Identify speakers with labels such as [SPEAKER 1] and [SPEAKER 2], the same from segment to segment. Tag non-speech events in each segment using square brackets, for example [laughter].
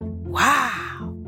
[SPEAKER 1] Wow.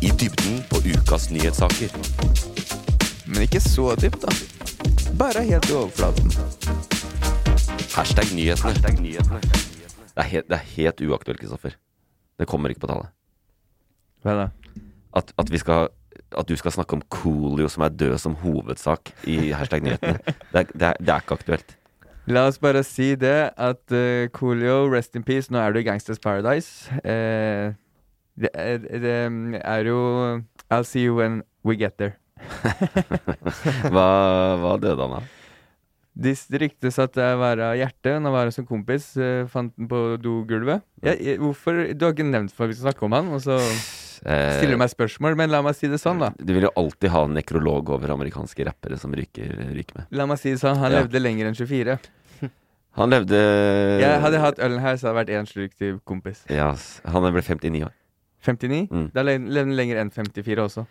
[SPEAKER 2] I dybden på ukas nyhetssaker.
[SPEAKER 3] Men ikke så dypt, da. Bare helt i overflaten.
[SPEAKER 2] Hashtag nyhetene. Det, er helt, det er helt uaktuelt, Kristoffer. Det kommer ikke på tale.
[SPEAKER 3] Hva er det?
[SPEAKER 2] At, at, vi skal, at du skal snakke om Coolio som er død som hovedsak i hashtag nyhetene. Det er, det er, det er ikke aktuelt.
[SPEAKER 3] La oss bare si det at eh, Coolio, rest in peace, nå er du i Gangsters Paradise. Eh, det, er, det mm, er jo I'll see you when we get there.
[SPEAKER 2] Hva, hva døde han av?
[SPEAKER 3] Det ryktes at det var av hjertet. Han var som kompis. eh, fant den på dogulvet. Jeg, jeg, hvorfor? Du har ikke nevnt for at vi skal snakke om han, og så stiller du meg spørsmål. Men la meg si det sånn, da.
[SPEAKER 2] Eh, Du vil jo alltid ha en nekrolog over amerikanske rappere som ryker, ryker med.
[SPEAKER 3] La meg si det sånn, han
[SPEAKER 2] Ja.
[SPEAKER 3] levde lenger enn 24.
[SPEAKER 2] Han levde Eh.
[SPEAKER 3] Jeg hadde hatt ølen her, så hadde jeg vært én slurk til kompis.
[SPEAKER 2] Ja, ass. han ble 59 år.
[SPEAKER 3] 59?
[SPEAKER 2] Mm.
[SPEAKER 3] Da le- levde han lenger enn 54 også.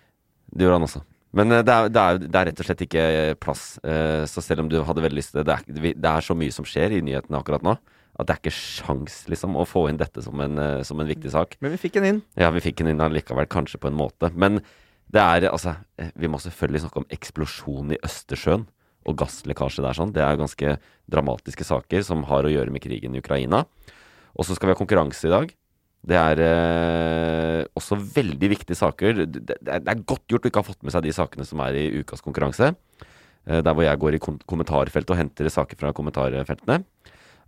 [SPEAKER 2] Det gjorde han også. Men eh, det er, det, er, det er rett og slett ikke eh, plass. Eh, Så selv om du hadde veldig lyst til det er, vi- det er så mye som skjer i nyhetene akkurat nå, at det er ikke sjans liksom, å få inn dette som en, eh, som en viktig sak.
[SPEAKER 3] Men vi fikk den inn.
[SPEAKER 2] Ja, vi fikk den inn allikevel, kanskje på en måte. Men det er altså eh, Vi må selvfølgelig snakke om eksplosjonen i Østersjøen og gasslekkasje der. sånn. Det er jo ganske dramatiske saker som har å gjøre med krigen i Ukraina. Og så skal vi ha konkurranse i dag. Det er eh, også veldig viktige saker. Det, det, er- det er godt gjort å ikke ha fått med seg de sakene som er i ukas konkurranse. Eh, der hvor jeg går i kom kommentarfeltet og henter saker fra kommentarfeltene.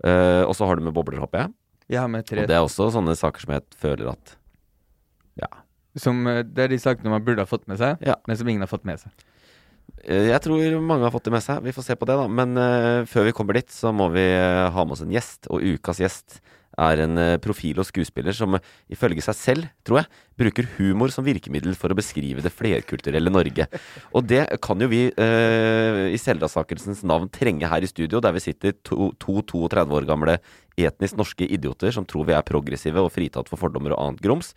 [SPEAKER 2] Eh, og så har du med bobler, håper jeg.
[SPEAKER 3] Jeg har med tre.
[SPEAKER 2] Og det er også sånne saker som jeg føler at
[SPEAKER 3] Som, eh, det er de sakene man burde ha fått med seg,
[SPEAKER 2] Ja.
[SPEAKER 3] men som ingen har fått med seg.
[SPEAKER 2] Eh, Jeg tror mange har fått det med seg. Vi får se på det, da. Men eh, før vi kommer dit, så må vi eh, ha med oss en gjest. Og ukas gjest er en eh, profil og skuespiller som eh, ifølge seg selv, tror jeg, bruker humor som virkemiddel for å beskrive det flerkulturelle Norge. Og det kan jo vi eh, i selvransakelsens navn trenge her i studio, der vi sitter to, to 32 år gamle etnisk norske idioter som tror vi er progressive og fritatt for fordommer og annet grums.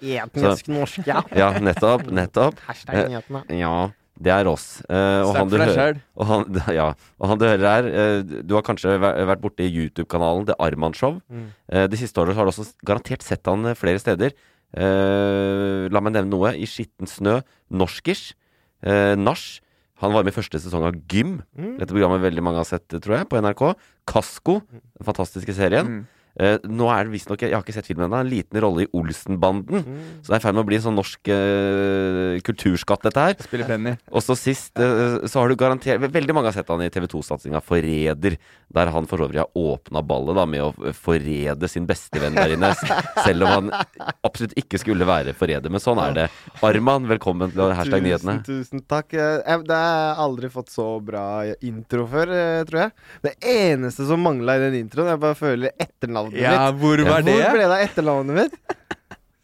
[SPEAKER 2] [laughs]
[SPEAKER 4] Etnisk norsk, ja.
[SPEAKER 2] Ja, nettopp. Nettopp. Eh,
[SPEAKER 4] Hashtag nyhetene.
[SPEAKER 2] Ja, det er oss. Eh, og,
[SPEAKER 3] Snakk
[SPEAKER 2] han du
[SPEAKER 3] for deg
[SPEAKER 2] hører,
[SPEAKER 3] selv.
[SPEAKER 2] og, han, [laughs] ja, og han du hører her, eh, du har kanskje væ- vært borti YouTube-kanalen The Arman Show. Eh, det siste året har du også s- garantert sett han eh, flere steder. Eh, la meg nevne noe. I Skitten snø, Norskers, eh, Nach. Han var med i første sesong av Gym. Dette programmet veldig mange har sett, eh, tror jeg, på NRK. Kasko, den fantastiske serien.
[SPEAKER 3] Mm.
[SPEAKER 2] Eh, nå er det visstnok Jeg har ikke sett filmen ennå. En liten rolle i Olsenbanden. Så det er i ferd med å bli en sånn norsk eh, kulturskatt, dette her.
[SPEAKER 3] Spiller Penny.
[SPEAKER 2] Og så sist eh, så har du garantert ve- Veldig mange har sett han i TV 2-satsinga Forræder, der han for øvrig har åpna ballet da med å forræde sin bestevenn der inne. s- Selv om han absolutt ikke skulle være forræder. Men sånn er det. Arman, velkommen til hashtag nyhetene.
[SPEAKER 4] Tusen, tusen takk. Eh, eh, Det har jeg aldri fått så bra intro før, eh, tror jeg. Det eneste som mangla i den introen, jeg bare føler etternavnet
[SPEAKER 3] Ja,
[SPEAKER 4] mitt.
[SPEAKER 3] hvor var det?
[SPEAKER 4] Hvor ble det av etternavnet mitt?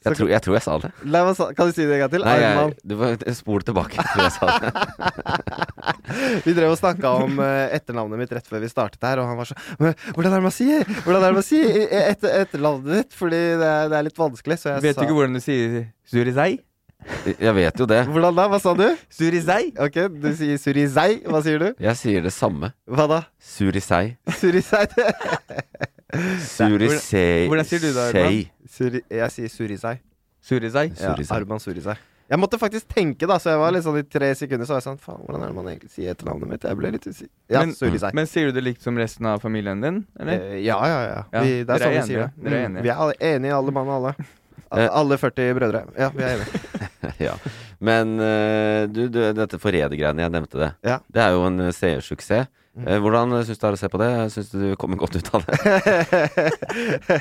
[SPEAKER 2] Jeg tror jeg, tror jeg sa det.
[SPEAKER 4] La meg, sa- kan du si det en gang til?
[SPEAKER 2] Nei,
[SPEAKER 4] Arman.
[SPEAKER 2] jeg, du får- spol tilbake. Jeg tror jeg sa det.
[SPEAKER 4] Vi drev og snakka om eh, etternavnet mitt rett før vi startet her, og han var så «Men Hvordan er det man sier? Hvordan er det man sier eh, etter, etternavnet ditt? Fordi det er, det er litt vanskelig, så jeg
[SPEAKER 3] Vet du
[SPEAKER 4] sa
[SPEAKER 3] ikke hvordan du sier Surisei?
[SPEAKER 2] Jeg vet jo det.
[SPEAKER 4] Hvordan da? Hva sa du?
[SPEAKER 3] Surisei?
[SPEAKER 4] Ok, du sier Surisei. Hva sier du?
[SPEAKER 2] Jeg sier det samme.
[SPEAKER 4] Hva da?
[SPEAKER 2] Surisei.
[SPEAKER 4] Surisei.
[SPEAKER 2] Surisei.
[SPEAKER 3] Hvordan- hvordan sier du det, Arman?
[SPEAKER 2] Sei.
[SPEAKER 4] Suri, jeg sier Surisei.
[SPEAKER 3] Surisei?
[SPEAKER 4] Ja,
[SPEAKER 2] Surisei.
[SPEAKER 4] Arman Surisei. Jeg måtte faktisk tenke, da, så jeg var litt sånn i tre sekunder så var jeg sånn Faen, hvordan er det man egentlig sier etternavnet mitt? Jeg ble litt usikker. Ja,
[SPEAKER 3] Men-
[SPEAKER 4] Suri Sei.
[SPEAKER 3] Men sier du det likt som resten av familien din, eller?
[SPEAKER 4] Eh, Ja, ja, ja.
[SPEAKER 3] Ja,
[SPEAKER 4] Vi, det
[SPEAKER 3] dere
[SPEAKER 4] er sånn
[SPEAKER 3] er
[SPEAKER 4] vi sier
[SPEAKER 3] enige.
[SPEAKER 4] det.
[SPEAKER 3] Dere er
[SPEAKER 4] Mm,
[SPEAKER 3] enige. Eh.
[SPEAKER 4] Vi er enige, alle mann og alle. Al- Alle 40 brødre. Ja, vi er
[SPEAKER 3] [laughs]
[SPEAKER 4] enige.
[SPEAKER 2] [laughs] ja. Men eh, du, du, dette Forræder-greiene, jeg nevnte det.
[SPEAKER 4] Ja. Mm.
[SPEAKER 2] Det er jo en eh, seersuksess. Eh, hvordan syns du det er å se på det? Syns du du kommer godt ut av det?
[SPEAKER 4] [laughs]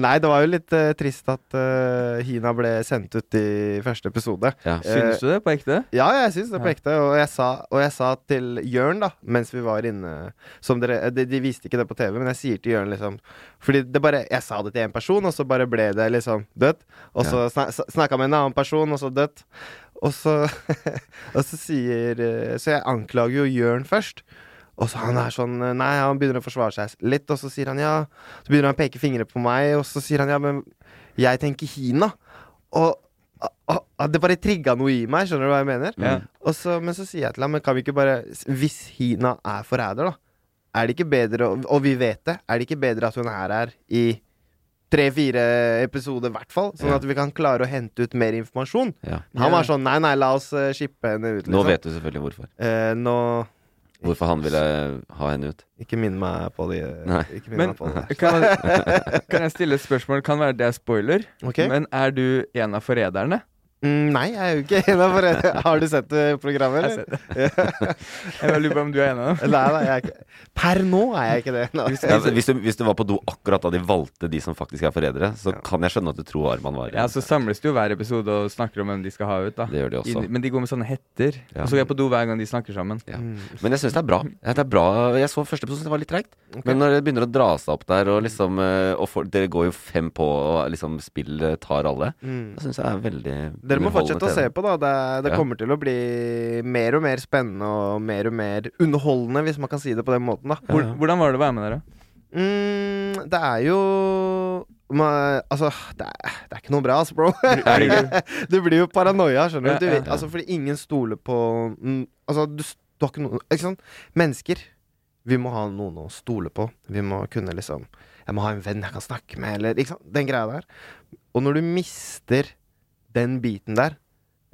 [SPEAKER 4] Nei, det var jo litt eh, trist at eh, Hina ble sendt ut i første episode.
[SPEAKER 2] Ja.
[SPEAKER 4] Eh,
[SPEAKER 3] Synes du det på ekte?
[SPEAKER 4] Ja, jeg syns det på ekte. Og jeg, sa, og jeg sa til Jørn, da, mens vi var inne som dere, de, de viste ikke det på TV, men jeg sier til Jørn, liksom Fordi det bare Jeg sa det til en person, og så bare ble det liksom dødt. Og så sna, sna- snakka med en annen person, og så dødt. Og så, [laughs] og så sier eh, Så jeg anklager jo Jørn først. Og så han er sånn eh, Nei, han begynner å forsvare seg litt, og så sier han ja. Så begynner han å peke fingre på meg, og så sier han ja, men jeg tenker Kina. Og, og, og det bare trigga noe i meg, skjønner du hva jeg mener?
[SPEAKER 3] Ja.
[SPEAKER 4] Og så, men så sier jeg til ham, men kan vi ikke bare Hvis Hina er forræder, da, er det ikke bedre å- Og vi vet det, er det ikke bedre at hun er her i tre-fire episoder, i hvert fall? Sånn
[SPEAKER 2] Ja.
[SPEAKER 4] at vi kan klare å hente ut mer informasjon?
[SPEAKER 2] Ja.
[SPEAKER 3] Ja.
[SPEAKER 4] Han var sånn nei, nei, la oss eh, shippe henne ut,
[SPEAKER 2] Nå
[SPEAKER 4] liksom.
[SPEAKER 2] vet du selvfølgelig hvorfor.
[SPEAKER 4] Eh, nå
[SPEAKER 2] Hvorfor han ville eh, ha henne ut.
[SPEAKER 4] Ikke minn meg på det. eh,
[SPEAKER 2] Nei.
[SPEAKER 4] Ikke minn
[SPEAKER 3] Men
[SPEAKER 4] meg på det.
[SPEAKER 3] kan jeg, kan jeg stille et spørsmål? Kan være det er spoiler,
[SPEAKER 4] Ok.
[SPEAKER 3] men er du en av forræderne?
[SPEAKER 4] Mm, nei, jeg er jo ikke en av forræderne. [laughs] Har du sett eh, programmet,
[SPEAKER 3] Jeg
[SPEAKER 4] eller?
[SPEAKER 3] ser det. Jeg bare lurer på om du er en av dem.
[SPEAKER 4] Nei, nei, jeg er ikke Per nå er jeg ikke det. Nei.
[SPEAKER 2] Ja, hvis, du, hvis du var på do akkurat da de valgte de som faktisk er forrædere, så kan jeg skjønne at du tror Arman var
[SPEAKER 3] Ja, altså, Så samles det jo hver episode og snakker om hvem de skal ha ut. da
[SPEAKER 2] Det gjør de også.
[SPEAKER 3] I- Men de går med sånne hetter.
[SPEAKER 2] Ja.
[SPEAKER 3] Og så går jeg på do hver gang de snakker sammen.
[SPEAKER 2] Ja. Men jeg syns det er bra. Ja, det er bra. Jeg så første episode, det var litt treigt. Men når det begynner å dra seg opp der, og liksom eh, og for, Dere går jo fem på, og liksom spill eh, tar alle.
[SPEAKER 4] Mm.
[SPEAKER 2] Det syns jeg er veldig
[SPEAKER 4] Dere må fortsette å se på, da. Det, det
[SPEAKER 2] Ja.
[SPEAKER 4] kommer til å bli mer og mer spennende og mer og mer underholdende, hvis man kan si det på den måten, da.
[SPEAKER 3] Hvor, Hvordan var det å være med dere?
[SPEAKER 4] Mm, det er jo ma- Altså, det er, det er ikke noe bra, altså, bro. [laughs] du blir jo paranoia, skjønner du. du
[SPEAKER 3] Ja, ja.
[SPEAKER 4] vet- Altså, fordi ingen stoler på mm, Altså, du, s- du har ikke noen Ikke sant? Mennesker. Vi må ha noen å stole på. Vi må kunne liksom Jeg må ha en venn jeg kan snakke med, eller ikke sant? Den greia der. Og når du mister den biten der,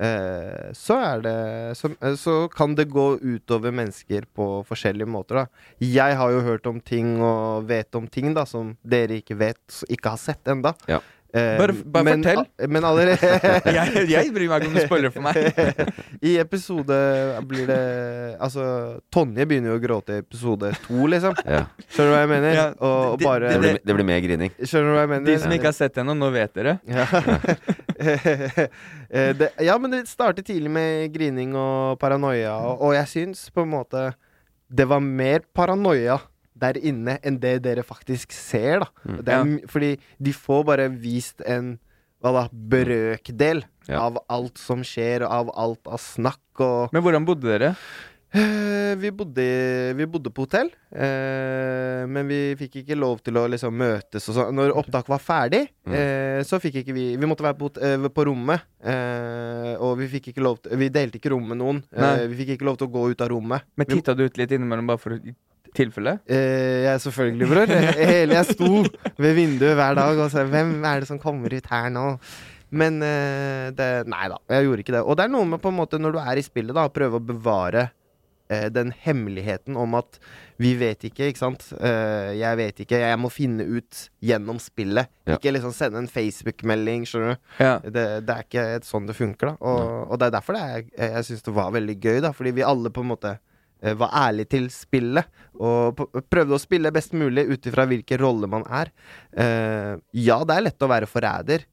[SPEAKER 4] eh, så er det så, eh, så kan det gå utover mennesker på forskjellige måter, da. Jeg har jo hørt om ting og vet om ting, da, som dere ikke vet, s- ikke har sett enda.
[SPEAKER 2] Ja.
[SPEAKER 4] Eh,
[SPEAKER 3] Bare- bare
[SPEAKER 4] men,
[SPEAKER 3] fortell.
[SPEAKER 4] a- Men allerede
[SPEAKER 3] Jeg, jeg bryr meg ikke om du spoiler for meg.
[SPEAKER 4] I episode blir det Altså, Tonje begynner jo å gråte i episode to, liksom.
[SPEAKER 2] Ja.
[SPEAKER 4] Skjønner du hva jeg mener?
[SPEAKER 3] Ja,
[SPEAKER 4] og og
[SPEAKER 3] det-
[SPEAKER 4] bare
[SPEAKER 2] Det blir, det blir mer grining.
[SPEAKER 4] Skjønner du hva jeg mener?
[SPEAKER 3] De som ikke har sett det ennå, nå vet dere.
[SPEAKER 4] Ja. [laughs] Eh, det, ja, men det startet tidlig med grining og paranoia, og, og jeg syns på en måte det var mer paranoia der inne enn det dere faktisk ser, da. Det er,
[SPEAKER 3] Ja.
[SPEAKER 4] m- Fordi de får bare vist en hva da, brøkdel
[SPEAKER 2] Ja.
[SPEAKER 4] av alt som skjer, og av alt av snakk og
[SPEAKER 3] Men hvordan bodde dere?
[SPEAKER 4] Eh, vi, bodde, i- vi bodde på hotell, eh, men vi fikk ikke lov til å liksom møtes og sånn. Når opptaket var ferdig, eh, så fikk ikke vi Vi måtte være på, hot- eh, på rommet, eh, og vi fikk ikke lov til Vi delte ikke rom med noen.
[SPEAKER 3] Nei.
[SPEAKER 4] Eh, vi fikk ikke lov til å gå ut av rommet.
[SPEAKER 3] Men titta du ut litt innimellom bare for i tilfelle?
[SPEAKER 4] Eh, jeg selvfølgelig, bror. Hele jeg sto ved vinduet hver dag og sa 'Hvem er det som kommer ut her nå?' Men eh, det Nei da, jeg gjorde ikke det. Og det er noe med på en måte når du er i spillet, da, å prøve å bevare eh, den hemmeligheten om at vi vet ikke, ikke sant. Eh, jeg vet ikke. Jeg må finne ut gjennom spillet.
[SPEAKER 2] Ja.
[SPEAKER 4] Ikke liksom sende en Facebook-melding, skjønner du.
[SPEAKER 3] Ja.
[SPEAKER 4] Det, det er ikke et sånn det funker, da. Og, og det er derfor det er, jeg, jeg syns det var veldig gøy, da. Fordi vi alle på en måte eh, var ærlige til spillet. Og p- prøvde å spille best mulig ut ifra hvilken rolle man er. Eh, ja, det er lett å være forræder,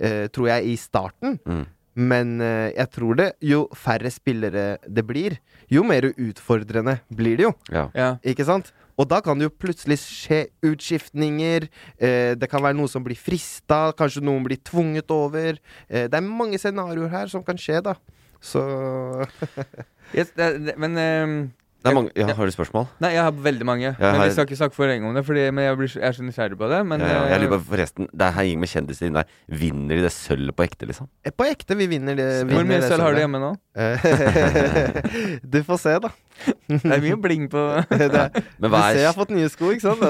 [SPEAKER 4] eh, tror jeg, i starten.
[SPEAKER 2] Mm.
[SPEAKER 4] Men eh, jeg tror det jo færre spillere det blir, jo mer utfordrende blir det jo.
[SPEAKER 2] Ja.
[SPEAKER 3] ja.
[SPEAKER 4] Ikke sant? Og da kan det jo plutselig skje utskiftninger. Eh, det kan være noe som blir frista. Kanskje noen blir tvunget over. Eh, det er mange scenarioer her som kan skje, da. Så
[SPEAKER 3] Yes, det, det, men ehm,
[SPEAKER 2] Det er mange, ja, har du spørsmål?
[SPEAKER 3] Nei, jeg har veldig mange. men
[SPEAKER 2] har-
[SPEAKER 3] vi skal ikke snakke for lenge om det, fordi, men jeg, blir, så- jeg er så nysgjerrig på det. Men
[SPEAKER 2] ja, ja. Jeg
[SPEAKER 3] eh,
[SPEAKER 2] lurer på, forresten, det her gikk med kjendiser inn der. Vinner de det sølvet på ekte, liksom?
[SPEAKER 4] eh, på ekte, vi vinner det.
[SPEAKER 3] hvor mye
[SPEAKER 4] vinner det
[SPEAKER 3] sølv
[SPEAKER 4] sånn,
[SPEAKER 3] har du
[SPEAKER 4] sølvet.
[SPEAKER 3] hjemme nå?
[SPEAKER 4] Eh, [laughs] du får se, da.
[SPEAKER 3] Det er mye bling på
[SPEAKER 4] Det, er-
[SPEAKER 2] Men
[SPEAKER 4] du
[SPEAKER 2] hva
[SPEAKER 4] ser jeg
[SPEAKER 2] [laughs]
[SPEAKER 4] har
[SPEAKER 2] er,
[SPEAKER 4] fått nye sko, ikke sant?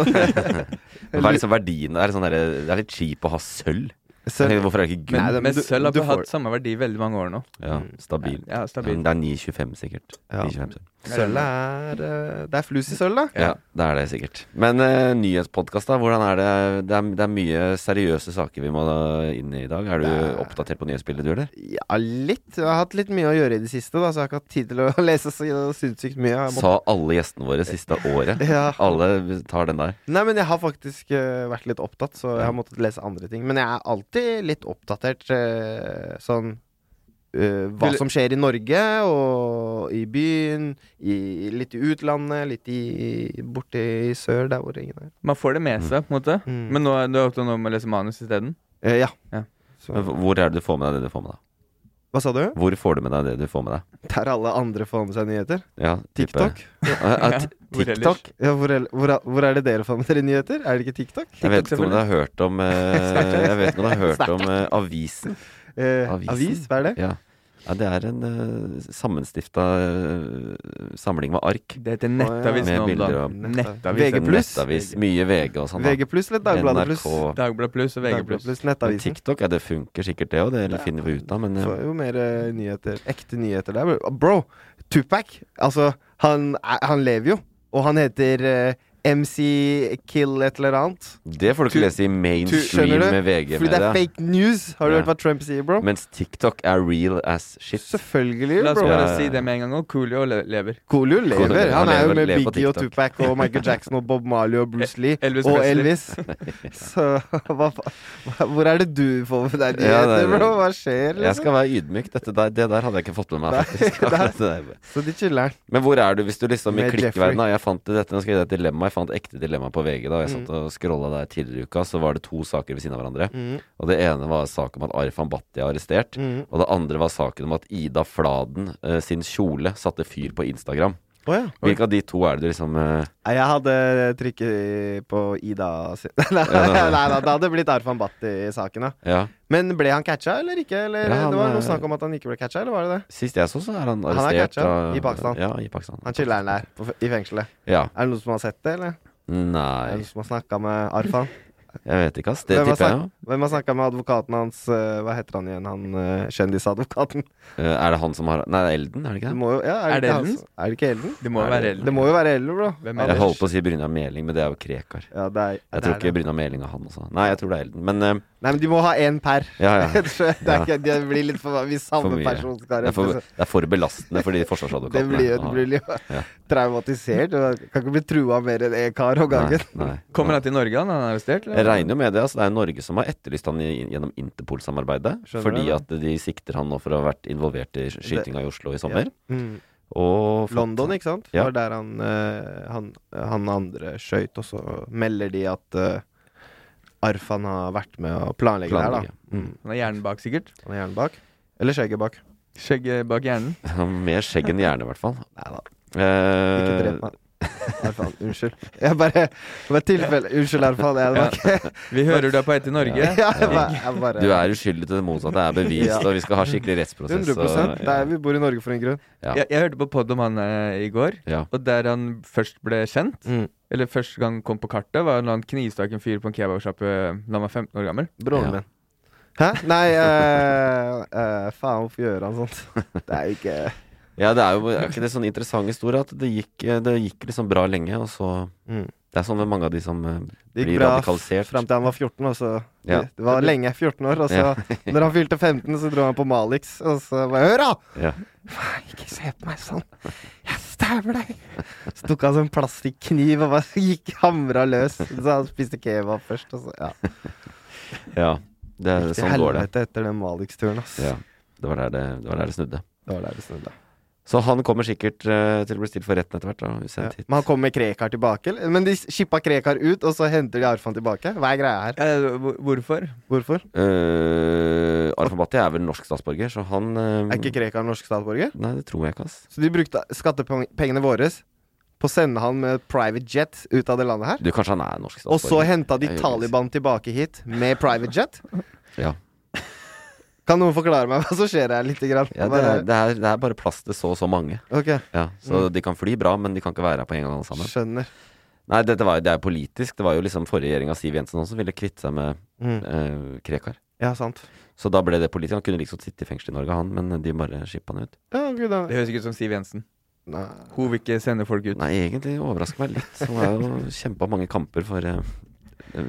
[SPEAKER 2] men hva er liksom verdien? Er det, sånn der, det er litt kjipt å ha sølv? Jeg
[SPEAKER 4] [laughs] Sølv
[SPEAKER 2] tenker, Hvorfor er det ikke
[SPEAKER 3] Men,
[SPEAKER 2] gull?
[SPEAKER 4] Nei, det-
[SPEAKER 3] men
[SPEAKER 4] du-
[SPEAKER 3] sølv har
[SPEAKER 4] du
[SPEAKER 3] vi hatt
[SPEAKER 4] får-
[SPEAKER 3] samme verdi i veldig mange år nå.
[SPEAKER 2] Ja, stabil.
[SPEAKER 3] Ja,
[SPEAKER 2] Ja,
[SPEAKER 3] stabil.
[SPEAKER 2] men det er 9,25 sikkert.
[SPEAKER 4] Ja.
[SPEAKER 2] 9,25 sølv.
[SPEAKER 4] Sølv er eh, Det er flus i sølv, da.
[SPEAKER 2] Ja, det er det sikkert. Men uh, nyhetspodkast, da. Hvordan er det? Det er, det er mye seriøse saker vi må da inn i i dag. Er du
[SPEAKER 4] Det er-
[SPEAKER 2] oppdatert på nyhetsbildet, du, eller?
[SPEAKER 4] Ja, litt. Jeg har hatt litt mye å gjøre i det siste, da, så jeg har ikke hatt tid til å [laughs] lese så sinnssykt mye. Jeg må...
[SPEAKER 2] Sa alle gjestene våre siste
[SPEAKER 4] [laughs]
[SPEAKER 2] året.
[SPEAKER 4] ja.
[SPEAKER 2] Alle tar den der.
[SPEAKER 4] Nei, men jeg har faktisk eh, vært litt opptatt, så jeg har måttet lese andre ting. Men jeg er alltid litt oppdatert eh, sånn eh, hva
[SPEAKER 3] Vil-
[SPEAKER 4] som skjer i Norge, og i byen, i, litt i utlandet, litt i, borte i sør, der hvor ingen er.
[SPEAKER 3] Man får det med seg, på en måte.
[SPEAKER 4] Mm.
[SPEAKER 3] Men nå er du er opptatt nå med å lese manus isteden?
[SPEAKER 4] Eh, ja.
[SPEAKER 3] Ja.
[SPEAKER 4] Så,
[SPEAKER 2] Men hvor er det du får med deg det du får med deg?
[SPEAKER 4] hva sa du?
[SPEAKER 2] Hvor får du med deg det du får med deg?
[SPEAKER 4] Der alle andre får med seg nyheter?
[SPEAKER 2] Ja, type-
[SPEAKER 4] TikTok?
[SPEAKER 2] [laughs] Ja, ja,
[SPEAKER 4] [laughs]
[SPEAKER 2] t-
[SPEAKER 3] hvor ellers?
[SPEAKER 2] TikTok?
[SPEAKER 4] Ja, hvor, el- hvor, er- hvor er det dere får med dere nyheter? Er det ikke TikTok?
[SPEAKER 2] Jeg vet ikke om du har hørt om eh,
[SPEAKER 4] [laughs]
[SPEAKER 2] Jeg vet ikke om du har hørt om eh, Avisen.
[SPEAKER 4] Eh,
[SPEAKER 2] Avisen.
[SPEAKER 4] Avis, hva er det?
[SPEAKER 2] Ja. ja, det er en uh, sammenstifta eh, samling med ark.
[SPEAKER 3] Det heter
[SPEAKER 4] Nettavis
[SPEAKER 3] Nettavis
[SPEAKER 2] Med
[SPEAKER 3] nå om
[SPEAKER 2] bilder
[SPEAKER 3] dagen.
[SPEAKER 2] av
[SPEAKER 4] VG+.
[SPEAKER 3] Nettavis.
[SPEAKER 4] Pluss.
[SPEAKER 2] Nettavis. Mye VG og sånn. da.
[SPEAKER 4] VG pluss eller Dagbladet pluss?
[SPEAKER 2] NRK.
[SPEAKER 3] Dagbladet Pluss og VG
[SPEAKER 4] Dagbladet
[SPEAKER 3] Pluss.
[SPEAKER 4] pluss
[SPEAKER 2] Men
[SPEAKER 4] Nettavisen.
[SPEAKER 2] TikTok, ja, det funker sikkert det òg, det finner vi ut av, men eh,
[SPEAKER 4] Får jo mer eh, nyheter. Ekte nyheter der. Bro, Tupac, altså han, er- han lever jo. Og han heter eh, MC Kill et eller annet.
[SPEAKER 2] det får du ikke
[SPEAKER 4] Tu-
[SPEAKER 2] lese i
[SPEAKER 4] Tu-
[SPEAKER 2] mainstream
[SPEAKER 4] skjønner du?
[SPEAKER 2] med VG.
[SPEAKER 4] Fordi det er
[SPEAKER 2] media.
[SPEAKER 4] fake news. Har du
[SPEAKER 2] Ja.
[SPEAKER 4] hørt hva Trump sier, bro?
[SPEAKER 2] Mens TikTok er real as shit.
[SPEAKER 4] Selvfølgelig,
[SPEAKER 3] La oss
[SPEAKER 4] bro.
[SPEAKER 2] Ja, ja,
[SPEAKER 3] bare
[SPEAKER 2] ja.
[SPEAKER 3] si det med en gang òg. Coolio le- lever.
[SPEAKER 4] Coolio
[SPEAKER 2] Coolio
[SPEAKER 4] lever.
[SPEAKER 2] lever. Han
[SPEAKER 4] Han er jo
[SPEAKER 2] lever-
[SPEAKER 4] med
[SPEAKER 2] lever på
[SPEAKER 4] Biggie og
[SPEAKER 2] TikTok.
[SPEAKER 4] Tupac og Michael Jackson og Bob Marley og Bruce Lee
[SPEAKER 3] [laughs] Elvis
[SPEAKER 4] og
[SPEAKER 2] [laughs]
[SPEAKER 3] Presley.
[SPEAKER 4] Elvis. Så hva fa- hva- Hvor er det du får med deg
[SPEAKER 2] Ja, det
[SPEAKER 4] nyheter,
[SPEAKER 2] er-
[SPEAKER 4] bro? Hva skjer?
[SPEAKER 2] Jeg
[SPEAKER 4] Liksom?
[SPEAKER 2] skal være ydmyk. Dette der, det der hadde jeg ikke fått med meg.
[SPEAKER 4] Nei, [laughs]
[SPEAKER 2] faktisk
[SPEAKER 4] det er-
[SPEAKER 2] akkurat [laughs] det der.
[SPEAKER 4] liksom? Så de chiller'n.
[SPEAKER 2] Men hvor er du hvis du liksom i
[SPEAKER 4] Med
[SPEAKER 2] klikkverdenen da, Jeg fant dette, nå skal jeg gi deg et dilemma Jeg fant ekte dilemma på VG da Jeg satt
[SPEAKER 4] Mm.
[SPEAKER 2] og scrollet der tidligere i uka Så var det to saker ved siden av hverandre
[SPEAKER 4] Mm,
[SPEAKER 2] Og det ene var sak om at Arfan Bhatti er arrestert Og det andre var saken om at Ida Fladen eh, sin kjole Satte fyr på Instagram
[SPEAKER 4] Å ja.
[SPEAKER 2] Hvilke av de to er det du liksom eh,
[SPEAKER 4] Nei, Jeg hadde trykket på Ida sin [laughs] Nei,
[SPEAKER 2] Ja,
[SPEAKER 4] nei,
[SPEAKER 2] nei.
[SPEAKER 4] nei, det hadde blitt Arfan Bhatti-saken, da.
[SPEAKER 2] Ja,
[SPEAKER 4] Men ble han catcha eller ikke? Eller,
[SPEAKER 2] Ja, han
[SPEAKER 4] det var
[SPEAKER 2] er-
[SPEAKER 4] noe snakk om at han ikke ble catcha, eller var det det?
[SPEAKER 2] sist jeg så så er han
[SPEAKER 4] er
[SPEAKER 2] arrestert
[SPEAKER 4] catcha,
[SPEAKER 2] av-
[SPEAKER 4] i Pakistan.
[SPEAKER 2] Ja, i Pakistan
[SPEAKER 4] Han chiller'n der på, f- i fengselet.
[SPEAKER 2] Ja,
[SPEAKER 4] Er det noen som har sett det, eller? Er det
[SPEAKER 2] nei
[SPEAKER 4] noen som har snakka med Arfan?
[SPEAKER 2] Jeg vet ikke ass Det
[SPEAKER 4] Hvem har
[SPEAKER 2] tipper jeg
[SPEAKER 4] snak-
[SPEAKER 2] jo
[SPEAKER 4] Hvem har snakka med advokaten hans? eh, Hva heter han igjen, han eh, kjendisadvokaten?
[SPEAKER 2] Eh, Er det han som har Nei, det er Elden, er det
[SPEAKER 4] Det
[SPEAKER 2] ikke det?
[SPEAKER 4] må jo, ja,
[SPEAKER 3] Er det
[SPEAKER 4] ikke han
[SPEAKER 3] Elden?
[SPEAKER 4] som- Er det ikke Elden?
[SPEAKER 3] Det
[SPEAKER 2] Er
[SPEAKER 3] må jo
[SPEAKER 2] det-
[SPEAKER 3] være Elden.
[SPEAKER 4] Det må jo være Elden, bro.
[SPEAKER 3] Hvem
[SPEAKER 4] Ja,
[SPEAKER 3] er
[SPEAKER 4] det-
[SPEAKER 2] Jeg holdt på å si Brynja Meling Men det er jo Krekar
[SPEAKER 4] Ja, det er,
[SPEAKER 2] Jeg
[SPEAKER 4] det
[SPEAKER 2] tror
[SPEAKER 4] er
[SPEAKER 2] ikke
[SPEAKER 4] det.
[SPEAKER 2] Brynja Meling og han også Nei, jeg tror det er Elden Men eh,
[SPEAKER 4] Nei, men de må ha én per.
[SPEAKER 2] ja, ja
[SPEAKER 4] [laughs] det, er ikke, det blir litt for Hvis samme
[SPEAKER 2] mye.
[SPEAKER 4] person skal
[SPEAKER 2] Det er for,
[SPEAKER 4] representere
[SPEAKER 2] det er for belastende for de
[SPEAKER 4] det
[SPEAKER 2] forsvarsadvokatene.
[SPEAKER 4] blir jo, det blir jo [laughs]
[SPEAKER 2] Ja.
[SPEAKER 4] traumatisert. Du kan ikke bli trua mer enn én kar om gangen.
[SPEAKER 2] Nei, nei.
[SPEAKER 3] Kommer han til Norge, han? Han er arrestert? eller?
[SPEAKER 2] Jeg regner jo med det. Altså, det er Norge som har etterlyst han i, gjennom Interpol-samarbeidet.
[SPEAKER 4] Skjønner
[SPEAKER 2] Fordi
[SPEAKER 4] det,
[SPEAKER 2] at de sikter han nå for å ha vært involvert i skytinga i Oslo i sommer.
[SPEAKER 4] [laughs] Mm.
[SPEAKER 2] Og fått-
[SPEAKER 4] London, ikke sant?
[SPEAKER 2] Ja.
[SPEAKER 4] Det var der han, eh, han, han andre skøyt, og så melder de at eh, Arfan har vært med å planlegge,
[SPEAKER 2] Planlegge.
[SPEAKER 4] der, da. Mm.
[SPEAKER 3] Han har hjernen bak, sikkert.
[SPEAKER 4] Han er hjernen bak. Eller skjegget bak.
[SPEAKER 3] Skjegget bak hjernen.
[SPEAKER 2] [laughs] Mer skjegg enn hjerne, i hvert fall.
[SPEAKER 4] Nei da, ikke
[SPEAKER 2] Eh,
[SPEAKER 4] drep meg. Arfan, unnskyld. Jeg bare Det var tilfelle. Unnskyld, Arfan. Jeg var ikke
[SPEAKER 2] [laughs]
[SPEAKER 3] Vi hører du er på vei til Norge.
[SPEAKER 4] ja, [laughs] jeg bare, jeg bare
[SPEAKER 2] du er uskyldig til det motsatte er bevist,
[SPEAKER 4] [laughs] Ja.
[SPEAKER 2] og vi skal ha skikkelig rettsprosess.
[SPEAKER 4] 100
[SPEAKER 2] og-
[SPEAKER 4] Det er, Vi bor i Norge for en grunn.
[SPEAKER 2] Ja.
[SPEAKER 3] Jeg, jeg hørte på pod om han eh, i går,
[SPEAKER 2] Ja.
[SPEAKER 3] og der han først ble kjent,
[SPEAKER 4] Mm.
[SPEAKER 3] eller første gang han kom på kartet, var når han knivstakk en fyr på en kebabsjappe da han var 15 år gammel.
[SPEAKER 4] Broren
[SPEAKER 2] Ja.
[SPEAKER 4] min. Hæ? Nei, eh, eh, faen, hvorfor gjør han sånt? Det er jo ikke
[SPEAKER 2] ja, det er jo er ikke det sånn interessant historie at det gikk, eh, det gikk liksom bra lenge, og så
[SPEAKER 4] Mm.
[SPEAKER 2] Det er sånn med mange av de som eh,
[SPEAKER 4] Det
[SPEAKER 2] Blir
[SPEAKER 4] gikk bra
[SPEAKER 2] radikalisert.
[SPEAKER 4] fram til han var 14, og så
[SPEAKER 2] Ja.
[SPEAKER 4] Det var lenge 14 år, og så Når han fylte 15, så dro han på Malix, og så bare Hør, da!
[SPEAKER 2] ja.
[SPEAKER 4] Faen, ikke se på meg sånn! Jeg stabber deg! Så tok han sånn plastikkniv og bare gikk hamra løs. Så han spiste kebab først, og så Ja.
[SPEAKER 2] Ja, det,
[SPEAKER 4] Gikk til
[SPEAKER 2] sånn går det.
[SPEAKER 4] helvete etter den Malix-turen, ass.
[SPEAKER 2] Ja, det, var der det. Det var der det snudde.
[SPEAKER 4] Det var der det snudde.
[SPEAKER 2] Så han kommer sikkert eh, til å bli stilt for retten etter hvert. Da,
[SPEAKER 4] Ja.
[SPEAKER 2] usendt hit.
[SPEAKER 4] Men han kom med Krekar tilbake? eller? Men de skippa Krekar ut, og så henter de Arfan tilbake? Hva er greia her?
[SPEAKER 3] Eh, hvor- hvorfor?
[SPEAKER 4] Hvorfor?
[SPEAKER 2] Eh, Arfan Bhatti er vel norsk statsborger, så han eh,
[SPEAKER 4] Er ikke Krekar norsk statsborger?
[SPEAKER 2] Nei, det tror jeg ikke, ass.
[SPEAKER 4] Så de brukte skattepengene våre på å sende han med private jet ut av det landet her?
[SPEAKER 2] Du, kanskje han er norsk
[SPEAKER 4] Og så
[SPEAKER 2] statsborger.
[SPEAKER 4] henta de
[SPEAKER 2] Jeg gjør det.
[SPEAKER 4] Taliban tilbake hit med private jet?
[SPEAKER 2] [laughs] Ja.
[SPEAKER 4] Kan noen forklare meg hva som skjer her, lite grann?
[SPEAKER 2] Ja, det, er, det, er, det er bare plass til så og så mange.
[SPEAKER 4] Ok,
[SPEAKER 2] Ja, så
[SPEAKER 4] Mm.
[SPEAKER 2] de kan fly bra, men de kan ikke være her på en gang alle sammen.
[SPEAKER 4] skjønner.
[SPEAKER 2] Nei, dette var, jo- det er jo politisk. Det var jo liksom forrige regjering av Siv Jensen også som ville kvitte seg med
[SPEAKER 4] Mm.
[SPEAKER 2] eh, Krekar.
[SPEAKER 4] Ja, sant.
[SPEAKER 2] Så da ble det politikeren. Han kunne liksom sitte i fengsel i Norge, han, men de bare skippa han ut.
[SPEAKER 4] Ja, gud, da.
[SPEAKER 3] Det høres ikke ut som Siv Jensen.
[SPEAKER 4] Nei.
[SPEAKER 3] Hun vil ikke sende folk ut.
[SPEAKER 2] Nei, egentlig overrasker meg litt. Han har jo kjempa mange kamper for eh,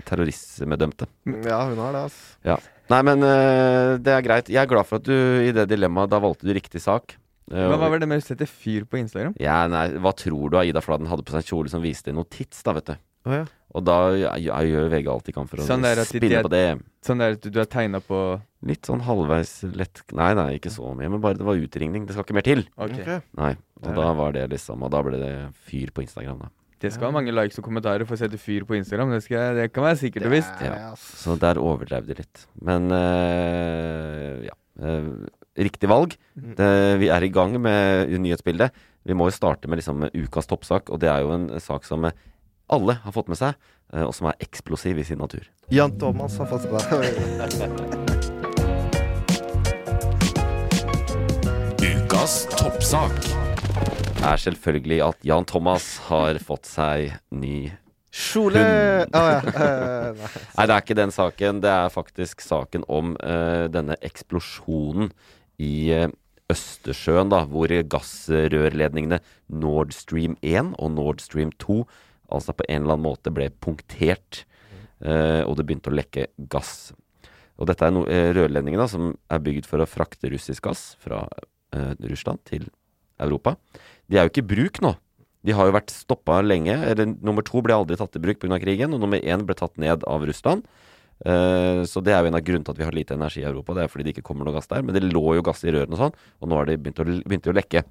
[SPEAKER 2] terrorismedømte.
[SPEAKER 4] Ja, hun har det, altså.
[SPEAKER 2] Ja. Nei, men eh, det er greit. Jeg er glad for at du i det dilemmaet, da valgte du riktig sak. Eh,
[SPEAKER 3] Men hva var det med å sette fyr på Instagram?
[SPEAKER 2] Ja, nei, hva tror du Aida Fladen hadde på seg en kjole som viste noe tits, da, vet du.
[SPEAKER 4] Å, ja.
[SPEAKER 2] Og da ja, ja, gjør VG alt de kan for å
[SPEAKER 3] Sånn der at de-
[SPEAKER 2] spinne på det.
[SPEAKER 3] Sånn der at du har tegna på
[SPEAKER 2] Litt sånn halvveis lett Nei, nei, ikke så mye, men bare det var utringning. Det skal ikke mer til.
[SPEAKER 3] Ok.
[SPEAKER 4] Ok.
[SPEAKER 2] Nei. Og da var det liksom Og da ble det fyr på Instagram, da.
[SPEAKER 3] Det skal ha mange likes og kommentarer for å sette fyr på Instagram. Det, skal, jeg- det kan være sikkert og visst.
[SPEAKER 4] Det
[SPEAKER 2] Ja.
[SPEAKER 4] er det, ass.
[SPEAKER 2] Så der overdrev de litt. Men eh, ja. eh, riktig valg. Det, vi er i gang med nyhetsbildet. Vi må jo starte med liksom ukas toppsak, og det er jo en sak som eh, alle har fått med seg, eh, og som er eksplosiv i sin natur.
[SPEAKER 4] Jan Thomas har fått seg det.
[SPEAKER 1] Ukas toppsak.
[SPEAKER 2] er selvfølgelig at Jan Thomas har fått seg ny
[SPEAKER 4] Kjole!
[SPEAKER 2] Hun- [laughs]
[SPEAKER 4] Å, ja. Eh, nei.
[SPEAKER 2] Nei, det er ikke den saken. Det er faktisk saken om eh, denne eksplosjonen i eh, Østersjøen, da, hvor gassrørledningene Nord Stream 1 og Nord Stream 2 altså på en eller annen måte ble punktert, eh, og det begynte å lekke gass. Og dette er no, eh, rørledninger da, som er bygd for å frakte russisk gass fra eh, Russland til Europa. De er jo ikke i bruk nå. De har jo vært stoppa lenge. Eller, nummer to ble aldri tatt i bruk pga. krigen, og nummer én ble tatt ned av Russland. Eh, så det er jo en av grunnene til at vi har lite energi i Europa. Det er fordi det ikke kommer noe gass der. Men det lå jo gass i rørene og sånn, og nå har de begynt å, begynt å lekke.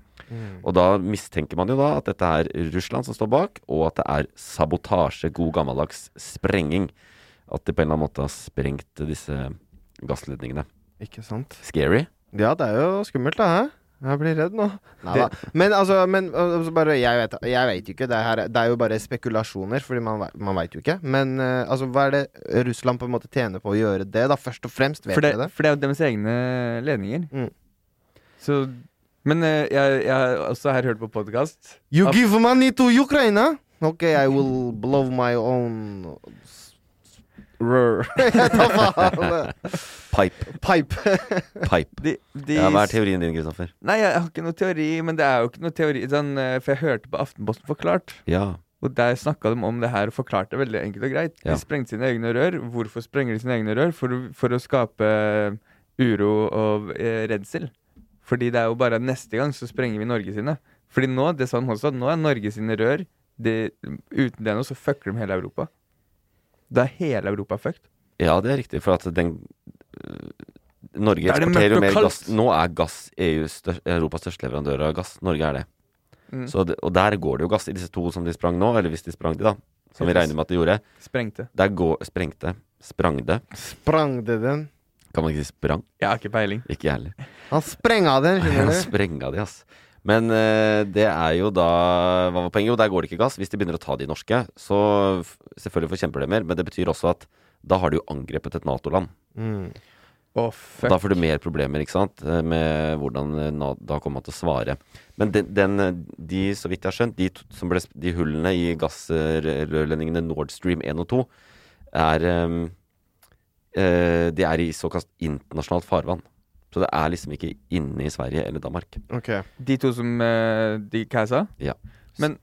[SPEAKER 2] Og da mistenker man jo da at dette er Russland som står bak, og at det er sabotasje, god gammeldags sprenging. At de på en eller annen måte har sprengt disse gassledningene.
[SPEAKER 4] Ikke sant?
[SPEAKER 2] Scary.
[SPEAKER 4] Ja, det er jo skummelt, da. Hæ? Jeg blir redd nå. Neida. Men altså, men, altså bare, jeg, vet, jeg vet jo ikke. Det, her, er- det er jo bare spekulasjoner, Fordi man, ve- man veit jo ikke. Men eh, altså, hva er det Russland på en måte tjener på å gjøre det, da? Først og fremst, vet
[SPEAKER 3] For det,
[SPEAKER 4] dere det?
[SPEAKER 3] [laughs] for det er jo deres egne ledninger.
[SPEAKER 4] Mm.
[SPEAKER 3] Så Men eh, jeg, jeg har også her hørt på podkast.
[SPEAKER 4] You
[SPEAKER 3] Ab-
[SPEAKER 4] give money to Ukraina! Ok, I will blow my own [laughs] s- s- Rør. Jeg tar faen.
[SPEAKER 2] Pipe.
[SPEAKER 4] Pipe.
[SPEAKER 2] Pipe.
[SPEAKER 3] De, de,
[SPEAKER 2] Ja, hva er teorien din, Kristoffer?
[SPEAKER 3] Nei, jeg har ikke noe teori, men det er jo ikke noe teori sånn, eh, For jeg hørte på Aftenposten forklart,
[SPEAKER 2] Ja.
[SPEAKER 3] og der snakka de om det her og forklarte det veldig enkelt og greit.
[SPEAKER 2] Ja.
[SPEAKER 3] De sprengte sine egne rør. Hvorfor sprenger de sine egne rør? For, å- for å skape eh, uro og eh, redsel. Fordi det er jo bare at neste gang så sprenger vi Norge sine. Fordi nå, det sa de også, at nå er Norge sine rør det- Uten det nå, så fucker de hele Europa. Da er hele Europa fucked.
[SPEAKER 2] Ja, det er riktig. For at den øh, Norge
[SPEAKER 3] Da er
[SPEAKER 2] eksporterer
[SPEAKER 3] det mørkt
[SPEAKER 2] jo
[SPEAKER 3] og
[SPEAKER 2] mer
[SPEAKER 3] kaldt.
[SPEAKER 2] gass. Nå er gass EU stør, Europas største leverandør av gass. Norge er det.
[SPEAKER 3] Mm.
[SPEAKER 2] Så det. Og der går det jo gass. I disse to som de sprang nå, eller hvis de sprang de, da, som vi
[SPEAKER 3] Heldigvis.
[SPEAKER 2] regner med at de gjorde,
[SPEAKER 3] Sprengte.
[SPEAKER 2] der går, sprengte Sprang det.
[SPEAKER 4] Sprang det den?
[SPEAKER 2] Kan man ikke si sprang?
[SPEAKER 3] Jeg har ikke peiling.
[SPEAKER 2] Ikke jeg heller.
[SPEAKER 4] Han sprenga den,
[SPEAKER 2] Ja, [laughs]
[SPEAKER 4] skjønner du.
[SPEAKER 2] Sprenga de, ass. Men øh, det er jo da Hva var poenget? Jo, der går det ikke gass. Hvis de begynner å ta de norske, så f selvfølgelig forkjemper de mer. Men det betyr også at da har de jo angrepet et Nato-land.
[SPEAKER 4] Mm.
[SPEAKER 3] Å,
[SPEAKER 2] Og
[SPEAKER 3] fuck.
[SPEAKER 2] da får du mer problemer, ikke sant, eh, med hvordan eh, Na- da kommer man til å svare. Men den, den eh, de, så vidt jeg har skjønt, de, to- som ble, sp- de hullene i gassrørledningene Nord Stream 1 og 2, er eh, eh, De er i såkalt internasjonalt farvann. Så det er liksom ikke inne i Sverige eller Danmark.
[SPEAKER 4] Ok.
[SPEAKER 3] De to som eh, De hva jeg sa?
[SPEAKER 2] Ja.
[SPEAKER 3] Men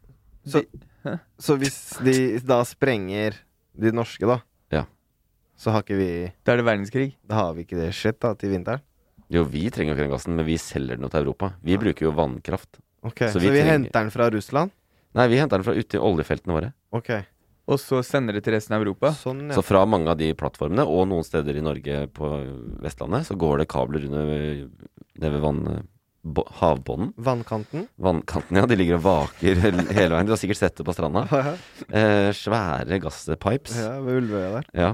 [SPEAKER 4] Så-
[SPEAKER 3] de,
[SPEAKER 4] Så hvis de da sprenger de norske, da,
[SPEAKER 2] Ja.
[SPEAKER 4] så har ikke vi
[SPEAKER 3] da er det verdenskrig.
[SPEAKER 4] Da har vi ikke det shit da til vinteren.
[SPEAKER 2] Jo, vi trenger jo ikke den gassen, men vi selger den jo til Europa. Vi bruker jo vannkraft.
[SPEAKER 4] Ok,
[SPEAKER 2] Så
[SPEAKER 4] Så
[SPEAKER 2] vi
[SPEAKER 4] vi,
[SPEAKER 2] trenger-
[SPEAKER 4] henter den fra Russland?
[SPEAKER 2] Nei, vi henter den fra ute i oljefeltene våre.
[SPEAKER 4] Ok,
[SPEAKER 3] Og så sender det til resten av Europa.
[SPEAKER 4] sånn ja.
[SPEAKER 2] Så fra mange av de plattformene, og noen steder i Norge på Vestlandet, så går det kabler under nede ved vann, bo, havbånden.
[SPEAKER 4] Vannkanten?
[SPEAKER 2] Vannkanten, ja. De ligger og vaker [laughs] hele hele veien. Du har sikkert sett det på stranda.
[SPEAKER 4] Ja,
[SPEAKER 2] Eh, svære gasspipes.
[SPEAKER 4] ved Ulvøya der.
[SPEAKER 2] Ja.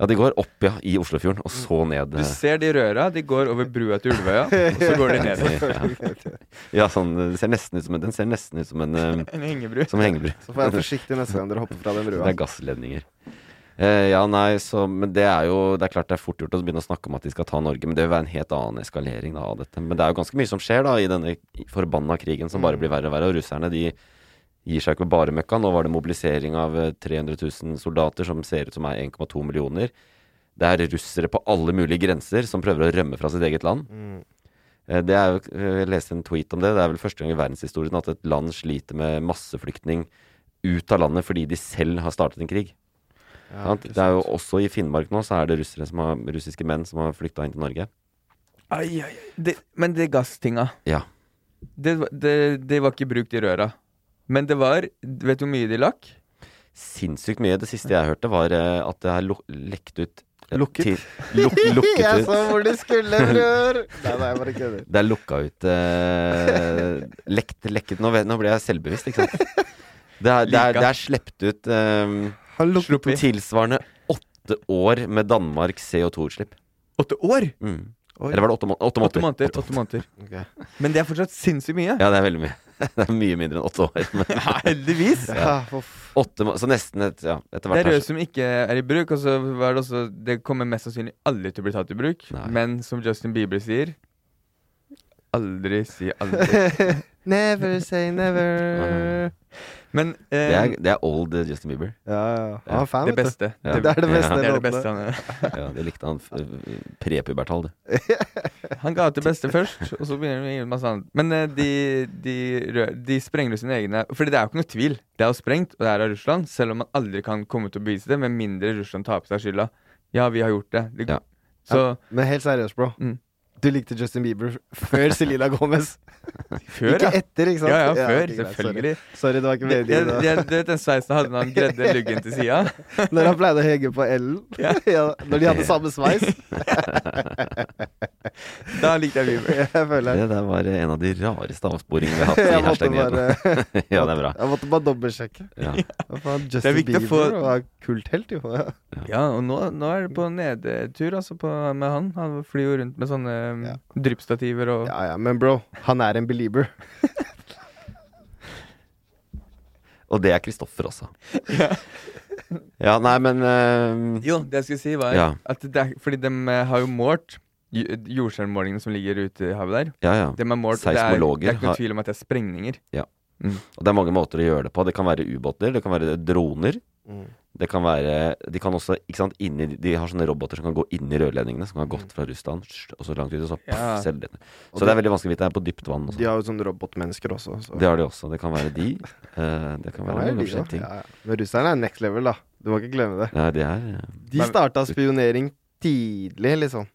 [SPEAKER 2] ja, de går opp ja, i Oslofjorden, og så
[SPEAKER 4] Mm.
[SPEAKER 2] ned.
[SPEAKER 3] Du
[SPEAKER 2] eh,
[SPEAKER 3] ser de røra. De går over brua til Ulvøya, og så går de [laughs] ned.
[SPEAKER 2] [laughs] Ja. ja, sånn eh, det ser nesten ut som en, Den ser nesten ut som en eh,
[SPEAKER 3] En hengebru.
[SPEAKER 2] Som en hengebru.
[SPEAKER 4] Så får jeg være forsiktig neste gang dere hopper fra den brua.
[SPEAKER 2] Det er gassledninger. Eh, ja, nei, så Men det er jo Det er klart det er fort gjort å begynne å snakke om at de skal ta Norge, men det vil være en helt annen eskalering da, av dette. Men det er jo ganske mye som skjer da i denne forbanna krigen som bare blir verre og verre. Og russerne de gir seg ikke på bare møkka. Nå var det mobilisering av eh, 300 000 soldater som ser ut som er 1,2 millioner. Det er russere på alle mulige grenser som prøver å rømme fra sitt eget land. Eh, Det er jo, eh, jeg leste en tweet om det. Det er vel første gang i verdenshistorien at et land sliter med masseflyktning ut av landet fordi de selv har startet en krig. Sant? det er jo også i Finnmark nå, så er det russere som har, russiske menn som har flykta inn til Norge.
[SPEAKER 3] Ai, ai, ai. Det, men det gasstinga,
[SPEAKER 2] Ja.
[SPEAKER 3] det, var- det, det var ikke brukt i røra. Men det var Vet du hvor mye de lakk?
[SPEAKER 2] Sinnssykt mye. Det siste jeg hørte, var eh, at det er luk lekt ut eh,
[SPEAKER 3] Lukket.
[SPEAKER 2] til- luk lukket
[SPEAKER 4] [laughs] Jeg
[SPEAKER 2] ut.
[SPEAKER 4] så hvor de skulle, bror! Nei, nei, jeg bare [laughs] kødder.
[SPEAKER 2] Det er lukka ut eh, Lekt, lekket Nå, vet- nå ble jeg selvbevisst, ikke sant? Det er, det er, det er slept ut eh,
[SPEAKER 3] Sluppet
[SPEAKER 2] tilsvarende åtte år med Danmarks CO2-utslipp.
[SPEAKER 3] Åtte år!
[SPEAKER 2] Mm.
[SPEAKER 4] Oi.
[SPEAKER 2] Eller var det åtte, må åtte måneder?
[SPEAKER 3] Åtte måneder. Åtte måneder.
[SPEAKER 4] Ok.
[SPEAKER 3] Men det er fortsatt sinnssykt mye.
[SPEAKER 2] Ja, det er veldig mye. [laughs] Det er mye mindre enn åtte år. Men
[SPEAKER 3] Heldigvis.
[SPEAKER 4] Ah, uff.
[SPEAKER 2] åtte må så nesten et, ja, etter
[SPEAKER 3] Det
[SPEAKER 2] hvert
[SPEAKER 3] er
[SPEAKER 2] her
[SPEAKER 3] rør
[SPEAKER 2] så-
[SPEAKER 3] som ikke er i bruk, og så var det også Det kommer mest sannsynlig aldri til å bli tatt i bruk.
[SPEAKER 2] Nei.
[SPEAKER 3] Men som Justin Bieber sier Aldri si aldri.
[SPEAKER 4] Never say never.
[SPEAKER 3] Men eh,
[SPEAKER 2] det er, det er old eh, Justin Bieber.
[SPEAKER 4] Ja, ja. Han er fan,
[SPEAKER 3] det
[SPEAKER 4] vet du.
[SPEAKER 3] beste.
[SPEAKER 2] Ja.
[SPEAKER 4] Det er det
[SPEAKER 3] Det
[SPEAKER 4] beste.
[SPEAKER 3] er det
[SPEAKER 4] låtene.
[SPEAKER 3] beste han er.
[SPEAKER 2] Ja, det likte han eh, prepubertal, det.
[SPEAKER 3] Han ga ut det beste først, og så begynner han å gi masse annet. Men eh, de, de, rør, de sprenger jo sine egne Fordi det er jo ikke noe tvil. Det er jo sprengt, og det er av Russland, selv om man aldri kan komme til å bevise det, med mindre Russland tar på seg skylda. Ja, vi har gjort det. det
[SPEAKER 2] Ja.
[SPEAKER 3] Så
[SPEAKER 4] Men helt seriøst, bro.
[SPEAKER 3] Mm.
[SPEAKER 4] Du likte Justin Bieber før Selena Gomez.
[SPEAKER 3] før,
[SPEAKER 4] ikke
[SPEAKER 3] ja.
[SPEAKER 4] etter, ikke sant?
[SPEAKER 3] Ja, ja,
[SPEAKER 4] ok,
[SPEAKER 3] før.
[SPEAKER 4] greit,
[SPEAKER 3] selvfølgelig.
[SPEAKER 4] Sorry. sorry, det var ikke
[SPEAKER 3] Det-
[SPEAKER 4] meningen.
[SPEAKER 3] det-
[SPEAKER 4] da.
[SPEAKER 3] det- Du vet den sveisen han hadde når han gredde luggen til sida?
[SPEAKER 4] Når han pleide å henge på Ellen.
[SPEAKER 3] Ja.
[SPEAKER 4] [laughs] Ja, når de hadde samme sveis.
[SPEAKER 3] Da likte jeg Bieber.
[SPEAKER 4] Jeg føler
[SPEAKER 2] Det der var eh, en av de rareste avsporingene vi har hatt i
[SPEAKER 4] jeg måtte
[SPEAKER 2] hashtag
[SPEAKER 4] bare,
[SPEAKER 2] nyheten. [laughs] Ja, det er bra.
[SPEAKER 4] jeg måtte bare dobbeltsjekke.
[SPEAKER 2] Ja.
[SPEAKER 4] Hva faen,
[SPEAKER 3] Det er
[SPEAKER 4] Justin
[SPEAKER 3] viktig å
[SPEAKER 4] Bieber
[SPEAKER 3] få-
[SPEAKER 4] var kulthelt, jo. Ja.
[SPEAKER 3] Ja, og nå, nå er det på nedtur altså på, med han. Han flyr jo rundt med sånne um,
[SPEAKER 4] Ja.
[SPEAKER 3] dryppstativer og
[SPEAKER 4] ja ja, men bro, han er en belieber.
[SPEAKER 2] Og det er Kristoffer også. Ja, nei, men eh,
[SPEAKER 3] Jo, det jeg skulle si, var
[SPEAKER 2] Ja.
[SPEAKER 3] at det er, Fordi de har jo målt j- jordskjelvmålingene som ligger ute i havet der.
[SPEAKER 2] Ja, ja.
[SPEAKER 3] De har målt, det, er,
[SPEAKER 2] Seismologer
[SPEAKER 3] det er ikke
[SPEAKER 2] har-
[SPEAKER 3] noen tvil om at det er sprengninger.
[SPEAKER 2] Og det er mange måter å gjøre det på. Det kan være ubåter, det kan være droner.
[SPEAKER 4] Mm.
[SPEAKER 2] Det kan være De kan også ikke sant, inni, De har sånne roboter som kan gå inn i rørledningene, som kan ha
[SPEAKER 4] Mm.
[SPEAKER 2] gått fra Russland sj, og så langt ut, og så paff,
[SPEAKER 3] Ja.
[SPEAKER 2] selger de den. Så det er veldig vanskelig å vite. Det er på dypt vann. Også.
[SPEAKER 4] De har jo sånne robotmennesker også. Så.
[SPEAKER 2] Det har de også. Det kan være de. eh, det kan være
[SPEAKER 4] Ja, det er
[SPEAKER 2] mange
[SPEAKER 4] de, da.
[SPEAKER 2] forskjellige ting.
[SPEAKER 4] Ja, ja. Men russerne er next level, da. Du må ikke glemme det.
[SPEAKER 2] Nei, det er eh,
[SPEAKER 4] De
[SPEAKER 3] Men-
[SPEAKER 4] starta skjonering tidlig, liksom.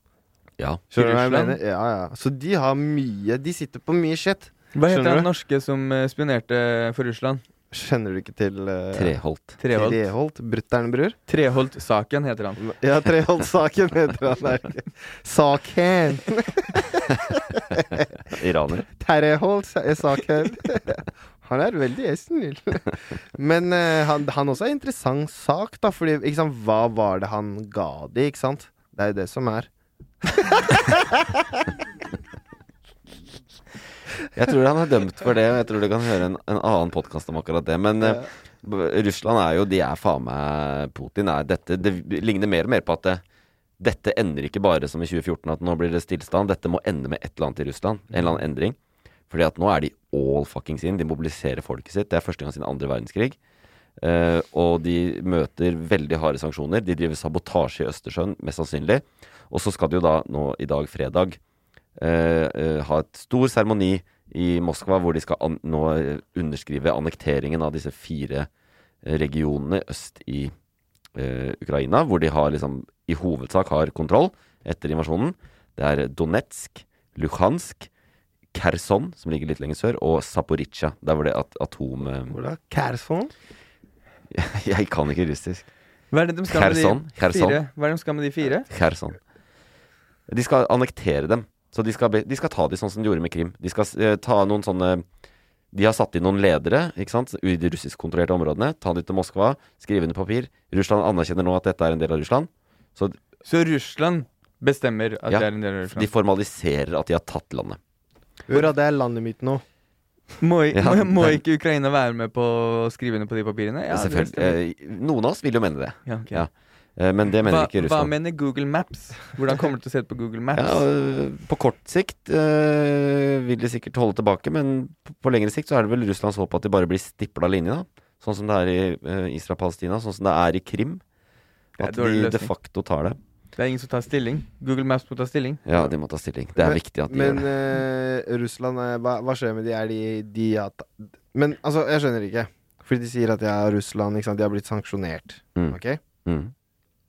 [SPEAKER 2] Ja.
[SPEAKER 4] Skjønner du hva jeg
[SPEAKER 3] Russland?
[SPEAKER 4] mener? Ja, ja. Så de har mye De sitter på mye shit.
[SPEAKER 3] Hva
[SPEAKER 4] Skjønner
[SPEAKER 3] heter
[SPEAKER 4] du?
[SPEAKER 3] han norske som eh, spionerte for Russland?
[SPEAKER 4] Kjenner du ikke til eh,
[SPEAKER 2] Treholt.
[SPEAKER 3] Treholt.
[SPEAKER 4] Treholt? Brutter'n, bror?
[SPEAKER 3] Treholt-saken heter han.
[SPEAKER 4] Ja, Treholt-saken heter han. er det ikke? Saken!
[SPEAKER 2] Iraner.
[SPEAKER 4] Treholt-saken. [laughs] Han er veldig snill. [laughs] Men eh, han, han også er en interessant sak, da. Fordi ikke sant, hva var det han ga de, ikke sant? Det er jo det som er.
[SPEAKER 2] Jeg tror han er dømt for det, og jeg tror du kan høre en, en annen podkast om akkurat det. Men eh, b- Russland er jo De er faen meg Putin. Er dette, det ligner mer og mer på at det, dette ender ikke bare som i 2014, at nå blir det stillstand. Dette må ende med et eller annet i Russland. En eller annen endring. Fordi at nå er de all fuckings in. De mobiliserer folket sitt. Det er første gang siden andre verdenskrig. Eh, og de møter veldig harde sanksjoner. De driver sabotasje i Østersjøen, mest sannsynlig. Og så skal de jo da nå i dag, fredag, eh, eh, ha et stor seremoni i Moskva hvor de skal an nå eh, underskrive annekteringen av disse fire eh, regionene øst i eh, Ukraina, hvor de har liksom i hovedsak har kontroll etter invasjonen. Det er Donetsk, Luhansk, Kherson, som ligger litt lenger sør, og Zaporizjzja, der hvor det at atom... [laughs] eh,
[SPEAKER 4] Hvor da? Kherson?
[SPEAKER 2] Jeg kan ikke russisk.
[SPEAKER 3] Hva er det de skal med de
[SPEAKER 2] Kherson, Kherson.
[SPEAKER 3] fire? Hva er det de skal med de fire?
[SPEAKER 2] Kherson. De skal annektere dem. Så de skal, be, de skal ta de sånn som de gjorde med Krim. De skal eh, ta noen sånne De har satt inn noen ledere ikke sant, i de russiskkontrollerte områdene. Ta de til Moskva, skrive under papir. Russland anerkjenner nå at dette er en del av Russland. Så
[SPEAKER 3] Så Russland bestemmer at
[SPEAKER 2] Ja,
[SPEAKER 3] det er en del av
[SPEAKER 2] de
[SPEAKER 3] Russland.
[SPEAKER 2] formaliserer at de har tatt landet.
[SPEAKER 4] Hvor er det landet mitt nå?
[SPEAKER 3] Må, i-
[SPEAKER 2] Ja,
[SPEAKER 3] må, må
[SPEAKER 2] men-
[SPEAKER 3] ikke Ukraina være med på å skrive under på de papirene? Ja, det
[SPEAKER 2] Selvfølgelig.
[SPEAKER 3] stemmer.
[SPEAKER 2] eh, Noen av oss vil jo mene det.
[SPEAKER 3] Ja, ok.
[SPEAKER 2] ja, Eh, Men det mener
[SPEAKER 3] hva,
[SPEAKER 2] ikke
[SPEAKER 3] hva
[SPEAKER 2] Russland.
[SPEAKER 3] mener Google Maps? Hvordan kommer det til å se ut på Google Maps?
[SPEAKER 2] Ja, øh, på kort sikt øh, vil de sikkert holde tilbake, men på, på lengre sikt så er det vel Russlands håp at de bare blir stipla av linja. Sånn som det er i øh, Israel-Palestina, sånn som det er i Krim.
[SPEAKER 3] Det er
[SPEAKER 2] At
[SPEAKER 3] dårlig
[SPEAKER 2] de de
[SPEAKER 3] løsning.
[SPEAKER 2] facto tar det.
[SPEAKER 3] Det er ingen som tar stilling. Google Maps må ta stilling.
[SPEAKER 2] Ja, de må ta stilling. Det er
[SPEAKER 4] Men-
[SPEAKER 2] viktig at de
[SPEAKER 4] Men
[SPEAKER 2] gjør det.
[SPEAKER 4] eh, Russland, eh, hva, hva skjer med de? Er de, de har ta- Men altså, jeg skjønner ikke. Fordi de sier at ja, Russland ikke sant, de har blitt sanksjonert.
[SPEAKER 2] Mm.
[SPEAKER 4] ok?
[SPEAKER 2] Mm.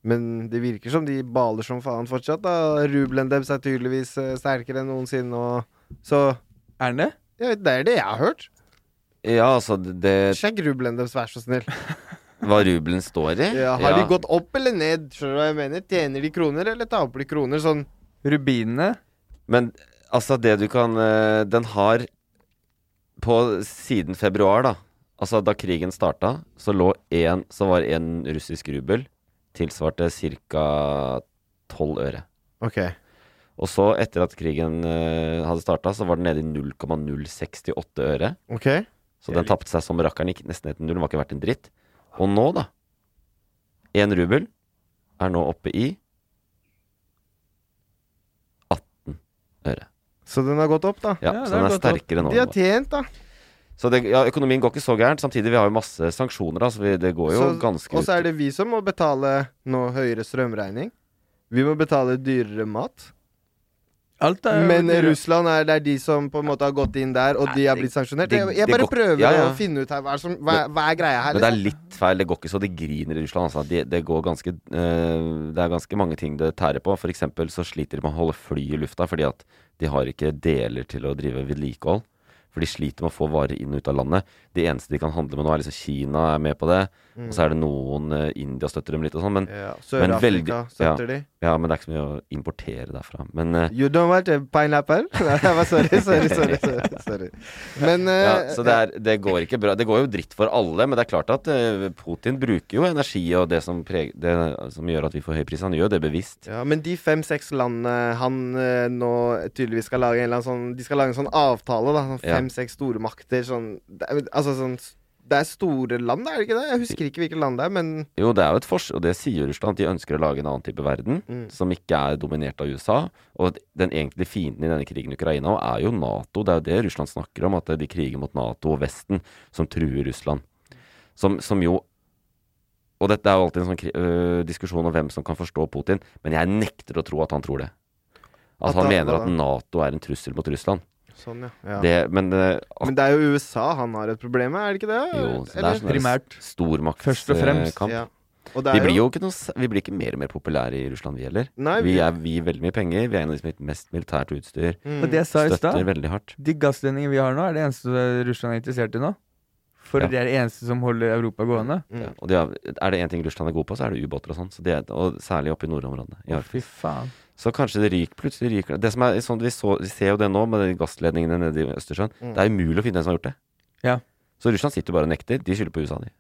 [SPEAKER 4] Men det virker som de baler som faen fortsatt. da Rubelen deres er tydeligvis eh, sterkere enn noensinne. Og, så
[SPEAKER 3] Er den det?
[SPEAKER 4] ja, det er det jeg har hørt.
[SPEAKER 2] Ja, altså, det
[SPEAKER 4] Sjekk rubelen deres, vær så snill.
[SPEAKER 2] Hva rubelen står i?
[SPEAKER 4] Ja, har de gått opp eller ned? Skjønner du hva jeg mener? Tjener de kroner, eller taper de kroner? Sånn
[SPEAKER 3] Rubinene?
[SPEAKER 2] Men altså, det du kan eh, Den har På siden februar, da Altså, da krigen starta, så lå én Så var én russisk rubel tilsvarte ca. tolv øre.
[SPEAKER 4] Ok.
[SPEAKER 2] Og så, etter at krigen eh, hadde starta, så var den nede i 0,068 øre.
[SPEAKER 4] Ok.
[SPEAKER 2] Så den tapte seg som rakkeren gikk nesten ned til null. Den var ikke verdt en dritt. Og nå, da Én rubel er nå oppe i 18 øre.
[SPEAKER 4] Så den har gått opp, da.
[SPEAKER 2] Ja,
[SPEAKER 3] Ja, det
[SPEAKER 2] så
[SPEAKER 3] er
[SPEAKER 2] den er
[SPEAKER 3] godt opp.
[SPEAKER 2] sterkere nå.
[SPEAKER 4] De har
[SPEAKER 2] enn den var.
[SPEAKER 4] tjent, da.
[SPEAKER 2] Så det, ja, økonomien går ikke så gærent. Samtidig, vi har jo masse sanksjoner, da, så vi, det går jo
[SPEAKER 4] Så-
[SPEAKER 2] ganske
[SPEAKER 4] Og så er det vi som må betale nå høyere strømregning. Vi må betale dyrere mat.
[SPEAKER 3] Alt er jo
[SPEAKER 4] Men
[SPEAKER 3] dyre.
[SPEAKER 4] Russland er det er de som på en måte har gått inn der, og de har blitt sanksjonert.
[SPEAKER 2] det-
[SPEAKER 4] Jeg, jeg
[SPEAKER 2] det
[SPEAKER 4] bare
[SPEAKER 2] går-
[SPEAKER 4] prøver
[SPEAKER 2] ja, ja.
[SPEAKER 4] å finne ut her hva er, som, hva, hva er greia her.
[SPEAKER 2] Men det er
[SPEAKER 4] liksom?
[SPEAKER 2] litt feil. Det går ikke så det griner i Russland. Altså. Det, det, går ganske, eh, det er ganske mange ting det tærer på. For eksempel så sliter de med å holde fly i lufta fordi at de har ikke deler til å drive vedlikehold. For de sliter med å få varer inn og ut av landet. De eneste de kan handle med nå, er liksom Kina er med på det. Og så er det noen eh, India støtter dem litt og sånn. Men,
[SPEAKER 4] ja,
[SPEAKER 2] Men veldig-
[SPEAKER 4] Sør-Afrika støtter de.
[SPEAKER 2] ja, men det er ikke så mye å importere derfra. Men eh,
[SPEAKER 4] You don't want a pineapple? [laughs] Nei, jeg var sorry, sorry, sorry. sorry, sorry. Men
[SPEAKER 2] ja,
[SPEAKER 4] eh,
[SPEAKER 2] så det, er, det går ikke bra. Det går jo dritt for alle, men det er klart at eh, Putin bruker jo energi og det som, preg, det som gjør at vi får høy pris. Han gjør jo det bevisst.
[SPEAKER 4] Ja, Men de fem-seks landene han eh, nå tydeligvis skal lage en eller annen sånn De skal lage en sånn avtale, da. Sånn
[SPEAKER 2] Ja.
[SPEAKER 4] Fem-seks store stormakter. Sånn, det er- altså sånn s- Det er store land, er det ikke det? Jeg husker ikke hvilket land det er, men
[SPEAKER 2] Jo, det er jo et fors, og det sier jo Russland. De ønsker å lage en annen type verden,
[SPEAKER 4] Mm.
[SPEAKER 2] som ikke er dominert av USA. Og den egentlige fienden i denne krigen i Ukraina er jo Nato. Det er jo det Russland snakker om, at de kriger mot Nato og Vesten, som truer Russland. Som, som jo Og dette er jo alltid en sånn kri øh, diskusjon om hvem som kan forstå Putin, men jeg nekter å tro at han tror det. At,
[SPEAKER 4] At
[SPEAKER 2] han
[SPEAKER 4] han-
[SPEAKER 2] mener at Nato er en trussel mot Russland.
[SPEAKER 4] Sånn, ja. ja.
[SPEAKER 2] Det, men øh, at,
[SPEAKER 4] men det er jo USA han har et problem med, er det ikke det?
[SPEAKER 2] jo, det
[SPEAKER 4] Eller-
[SPEAKER 2] er sånn der
[SPEAKER 3] primært. Først og fremst,
[SPEAKER 2] stormaktskamp.
[SPEAKER 4] ja. Og det
[SPEAKER 2] Vi
[SPEAKER 4] er
[SPEAKER 2] blir
[SPEAKER 4] jo
[SPEAKER 2] jo ikke noe, s- vi blir ikke mer og mer populære i Russland, vi heller.
[SPEAKER 4] Nei,
[SPEAKER 2] vi,
[SPEAKER 4] vi-
[SPEAKER 2] er, vi gir veldig mye penger, vi er en av de som har mest militært utstyr.
[SPEAKER 4] mm.
[SPEAKER 3] Og det jeg sa i
[SPEAKER 2] Støtter
[SPEAKER 3] stad,
[SPEAKER 2] veldig hardt.
[SPEAKER 3] de gassledningene vi har nå, er det eneste Russland er interessert i nå. For
[SPEAKER 2] Ja.
[SPEAKER 3] det er det eneste som holder Europa gående.
[SPEAKER 4] Mm.
[SPEAKER 2] Ja, og de har, er det én ting Russland er god på, så er det ubåter og sånn. Så det er- og særlig oppe i nordområdene. i
[SPEAKER 3] Å, fy
[SPEAKER 2] Arktis.
[SPEAKER 3] faen.
[SPEAKER 2] Så kanskje det ryker plutselig. Ryker. det. Det som er, sånn vi, så, vi ser jo det nå med de gassledningene nede i Østersjøen.
[SPEAKER 4] Mm.
[SPEAKER 2] Det er umulig å finne en som har gjort det.
[SPEAKER 3] Ja.
[SPEAKER 2] Så Russland sitter jo bare og nekter. De skylder på USA, de.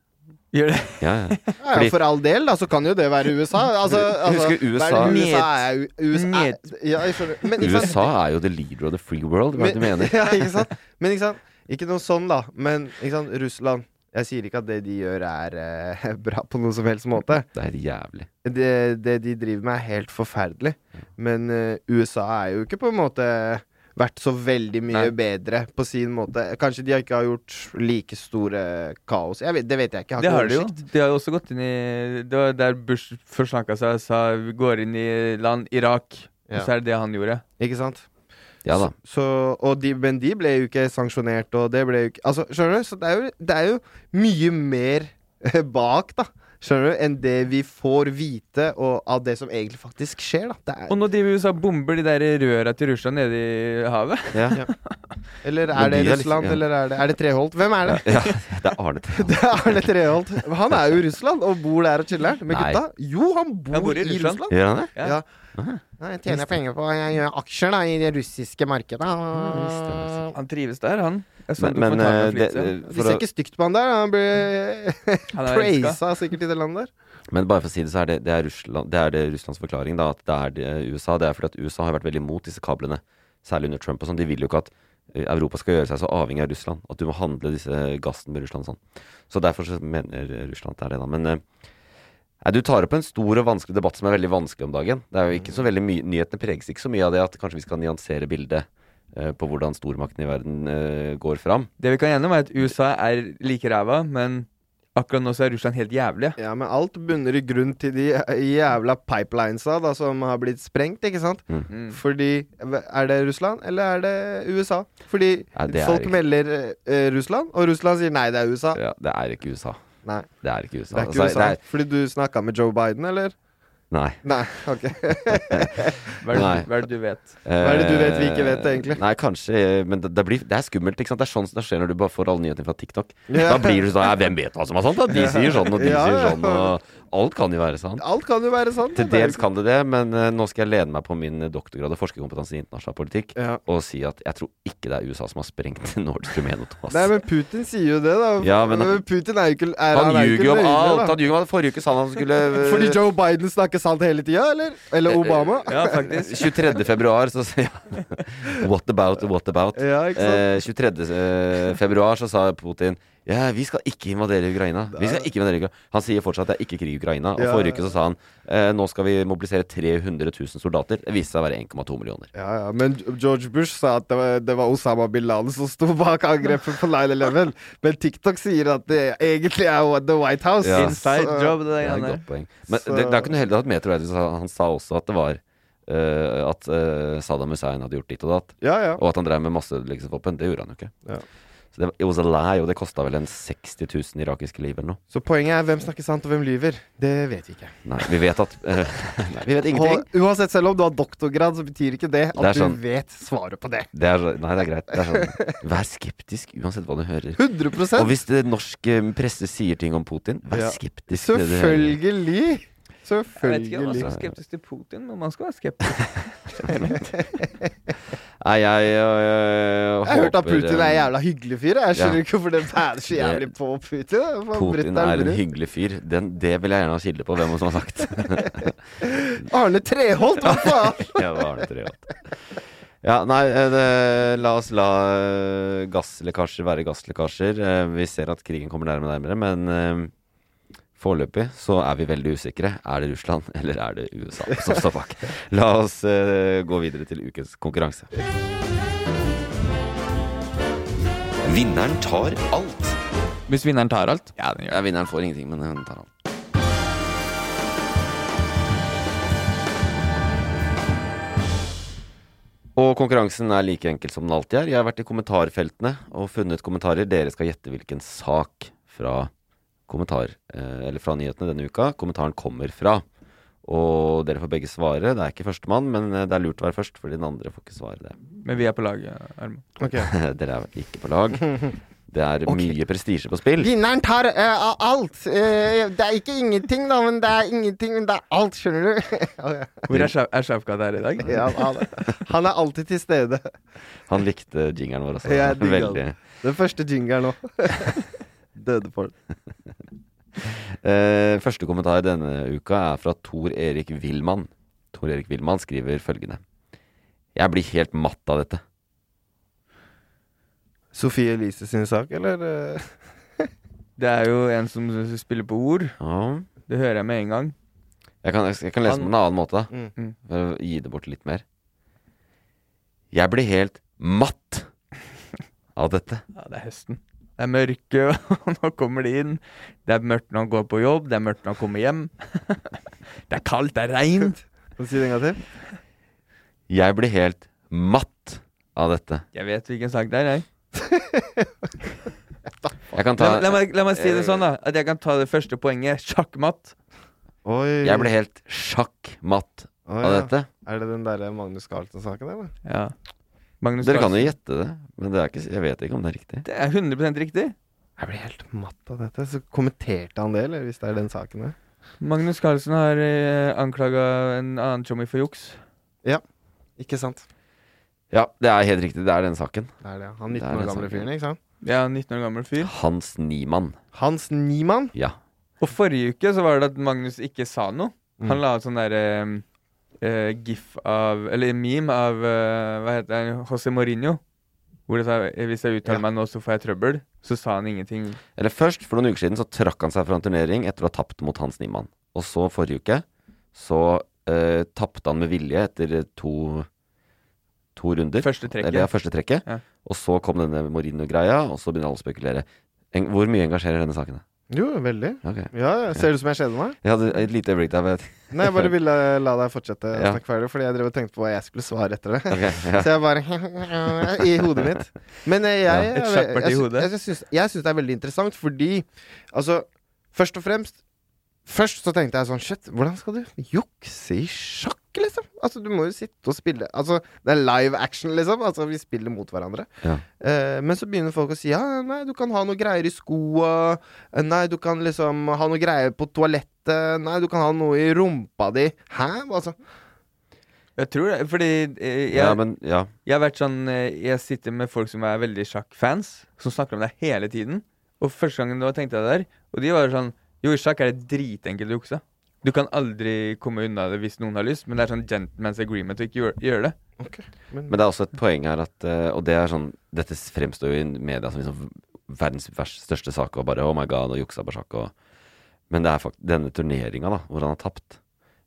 [SPEAKER 3] Gjør det.
[SPEAKER 2] Ja, ja.
[SPEAKER 4] [laughs] Ja, ja,
[SPEAKER 2] Fordi-
[SPEAKER 4] for all del, da, så kan jo det være USA. Altså, altså,
[SPEAKER 2] Husker
[SPEAKER 4] hva
[SPEAKER 2] USA?
[SPEAKER 4] er det USA er jo- USA er,
[SPEAKER 3] Njet.
[SPEAKER 4] ja, jeg skjønner. Men, ikke sant?
[SPEAKER 2] USA er jo the leader of the free world, hva er det du mener?
[SPEAKER 4] [laughs] ja, ikke sant? Men ikke sant? Ikke noe sånn, da. Men ikke sant? Russland Jeg sier ikke at det de gjør, er eh, [laughs] bra på noen som helst måte.
[SPEAKER 2] Det er helt jævlig.
[SPEAKER 4] Det, det de driver med, er helt forferdelig. Men eh, USA er jo ikke på en måte vært så veldig mye
[SPEAKER 3] Nei.
[SPEAKER 4] bedre på sin måte. Kanskje de ikke har gjort like store eh, kaos. Jeg vet, det vet jeg ikke.
[SPEAKER 3] Det
[SPEAKER 4] Jeg har
[SPEAKER 3] har de
[SPEAKER 4] ikke
[SPEAKER 3] jo.
[SPEAKER 4] oversikt.
[SPEAKER 3] De har jo også gått inn i Det var der Bush forsnakka seg og sa vi går inn i land Irak. Og
[SPEAKER 4] Ja.
[SPEAKER 3] så er det det han gjorde.
[SPEAKER 4] Ikke sant?
[SPEAKER 2] Ja da.
[SPEAKER 4] Så, og de, men de ble jo ikke sanksjonert, og det ble jo ikke Altså, skjønner du? Så det er jo, det er jo mye mer eh, bak, da. Skjønner du? Enn det vi får vite, og av det som egentlig faktisk skjer, da. Det
[SPEAKER 3] Og
[SPEAKER 4] er,
[SPEAKER 3] nå driver USA og bomber de der røra til Russland nede i havet.
[SPEAKER 2] Ja. men
[SPEAKER 4] eller er det
[SPEAKER 2] de er liksom-
[SPEAKER 4] Russland,
[SPEAKER 2] ja.
[SPEAKER 4] eller er det, er det Treholt? Hvem er det?
[SPEAKER 2] ja. Det er Arne Treholt.
[SPEAKER 4] [laughs] Det er Arne Treholt. Han er jo i Russland, og bor der og chiller'n med
[SPEAKER 2] Nei.
[SPEAKER 4] gutta. Jo, han bor,
[SPEAKER 3] Han bor i
[SPEAKER 4] i
[SPEAKER 3] Russland.
[SPEAKER 4] Russland.
[SPEAKER 2] Gjør han det?
[SPEAKER 3] Ja.
[SPEAKER 4] Ja. Nei, jeg tjener penger på Jeg gjør aksjer da i det russiske markedet.
[SPEAKER 2] stemmer,
[SPEAKER 3] Han trives der, han. Jeg så
[SPEAKER 2] Men, men
[SPEAKER 3] dokumentaren
[SPEAKER 2] eh,
[SPEAKER 3] om
[SPEAKER 2] det,
[SPEAKER 3] Fritze.
[SPEAKER 2] eh,
[SPEAKER 4] De
[SPEAKER 2] for å,
[SPEAKER 4] ser ikke stygt på han der. Han blir
[SPEAKER 3] Han er
[SPEAKER 4] [laughs]
[SPEAKER 3] elska.
[SPEAKER 4] praisa sikkert i det landet der.
[SPEAKER 2] Men bare for å si det, så er det, det, er Russland, det er det Russlands forklaring, da, at det er det, USA. Det er fordi at USA har vært veldig imot disse kablene, særlig under Trump og sånn. De vil jo ikke at eh, Europa skal gjøre seg så avhengig av Russland, at du må handle disse gassen med Russland og sånn. Så derfor så mener Russland at det er det, da. Men eh, nei, du tar opp en stor og vanskelig debatt som er veldig vanskelig om dagen. Det er jo ikke så veldig mye, Nyhetene preges ikke så mye av det at kanskje vi skal nyansere bildet eh, på hvordan stormaktene i verden eh, går fram.
[SPEAKER 3] Det vi kan gjennom, er at USA er like ræva, men Akkurat nå så er Russland helt jævlig.
[SPEAKER 4] Ja, men alt bunner i grunn til de jævla pipelinesa da, som har blitt sprengt, ikke sant?
[SPEAKER 2] Mm.
[SPEAKER 4] Fordi Er det Russland, eller er det USA? Fordi
[SPEAKER 2] Nei, det er
[SPEAKER 4] folk
[SPEAKER 2] ikke-
[SPEAKER 4] melder eh, Russland, og Russland sier nei, det er USA.
[SPEAKER 2] Ja, det er ikke USA.
[SPEAKER 4] Nei,
[SPEAKER 2] Det er ikke USA.
[SPEAKER 4] det er ikke
[SPEAKER 2] Altså,
[SPEAKER 4] USA.
[SPEAKER 2] det er-
[SPEAKER 4] Fordi du snakka med Joe Biden, eller?
[SPEAKER 2] nei.
[SPEAKER 4] Nei, ok. [laughs]
[SPEAKER 3] Hva er, det,
[SPEAKER 2] Nei.
[SPEAKER 3] du- hva er det du vet?
[SPEAKER 2] Hva
[SPEAKER 4] er det du vet vi ikke vet, egentlig?
[SPEAKER 2] Eh, Nei, kanskje Men det, det, blir, det er skummelt. ikke sant? Det er sånn som det skjer når du bare får alle nyhetene fra TikTok.
[SPEAKER 4] Ja.
[SPEAKER 2] Da blir du sånn ja, Hvem vet hva som er sant? Da? De sier sånn, og de
[SPEAKER 4] Ja,
[SPEAKER 2] sier
[SPEAKER 4] ja.
[SPEAKER 2] sånn, og alt kan jo være sant.
[SPEAKER 4] Alt kan jo være sant.
[SPEAKER 2] Til
[SPEAKER 4] det er liksom- jo
[SPEAKER 2] dels kan det det, men eh, nå skal jeg lene meg på min eh, doktorgrad og forskerkompetanse i internasjonal politikk
[SPEAKER 4] Ja.
[SPEAKER 2] og si at jeg tror ikke det er USA som har sprengt [laughs] Nord Stream 1 og 2. ass.
[SPEAKER 4] Nei, men Putin sier jo det, da.
[SPEAKER 2] Ja, men-
[SPEAKER 4] Putin er jo ikke er,
[SPEAKER 2] han
[SPEAKER 4] er jo ikke
[SPEAKER 2] ljuger om
[SPEAKER 4] løgner,
[SPEAKER 2] alt!
[SPEAKER 4] da.
[SPEAKER 2] Han ljuger om at forrige uke sa han han skulle eh,
[SPEAKER 4] [laughs] Fordi Joe Biden snakker sant hele tida, eller? Eller Obama?
[SPEAKER 3] Ja,
[SPEAKER 2] [laughs]
[SPEAKER 3] faktisk.
[SPEAKER 2] 23. februar så sier han What about, what about?
[SPEAKER 4] Ja, ikke sant?
[SPEAKER 2] Eh, 23. eh, februar så sa Putin Ja, vi skal ikke invadere Ukraina. Vi skal ikke invadere Ukraina Han sier fortsatt at det er ikke krig i Ukraina. Og
[SPEAKER 4] Ja.
[SPEAKER 2] forrige uke så sa han eh, nå skal vi mobilisere 300 000 soldater. Det viste seg å være 1,2 millioner.
[SPEAKER 4] Ja, ja, men George Bush sa at det var, det var Osama bin Laden som sto bak angrepet på 9-11. Men TikTok sier at det egentlig er jo The White House.
[SPEAKER 2] Ja.
[SPEAKER 3] Inside
[SPEAKER 4] Så-
[SPEAKER 3] job,
[SPEAKER 2] Det
[SPEAKER 3] det der
[SPEAKER 2] er et
[SPEAKER 3] greiene der.
[SPEAKER 2] godt poeng. Men
[SPEAKER 4] Så-
[SPEAKER 2] det, det er ikke noe heldig at Metro Eidsvoll sa- han sa også at det var eh, at eh, Saddam Hussein hadde gjort ditt og datt.
[SPEAKER 4] Ja, ja.
[SPEAKER 2] Og at han drev med masseødeleggelsesvåpen. Det gjorde han jo ikke.
[SPEAKER 4] Ja.
[SPEAKER 2] Så det, it was a lie, og det kosta vel en 60 000 irakiske liv eller noe.
[SPEAKER 4] Så poenget er hvem snakker sant, og hvem lyver. Det vet vi ikke.
[SPEAKER 2] Nei, vi vet at eh, [laughs] Nei, vi vet ingenting.
[SPEAKER 4] Og uansett, selv om du har doktorgrad, så betyr ikke det at
[SPEAKER 2] Det er
[SPEAKER 4] du
[SPEAKER 2] sånn.
[SPEAKER 4] vet svaret på det.
[SPEAKER 2] Det er, så- nei, det er greit. Det er sånn. Vær skeptisk uansett hva du hører.
[SPEAKER 4] 100
[SPEAKER 2] Og hvis det norsk eh, presse sier ting om Putin,
[SPEAKER 4] Ja.
[SPEAKER 2] vær skeptisk. til det du hører.
[SPEAKER 4] Selvfølgelig!
[SPEAKER 3] Jeg vet ikke altså. om man
[SPEAKER 4] Selvfølgelig.
[SPEAKER 3] skal være skeptisk til Putin, men man skal være skeptisk.
[SPEAKER 2] Nei, jeg, eh,
[SPEAKER 4] Jeg har hørt at
[SPEAKER 2] håper,
[SPEAKER 4] Putin er en
[SPEAKER 2] eh,
[SPEAKER 4] jævla hyggelig fyr. Jeg skjønner
[SPEAKER 2] Ja.
[SPEAKER 4] ikke hvorfor det er så jævlig på Putin. Hva
[SPEAKER 2] Putin
[SPEAKER 4] bretter
[SPEAKER 2] er en
[SPEAKER 4] det?
[SPEAKER 2] hyggelig fyr. Den, det vil jeg gjerne ha kilde på hvem som har sagt.
[SPEAKER 4] Arne Treholt, hva
[SPEAKER 2] [laughs]
[SPEAKER 4] faen?
[SPEAKER 2] Ja, det var Arne Treholt. Ja, nei, eh, det, la oss la eh, gasslekkasjer være gasslekkasjer. Eh, Vi ser at krigen kommer nærmere og nærmere, men eh, foreløpig så er vi veldig usikre. Er det Russland, [laughs] eller er det USA som står bak? La oss eh, gå videre til ukens konkurranse. Vinneren tar alt.
[SPEAKER 3] [laughs] Hvis vinneren tar alt? Ja, den
[SPEAKER 2] Ja, vinneren får ingenting, men hun tar alt. Og konkurransen er like enkel som den alltid er. Jeg har vært i kommentarfeltene og funnet kommentarer. Dere skal gjette hvilken sak fra, kommentar, eh, eller fra nyhetene denne uka kommentaren kommer fra. Og dere får begge svare. Det er ikke førstemann, men eh, det er lurt å være først, fordi den andre får ikke svare det. [laughs]
[SPEAKER 3] Men vi er på laget, Arman.
[SPEAKER 2] dere er ikke på
[SPEAKER 4] [laughs]
[SPEAKER 2] lag. Det er mye prestisje på spill.
[SPEAKER 4] Vinneren tar eh, av alt. Eh, det er ikke ingenting, da, men det er ingenting, men det er alt, skjønner du. [laughs]
[SPEAKER 3] Hvor er Shaf- er Shafkat her i dag?
[SPEAKER 4] ja, han, er- han er alltid til stede.
[SPEAKER 2] Han likte jingeren vår også.
[SPEAKER 4] Jeg digger
[SPEAKER 2] [laughs] Veldig.
[SPEAKER 4] den. Den første jingeren nå. [laughs] Døde folk.
[SPEAKER 2] Eh, første kommentar denne uka er fra Tor Erik Willmann. Tor Erik Willmann skriver følgende. Jeg blir helt matt av dette.
[SPEAKER 4] Sofie Elise sin sak, eller? eh?
[SPEAKER 3] Det er jo en som spiller på ord.
[SPEAKER 2] Ja.
[SPEAKER 3] Det hører jeg med en gang.
[SPEAKER 2] Jeg kan, jeg kan lese den på en annen måte, da.
[SPEAKER 4] Mm.
[SPEAKER 3] Mm.
[SPEAKER 2] For å gi det bort litt mer. Jeg blir helt matt av dette.
[SPEAKER 3] Ja, det er høsten. Det er mørke, [laughs] og nå kommer de inn. Det er mørkt når han går på jobb, det er mørkt når han kommer hjem. [laughs] Det er kaldt, det er [laughs] regn.
[SPEAKER 4] Kan du si det en gang til?
[SPEAKER 2] Jeg blir helt matt av dette.
[SPEAKER 3] Jeg vet hvilken sak det er, jeg.
[SPEAKER 2] Jeg kan
[SPEAKER 3] La,
[SPEAKER 2] ta
[SPEAKER 3] la, meg, la meg si det
[SPEAKER 2] Eh,
[SPEAKER 3] sånn, da. At jeg kan ta det første poenget. Sjakkmatt.
[SPEAKER 4] Oi.
[SPEAKER 2] Jeg blir helt sjakk matt
[SPEAKER 4] Å,
[SPEAKER 2] av
[SPEAKER 4] ja.
[SPEAKER 2] dette.
[SPEAKER 4] Er det den derre Magnus Carlsen-saken, eller?
[SPEAKER 3] Ja. Magnus
[SPEAKER 2] Dere kan
[SPEAKER 3] Carlsen.
[SPEAKER 2] jo gjette det, men det er ikke, jeg vet ikke om det er riktig.
[SPEAKER 3] Det er 100 riktig.
[SPEAKER 4] Jeg blir helt matt av dette. Så kommenterte han det, eller? Hvis det er den saken der.
[SPEAKER 3] Magnus Carlsen har eh, anklaga en annen tjommi for juks.
[SPEAKER 4] Ikke sant?
[SPEAKER 2] Ja, det er helt riktig. Det er den saken.
[SPEAKER 4] Det er det. Han
[SPEAKER 2] Det er
[SPEAKER 4] 19 år
[SPEAKER 2] den
[SPEAKER 4] gamle
[SPEAKER 2] saken.
[SPEAKER 4] fyren, ikke sant?
[SPEAKER 3] Ja, 19 år gammel fyr.
[SPEAKER 2] Hans Niemann.
[SPEAKER 4] Hans Niemann.
[SPEAKER 2] Ja.
[SPEAKER 3] Og forrige uke så var det at Magnus ikke sa noe. Han
[SPEAKER 4] Mm.
[SPEAKER 3] la ut sånn derre gif av Eller meme av eh, hva heter han, José Mourinho. Hvor det sa "Eh, hvis jeg uttaler
[SPEAKER 4] Ja.
[SPEAKER 3] meg nå, så får jeg trøbbel. Så sa han ingenting.
[SPEAKER 2] Eller først, for noen uker siden, så trakk han seg fra en turnering etter å ha tapt mot Hans Niemann. Og så forrige uke så eh, tapte han med vilje etter eh, to, to runder.
[SPEAKER 3] Første trekket.
[SPEAKER 2] Eller ja, første trekket.
[SPEAKER 3] Ja.
[SPEAKER 2] Og så kom denne Mourinho-greia, og så begynner alle å spekulere. Eng hvor mye engasjerer denne saken? deg?
[SPEAKER 4] Jo, veldig.
[SPEAKER 2] Ok.
[SPEAKER 4] Ja, ja. Ser du som jeg kjeder meg?
[SPEAKER 2] Jeg hadde et lite øyeblikk der. men-
[SPEAKER 4] Nei, jeg bare ville la deg fortsette å
[SPEAKER 2] Ja.
[SPEAKER 4] snakke ferdig, fordi jeg drev og tenkte på hva jeg skulle svare etter det.
[SPEAKER 2] Ok,
[SPEAKER 4] [laughs]
[SPEAKER 2] ja.
[SPEAKER 4] Så jeg bare [laughs] I hodet mitt. Men eh, jeg
[SPEAKER 3] Ja, et
[SPEAKER 4] jeg-
[SPEAKER 3] sjakkparti i
[SPEAKER 4] jeg sy-
[SPEAKER 3] hodet.
[SPEAKER 4] Jeg, syns- jeg syns det er veldig interessant, fordi altså Først og fremst Først så tenkte jeg sånn Shit, hvordan skal du jukse i sjakk, liksom? Altså, du må jo sitte og spille Altså, det er live action, liksom. Altså, vi spiller mot hverandre.
[SPEAKER 2] Ja.
[SPEAKER 4] Eh, men så begynner folk å si ja, nei, du kan ha noe greier i skoa. Eh, Nei, du kan liksom ha noe greier på toalettet. Nei, du kan ha noe i rumpa di. Hæ? Altså,
[SPEAKER 3] Jeg tror det, fordi eh, jeg,
[SPEAKER 2] Ja, men ja.
[SPEAKER 3] jeg har vært sånn eh, Jeg sitter med folk som er veldig sjakkfans, som snakker om det hele tiden. Og første gangen da tenkte jeg det der, og de var sånn Jo, i sjakk er det dritenkelt å jukse. Du kan aldri komme unna det hvis noen har lyst, men det er sånn gentleman's agreement å ikke gjøre, gjøre det.
[SPEAKER 2] Men det er også et poeng her at eh, Og det er sånn Dette fremstår jo i media som liksom verdens vers- største sak, og bare Oh my god, og juksa på sjakk og Men det er fakt denne turneringa, da, hvor han har tapt,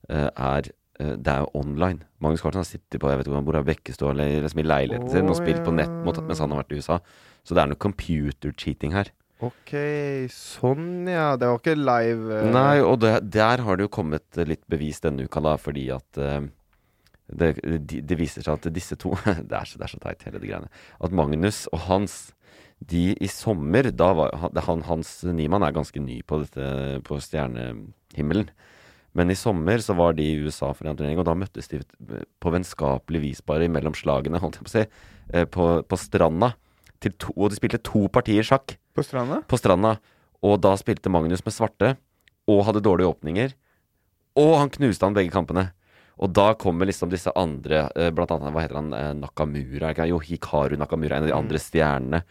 [SPEAKER 2] eh, er eh, det er jo online. Magnus Carlsen har sittet på jeg vet ikke hvor han bor, er Bekkestua eller liksom i leiligheten sin og
[SPEAKER 4] Å,
[SPEAKER 2] spilt på nett mot,
[SPEAKER 4] ja.
[SPEAKER 2] mens han har vært i USA. Så det er noe computer cheating her.
[SPEAKER 4] Ok, sånn ja. Det var ikke live eh,
[SPEAKER 2] Nei, og det, der har det jo kommet eh, litt bevis denne uka, da, fordi at eh, det, de- det viser seg at disse to [laughs] det, er så, det er så teit, hele det greiene. At Magnus og Hans de i sommer da var, han- det- han, Hans Niemann er ganske ny på, dette, på stjernehimmelen. Men i sommer så var de i USA for en turnering, og da møttes de på vennskapelig vis bare mellom slagene, holdt jeg på å si, eh, på, på stranda. Til to, og de spilte to partier sjakk
[SPEAKER 3] På stranda?
[SPEAKER 2] på stranda, og da spilte Magnus med svarte, og hadde dårlige åpninger, og han knuste han begge kampene. Og da kommer liksom disse andre, eh, blant annet, hva heter han, eh, Nakamura, er det ikke? han? jo, Hikaru Nakamura, en av de andre stjernene,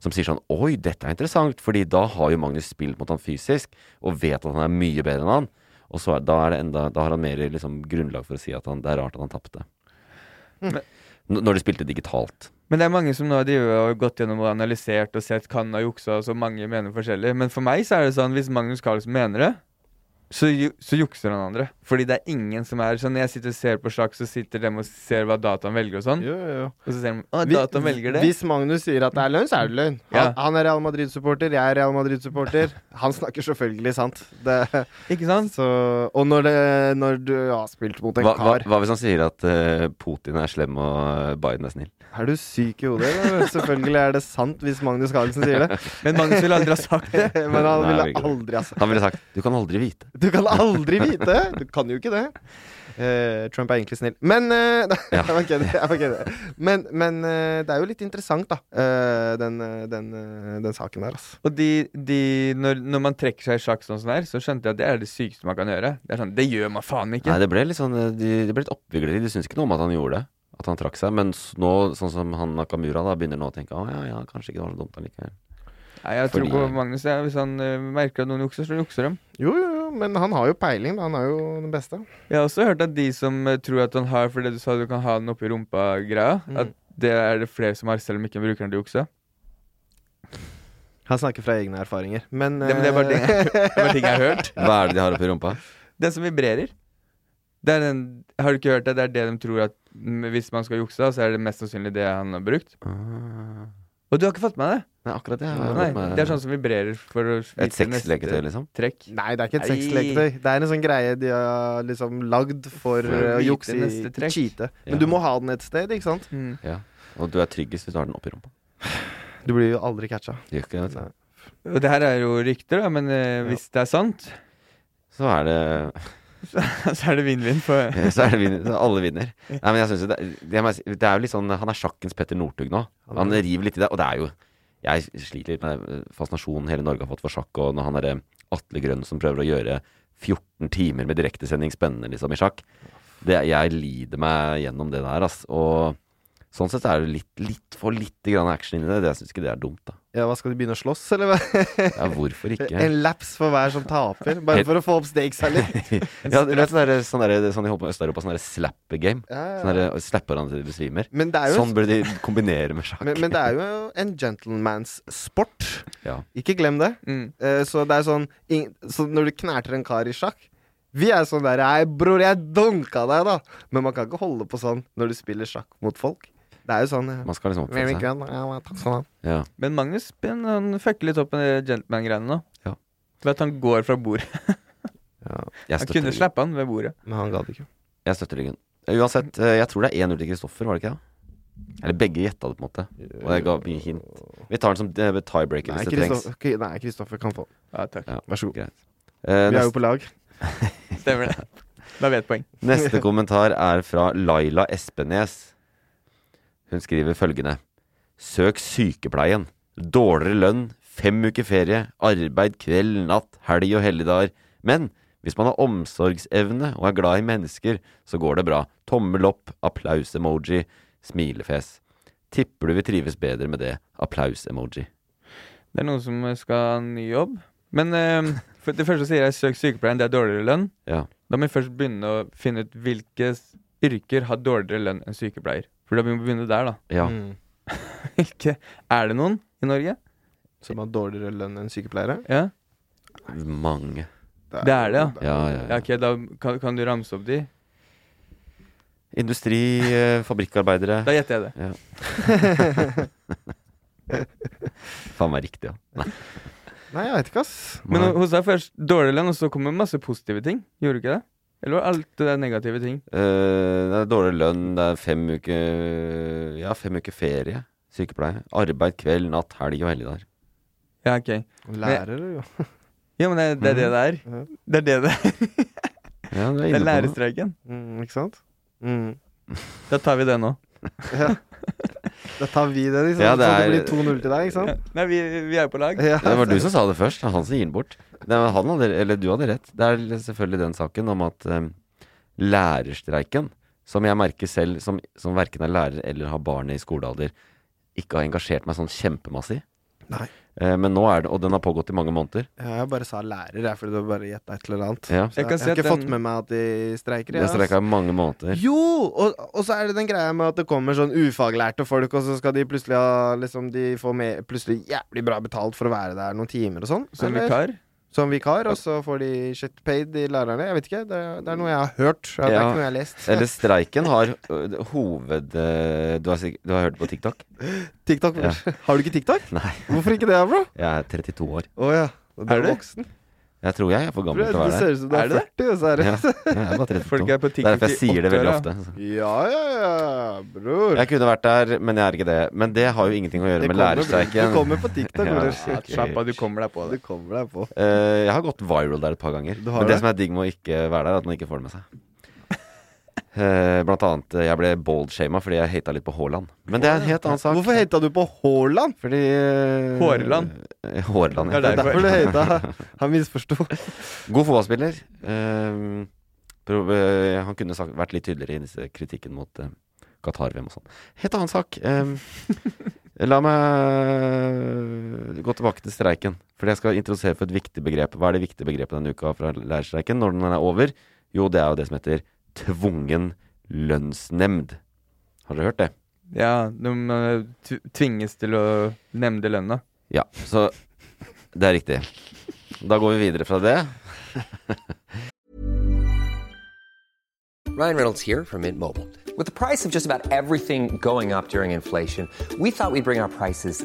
[SPEAKER 2] som sier sånn, oi, dette er interessant, fordi da har jo Magnus spilt mot han fysisk, og vet at han er mye bedre enn han, og så er, da, er det enda, da har han mer liksom, grunnlag for å si at han, det er rart at han tappte.
[SPEAKER 3] Men-
[SPEAKER 2] N- Når de spilte digitalt.
[SPEAKER 3] Men det er mange som nå har drivet og gått gjennom og analysert og sett kan ha juksa, så mange mener forskjellig. Men for meg så er det sånn, hvis Magnus Carlsen mener det, så, ju- så jukser han andre. Fordi det er ingen som er sånn. Når jeg sitter og ser på sjakk, så sitter dem og ser hva dataen velger og sånn.
[SPEAKER 4] Jo, jo, jo.
[SPEAKER 3] Og så ser de Å,
[SPEAKER 4] Vi-
[SPEAKER 3] dataen velger det.
[SPEAKER 4] Hvis Magnus sier at det er løgn, så er det løgn. Han,
[SPEAKER 3] Ja.
[SPEAKER 4] han er Real Madrid-supporter, jeg er Real Madrid-supporter. Han snakker selvfølgelig sant. Det,
[SPEAKER 3] Ikke sant?
[SPEAKER 4] så, og når, det, når du har spilt mot en
[SPEAKER 2] Hva, hva,
[SPEAKER 4] kar
[SPEAKER 2] hva hvis han sier at eh, Putin er slem og eh, Biden er snill?
[SPEAKER 4] Er du syk i hodet? eller? Selvfølgelig er det sant hvis Magnus Carlsen sier det. [laughs]
[SPEAKER 3] Men Magnus ville aldri ha sagt det.
[SPEAKER 4] Men han
[SPEAKER 2] Nei,
[SPEAKER 4] ville
[SPEAKER 2] det er ikke
[SPEAKER 4] aldri ha sagt
[SPEAKER 2] Han ville sagt, du kan aldri vite.
[SPEAKER 4] Du kan aldri vite! Du kan jo ikke det. Eh, Trump er egentlig snill. Men eh, [laughs] Nei,
[SPEAKER 2] Ja.
[SPEAKER 4] jeg bare kødder, jeg bare kødder. Men, men eh, det er jo litt interessant, da. eh, den, eh, den, eh, den saken der, altså.
[SPEAKER 3] Og de, de når, når man trekker seg i sjakk sånn som det er, så skjønte jeg at det er det sykeste man kan gjøre. Det er sånn, det gjør man faen ikke.
[SPEAKER 2] Nei, det ble litt sånn eh, de, Det ble litt oppvigleri. De syns ikke noe om at han gjorde det. At han trakk seg. Men s- nå, sånn som han Nakamura, da begynner nå å tenke Å ja, ja, kanskje ikke det var så dumt allikevel.
[SPEAKER 3] Nei, jeg tror
[SPEAKER 2] Fordi-
[SPEAKER 3] på Magnus. Ja. Hvis han eh, merker at noen jukser, så jukser de.
[SPEAKER 4] Jo, jo, jo, men han har jo peiling. da. Han er jo den beste.
[SPEAKER 3] Jeg har også hørt at de som eh, tror at han har for det du sa, du kan ha den oppi rumpa-greia,
[SPEAKER 4] Mm.
[SPEAKER 3] at det er det flere som har, selv om ikke bruker den til å jukse.
[SPEAKER 4] Han snakker fra egne erfaringer, men eh,
[SPEAKER 3] Det, men det er bare ting, [laughs] det er bare ting jeg har hørt.
[SPEAKER 2] Hva er det de har oppi
[SPEAKER 3] [laughs]
[SPEAKER 2] rumpa?
[SPEAKER 3] Den som vibrerer. Det er den, har du ikke hørt det? Det er det de tror at mm, hvis man skal jukse, så er det mest sannsynlig det han har brukt.
[SPEAKER 2] Ah.
[SPEAKER 3] Og du har ikke fått med deg det?
[SPEAKER 2] Nei, akkurat det.
[SPEAKER 3] Nei, det er sånn som vibrerer for å
[SPEAKER 2] Et sexleketøy, liksom.
[SPEAKER 3] trekk.
[SPEAKER 4] [laughs] Nei, det er ikke et
[SPEAKER 3] Nei.
[SPEAKER 4] sexleketøy. Det er en sånn greie de har liksom lagd for
[SPEAKER 2] For å
[SPEAKER 4] eh, å
[SPEAKER 3] vite
[SPEAKER 4] jukse i
[SPEAKER 3] neste trekk.
[SPEAKER 4] cheate. Men
[SPEAKER 2] Ja.
[SPEAKER 4] du må ha den et sted, ikke sant?
[SPEAKER 3] Mm.
[SPEAKER 2] Og du er tryggest hvis du har den oppi rumpa.
[SPEAKER 4] Du blir jo aldri catcha.
[SPEAKER 2] Det Gjør ikke det, vet du.
[SPEAKER 4] Nei.
[SPEAKER 3] Og det her er jo rykter, da, men eh, hvis det er sant, [laughs]
[SPEAKER 2] Så er det
[SPEAKER 3] så er det vinn-vinn for
[SPEAKER 2] [laughs] Så er det vinner. Så alle vinner. Nei, men jeg synes jo det, det, må jeg si, det er jo litt sånn Han er sjakkens Petter Northug nå. Han river litt i det. Og det er jo Jeg sliter litt med den fascinasjonen hele Norge har fått for sjakk, og når han derre Atle Grønn som prøver å gjøre 14 timer med direktesending spennende liksom i sjakk det, Jeg lider meg gjennom det der, ass. Og sånn sett er det litt, litt for lite grann action inni det. det- Jeg syns ikke det er dumt, da.
[SPEAKER 4] Ja, hva skal de begynne å slåss, eller hva?
[SPEAKER 2] Ja, hvorfor ikke?
[SPEAKER 4] En laps for hver som taper, bare for å få opp stakes her litt.
[SPEAKER 2] [laughs] Ja, du vet sånn derre- sånn derre- sånn de holder på med Øst-Europa, sånn derre slapper game.
[SPEAKER 4] Ja, ja, ja.
[SPEAKER 2] Sånn derre slapper han til de besvimer.
[SPEAKER 4] Men det er jo,
[SPEAKER 2] Sånn burde de kombinere med sjakk.
[SPEAKER 4] men, men det er jo en gentlemans sport.
[SPEAKER 2] Ja.
[SPEAKER 4] Ikke glem det.
[SPEAKER 3] mm.
[SPEAKER 4] Eh, Så det er sånn ing- Så når du knerter en kar i sjakk Vi er sånn der Hei, bror, jeg dunka deg, da! Men man kan ikke holde på sånn når du spiller sjakk mot folk. Det er jo sånn eh,
[SPEAKER 2] Man skal liksom
[SPEAKER 4] «Very
[SPEAKER 2] oppføre seg.
[SPEAKER 4] good, ja, ja, takk skal du ha».
[SPEAKER 2] Ja.
[SPEAKER 3] Men Magnus ben, han fucker litt opp med de gentleman-greiene nå.
[SPEAKER 2] Ja.
[SPEAKER 3] Ved at han går fra bordet.
[SPEAKER 4] Ja,
[SPEAKER 2] Jeg
[SPEAKER 3] Han
[SPEAKER 2] støtter
[SPEAKER 3] kunne
[SPEAKER 2] Ryggen.
[SPEAKER 3] slappe han ved bordet.
[SPEAKER 4] men han gadd ikke.
[SPEAKER 2] Jeg støtter ryggen. Eh, Uansett, eh, jeg tror det er 1-0 til Kristoffer, var det ikke det? Eller begge gjetta det, på en måte. Og jeg ga mye hint. Vi tar den som eh, tiebreaker
[SPEAKER 4] Nei,
[SPEAKER 2] hvis det trengs.
[SPEAKER 4] Kristoffer, ok, nei, Kristoffer kan få.
[SPEAKER 3] Ja, takk.
[SPEAKER 2] Ja.
[SPEAKER 4] Vær så god.
[SPEAKER 2] Greit. Eh,
[SPEAKER 4] Vi er jo
[SPEAKER 2] neste,
[SPEAKER 4] på lag.
[SPEAKER 3] Stemmer det. Da vet poeng.
[SPEAKER 2] neste kommentar er fra Laila Espenes. Hun skriver følgende. Søk sykepleien. Dårligere lønn, fem uker ferie, arbeid kveld, natt, helg og helligdager. Men hvis man har omsorgsevne og er glad i mennesker, så går det bra. Tommel opp, applaus-emoji, smilefjes. Tipper du vil trives bedre med det. Applaus-emoji.
[SPEAKER 3] Det er noen som skal ha ny jobb. Men eh, for det første sier jeg søk sykepleien, det er dårligere lønn.
[SPEAKER 2] Ja.
[SPEAKER 3] Da må vi først begynne å finne ut hvilke s- yrker har dårligere lønn enn sykepleier. For da må vi begynne der, da. [laughs]
[SPEAKER 2] ja.
[SPEAKER 4] Mm.
[SPEAKER 3] Hvilke Er det noen i Norge?
[SPEAKER 4] Som har dårligere lønn enn sykepleiere?
[SPEAKER 3] Ja?
[SPEAKER 2] Mange.
[SPEAKER 3] Det er det,
[SPEAKER 2] Ja, ja,
[SPEAKER 3] Mm. ja
[SPEAKER 2] ja.
[SPEAKER 3] ok, da kan, kan du ramse opp de?
[SPEAKER 2] Industri, eh, fabrikkarbeidere.
[SPEAKER 3] Da gjetter jeg det.
[SPEAKER 2] Faen meg riktig, ja.
[SPEAKER 4] Nei, jeg veit ikke, ass.
[SPEAKER 3] Men
[SPEAKER 2] Nei.
[SPEAKER 3] hos deg først dårlig lønn, og så kommer masse positive ting. Gjorde du ikke det? Eller var alt det der negative ting?
[SPEAKER 2] Eh, det er dårlig lønn, det er fem uker Ja, fem uker ferie. Sykepleie. Arbeid kveld, natt, helg og helligdager.
[SPEAKER 3] Ja, ok.
[SPEAKER 4] Lærere, jo.
[SPEAKER 3] Ja, men det, det er
[SPEAKER 2] Mm.
[SPEAKER 3] det det er.
[SPEAKER 4] Ja.
[SPEAKER 3] Det er det det er.
[SPEAKER 2] Ja, du er inne på
[SPEAKER 3] Det er
[SPEAKER 2] noe.
[SPEAKER 3] lærerstreiken.
[SPEAKER 4] Mm, ikke sant?
[SPEAKER 3] [laughs]
[SPEAKER 4] Mm.
[SPEAKER 3] Da tar vi det nå.
[SPEAKER 4] Ja. Da tar vi det, liksom.
[SPEAKER 2] Ja, det
[SPEAKER 4] Så det
[SPEAKER 2] er-
[SPEAKER 4] blir 2-0 til deg,
[SPEAKER 3] Ja.
[SPEAKER 4] ikke sant?
[SPEAKER 3] Nei, vi, vi er jo på lag.
[SPEAKER 4] Ja,
[SPEAKER 2] Det var du som sa det først. det er Han som gir den bort. Det var han hadde, eller du hadde rett. Det er selvfølgelig den saken om at eh, lærerstreiken, som jeg merker selv, som, som verken er lærer eller har barn i skolealder, ikke har engasjert meg sånn kjempemassivt.
[SPEAKER 4] Nei.
[SPEAKER 2] Eh, men nå er det Og den har pågått i mange måneder.
[SPEAKER 4] Ja, jeg bare sa lærer, jeg, fordi du bare gjetta et eller annet.
[SPEAKER 2] Ja.
[SPEAKER 4] Så jeg,
[SPEAKER 3] kan
[SPEAKER 4] jeg
[SPEAKER 3] si
[SPEAKER 4] har
[SPEAKER 3] at
[SPEAKER 4] ikke fått
[SPEAKER 3] den-
[SPEAKER 4] med meg at de streiker.
[SPEAKER 2] Den
[SPEAKER 4] jeg, ass.
[SPEAKER 2] streika i mange måneder.
[SPEAKER 4] Jo! Og, og så er det den greia med at det kommer sånn ufaglærte folk, og så skal de plutselig ha liksom, De får mer- plutselig jævlig bra betalt for å være der noen timer og sånn.
[SPEAKER 3] Som
[SPEAKER 4] Eller-
[SPEAKER 3] vikar.
[SPEAKER 4] Som vikar, og så får de shit paid, de lærerne. Jeg vet ikke. Det er, det er noe jeg har hørt. Det er
[SPEAKER 2] Ja.
[SPEAKER 4] ikke noe jeg har lest.
[SPEAKER 2] Eller streiken har ø, d- hoved... ø, Du har, sikk- du har hørt det på TikTok?
[SPEAKER 4] [laughs] TikTok.
[SPEAKER 2] Ja.
[SPEAKER 4] [laughs] Har du ikke TikTok?
[SPEAKER 2] Nei,
[SPEAKER 4] Hvorfor ikke det, bro?
[SPEAKER 2] jeg er 32 år.
[SPEAKER 4] Å ja. Du
[SPEAKER 3] Er
[SPEAKER 4] er
[SPEAKER 3] du?
[SPEAKER 4] voksen.
[SPEAKER 2] Jeg tror jeg er for gammel
[SPEAKER 4] Det
[SPEAKER 2] til å være
[SPEAKER 4] ser
[SPEAKER 2] der.
[SPEAKER 4] ut som du er [laughs]
[SPEAKER 3] Er
[SPEAKER 4] altså.
[SPEAKER 3] det
[SPEAKER 4] 40, og så er det
[SPEAKER 2] Ja, jeg er bare 32.
[SPEAKER 3] Folk er på
[SPEAKER 2] Det
[SPEAKER 3] TikTok
[SPEAKER 2] er derfor jeg
[SPEAKER 3] i
[SPEAKER 2] sier det veldig
[SPEAKER 3] åtteåra.
[SPEAKER 2] ofte. altså.
[SPEAKER 4] Ja, ja, ja, bror.
[SPEAKER 2] Jeg kunne vært der, men jeg er ikke det. Men det har jo ingenting å gjøre med
[SPEAKER 4] kommer,
[SPEAKER 2] lærerstreiken.
[SPEAKER 4] Du kommer på TikTok,
[SPEAKER 2] Ja,
[SPEAKER 4] bror. [laughs]
[SPEAKER 2] ja, ok.
[SPEAKER 3] Slapp av, du kommer deg på
[SPEAKER 4] Du
[SPEAKER 3] det.
[SPEAKER 4] kommer deg på.
[SPEAKER 2] Eh, jeg har gått viral der et par ganger.
[SPEAKER 4] Du har
[SPEAKER 2] men det,
[SPEAKER 4] det?
[SPEAKER 2] som er digg med å ikke være der, er at man ikke får det med seg. Eh, blant annet, eh, jeg ble bald-shama fordi jeg hata litt på Haaland. Men det er en helt annen sak.
[SPEAKER 4] Hvorfor hata du på Haaland?
[SPEAKER 2] Fordi eh,
[SPEAKER 3] Hårland.
[SPEAKER 2] eh, Hårland,
[SPEAKER 3] Det
[SPEAKER 2] ja.
[SPEAKER 3] er
[SPEAKER 4] Det er derfor du hata. Han misforsto.
[SPEAKER 2] [laughs] God fotballspiller. Ehm, pro- eh, han kunne sagt, vært litt tydeligere i disse kritikken mot eh, Qatar-VM og sånn. Helt annen sak. Ehm, la meg gå tilbake til streiken. For jeg skal introdusere for et viktig begrep. Hva er det viktige begrepet denne uka fra lærerstreiken når den er over? Jo, det er jo det som heter tvungen lønnsnemnd. Har dere hørt det?
[SPEAKER 3] Ja, de eh, tv- tvinges til å nemne lønna.
[SPEAKER 2] Ja, så det er riktig. Da går vi videre fra det.
[SPEAKER 5] Ryan Reynolds here from Mint Mobile. With the price of just about everything going up during inflation, we thought we'd bring our prices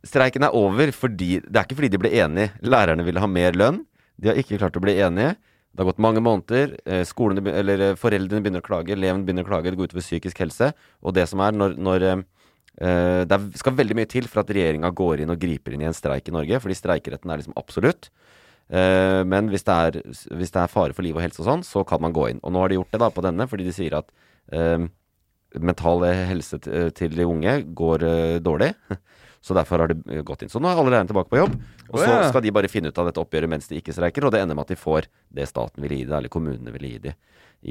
[SPEAKER 2] Streiken er over fordi Det er ikke fordi de ble enige. Lærerne ville ha mer lønn. De har ikke klart å bli enige. Det har gått mange måneder. eh, Skolene, be- eller eh, foreldrene begynner å klage. Eleven begynner å klage. Det går utover psykisk helse. Og det som er når, når eh, eh, Det er- skal veldig mye til for at regjeringa går inn og griper inn i en streik i Norge, fordi streikeretten er liksom absolutt. Eh, Men hvis det, er, hvis det er fare for liv og helse og sånn, så kan man gå inn. Og nå har de gjort det da på denne, fordi de sier at eh, mental helse t- eh, til de unge går eh, dårlig. [laughs] Så derfor har de eh, gått inn. Så nå er alle lærerne tilbake på jobb. Og
[SPEAKER 3] Å,
[SPEAKER 2] så
[SPEAKER 3] ja.
[SPEAKER 2] skal de bare finne ut av dette oppgjøret mens de ikke streiker, og det ender med at de får det staten vil gi dem, eller kommunene vil gi dem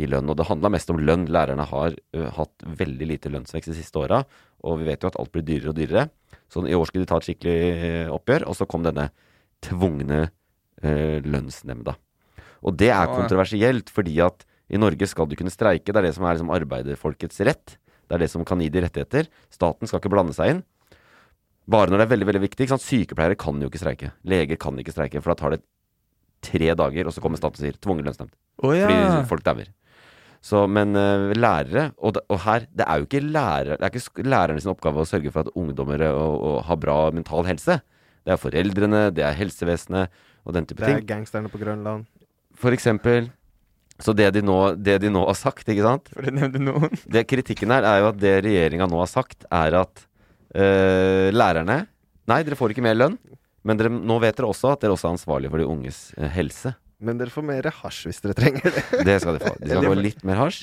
[SPEAKER 2] i lønn. Og det handla mest om lønn. Lærerne har ø, hatt veldig lite lønnsvekst de siste åra, og vi vet jo at alt blir dyrere og dyrere. Så Sånn, i år skulle de ta et skikkelig eh, oppgjør, og så kom denne tvungne eh, lønnsnemnda. Og det er
[SPEAKER 3] Å, ja.
[SPEAKER 2] kontroversielt, fordi at i Norge skal du kunne streike. Det er det som er liksom arbeiderfolkets rett. Det er det som kan gi de rettigheter. Staten skal ikke blande seg inn. Bare når det er veldig veldig viktig. Ikke sant? Sykepleiere kan jo ikke streike. Leger kan ikke streike, for da tar det tre dager, og så kommer staten og sier tvungen lønnsnemnd.
[SPEAKER 3] Å ja.
[SPEAKER 2] Fordi folk dauer. Så, men eh, lærere og, da- og her Det er jo ikke, lærer, det er ikke sk- lærerne sin oppgave å sørge for at ungdommer eh, og, og har bra mental helse. Det er foreldrene, det er helsevesenet og den type
[SPEAKER 4] Det er
[SPEAKER 2] ting.
[SPEAKER 4] gangsterne på Grønland.
[SPEAKER 2] For eksempel Så det de nå, det de nå har sagt, ikke sant?
[SPEAKER 3] For å nevne noen.
[SPEAKER 2] det kritikken her er jo at det regjeringa nå har sagt, er at eh, lærerne Nei, dere får ikke mer lønn, men dere, nå vet dere også at dere også er ansvarlig for de unges eh, helse.
[SPEAKER 4] Men dere får mer hasj hvis dere trenger det.
[SPEAKER 2] Det skal de få. De skal få litt mer hasj.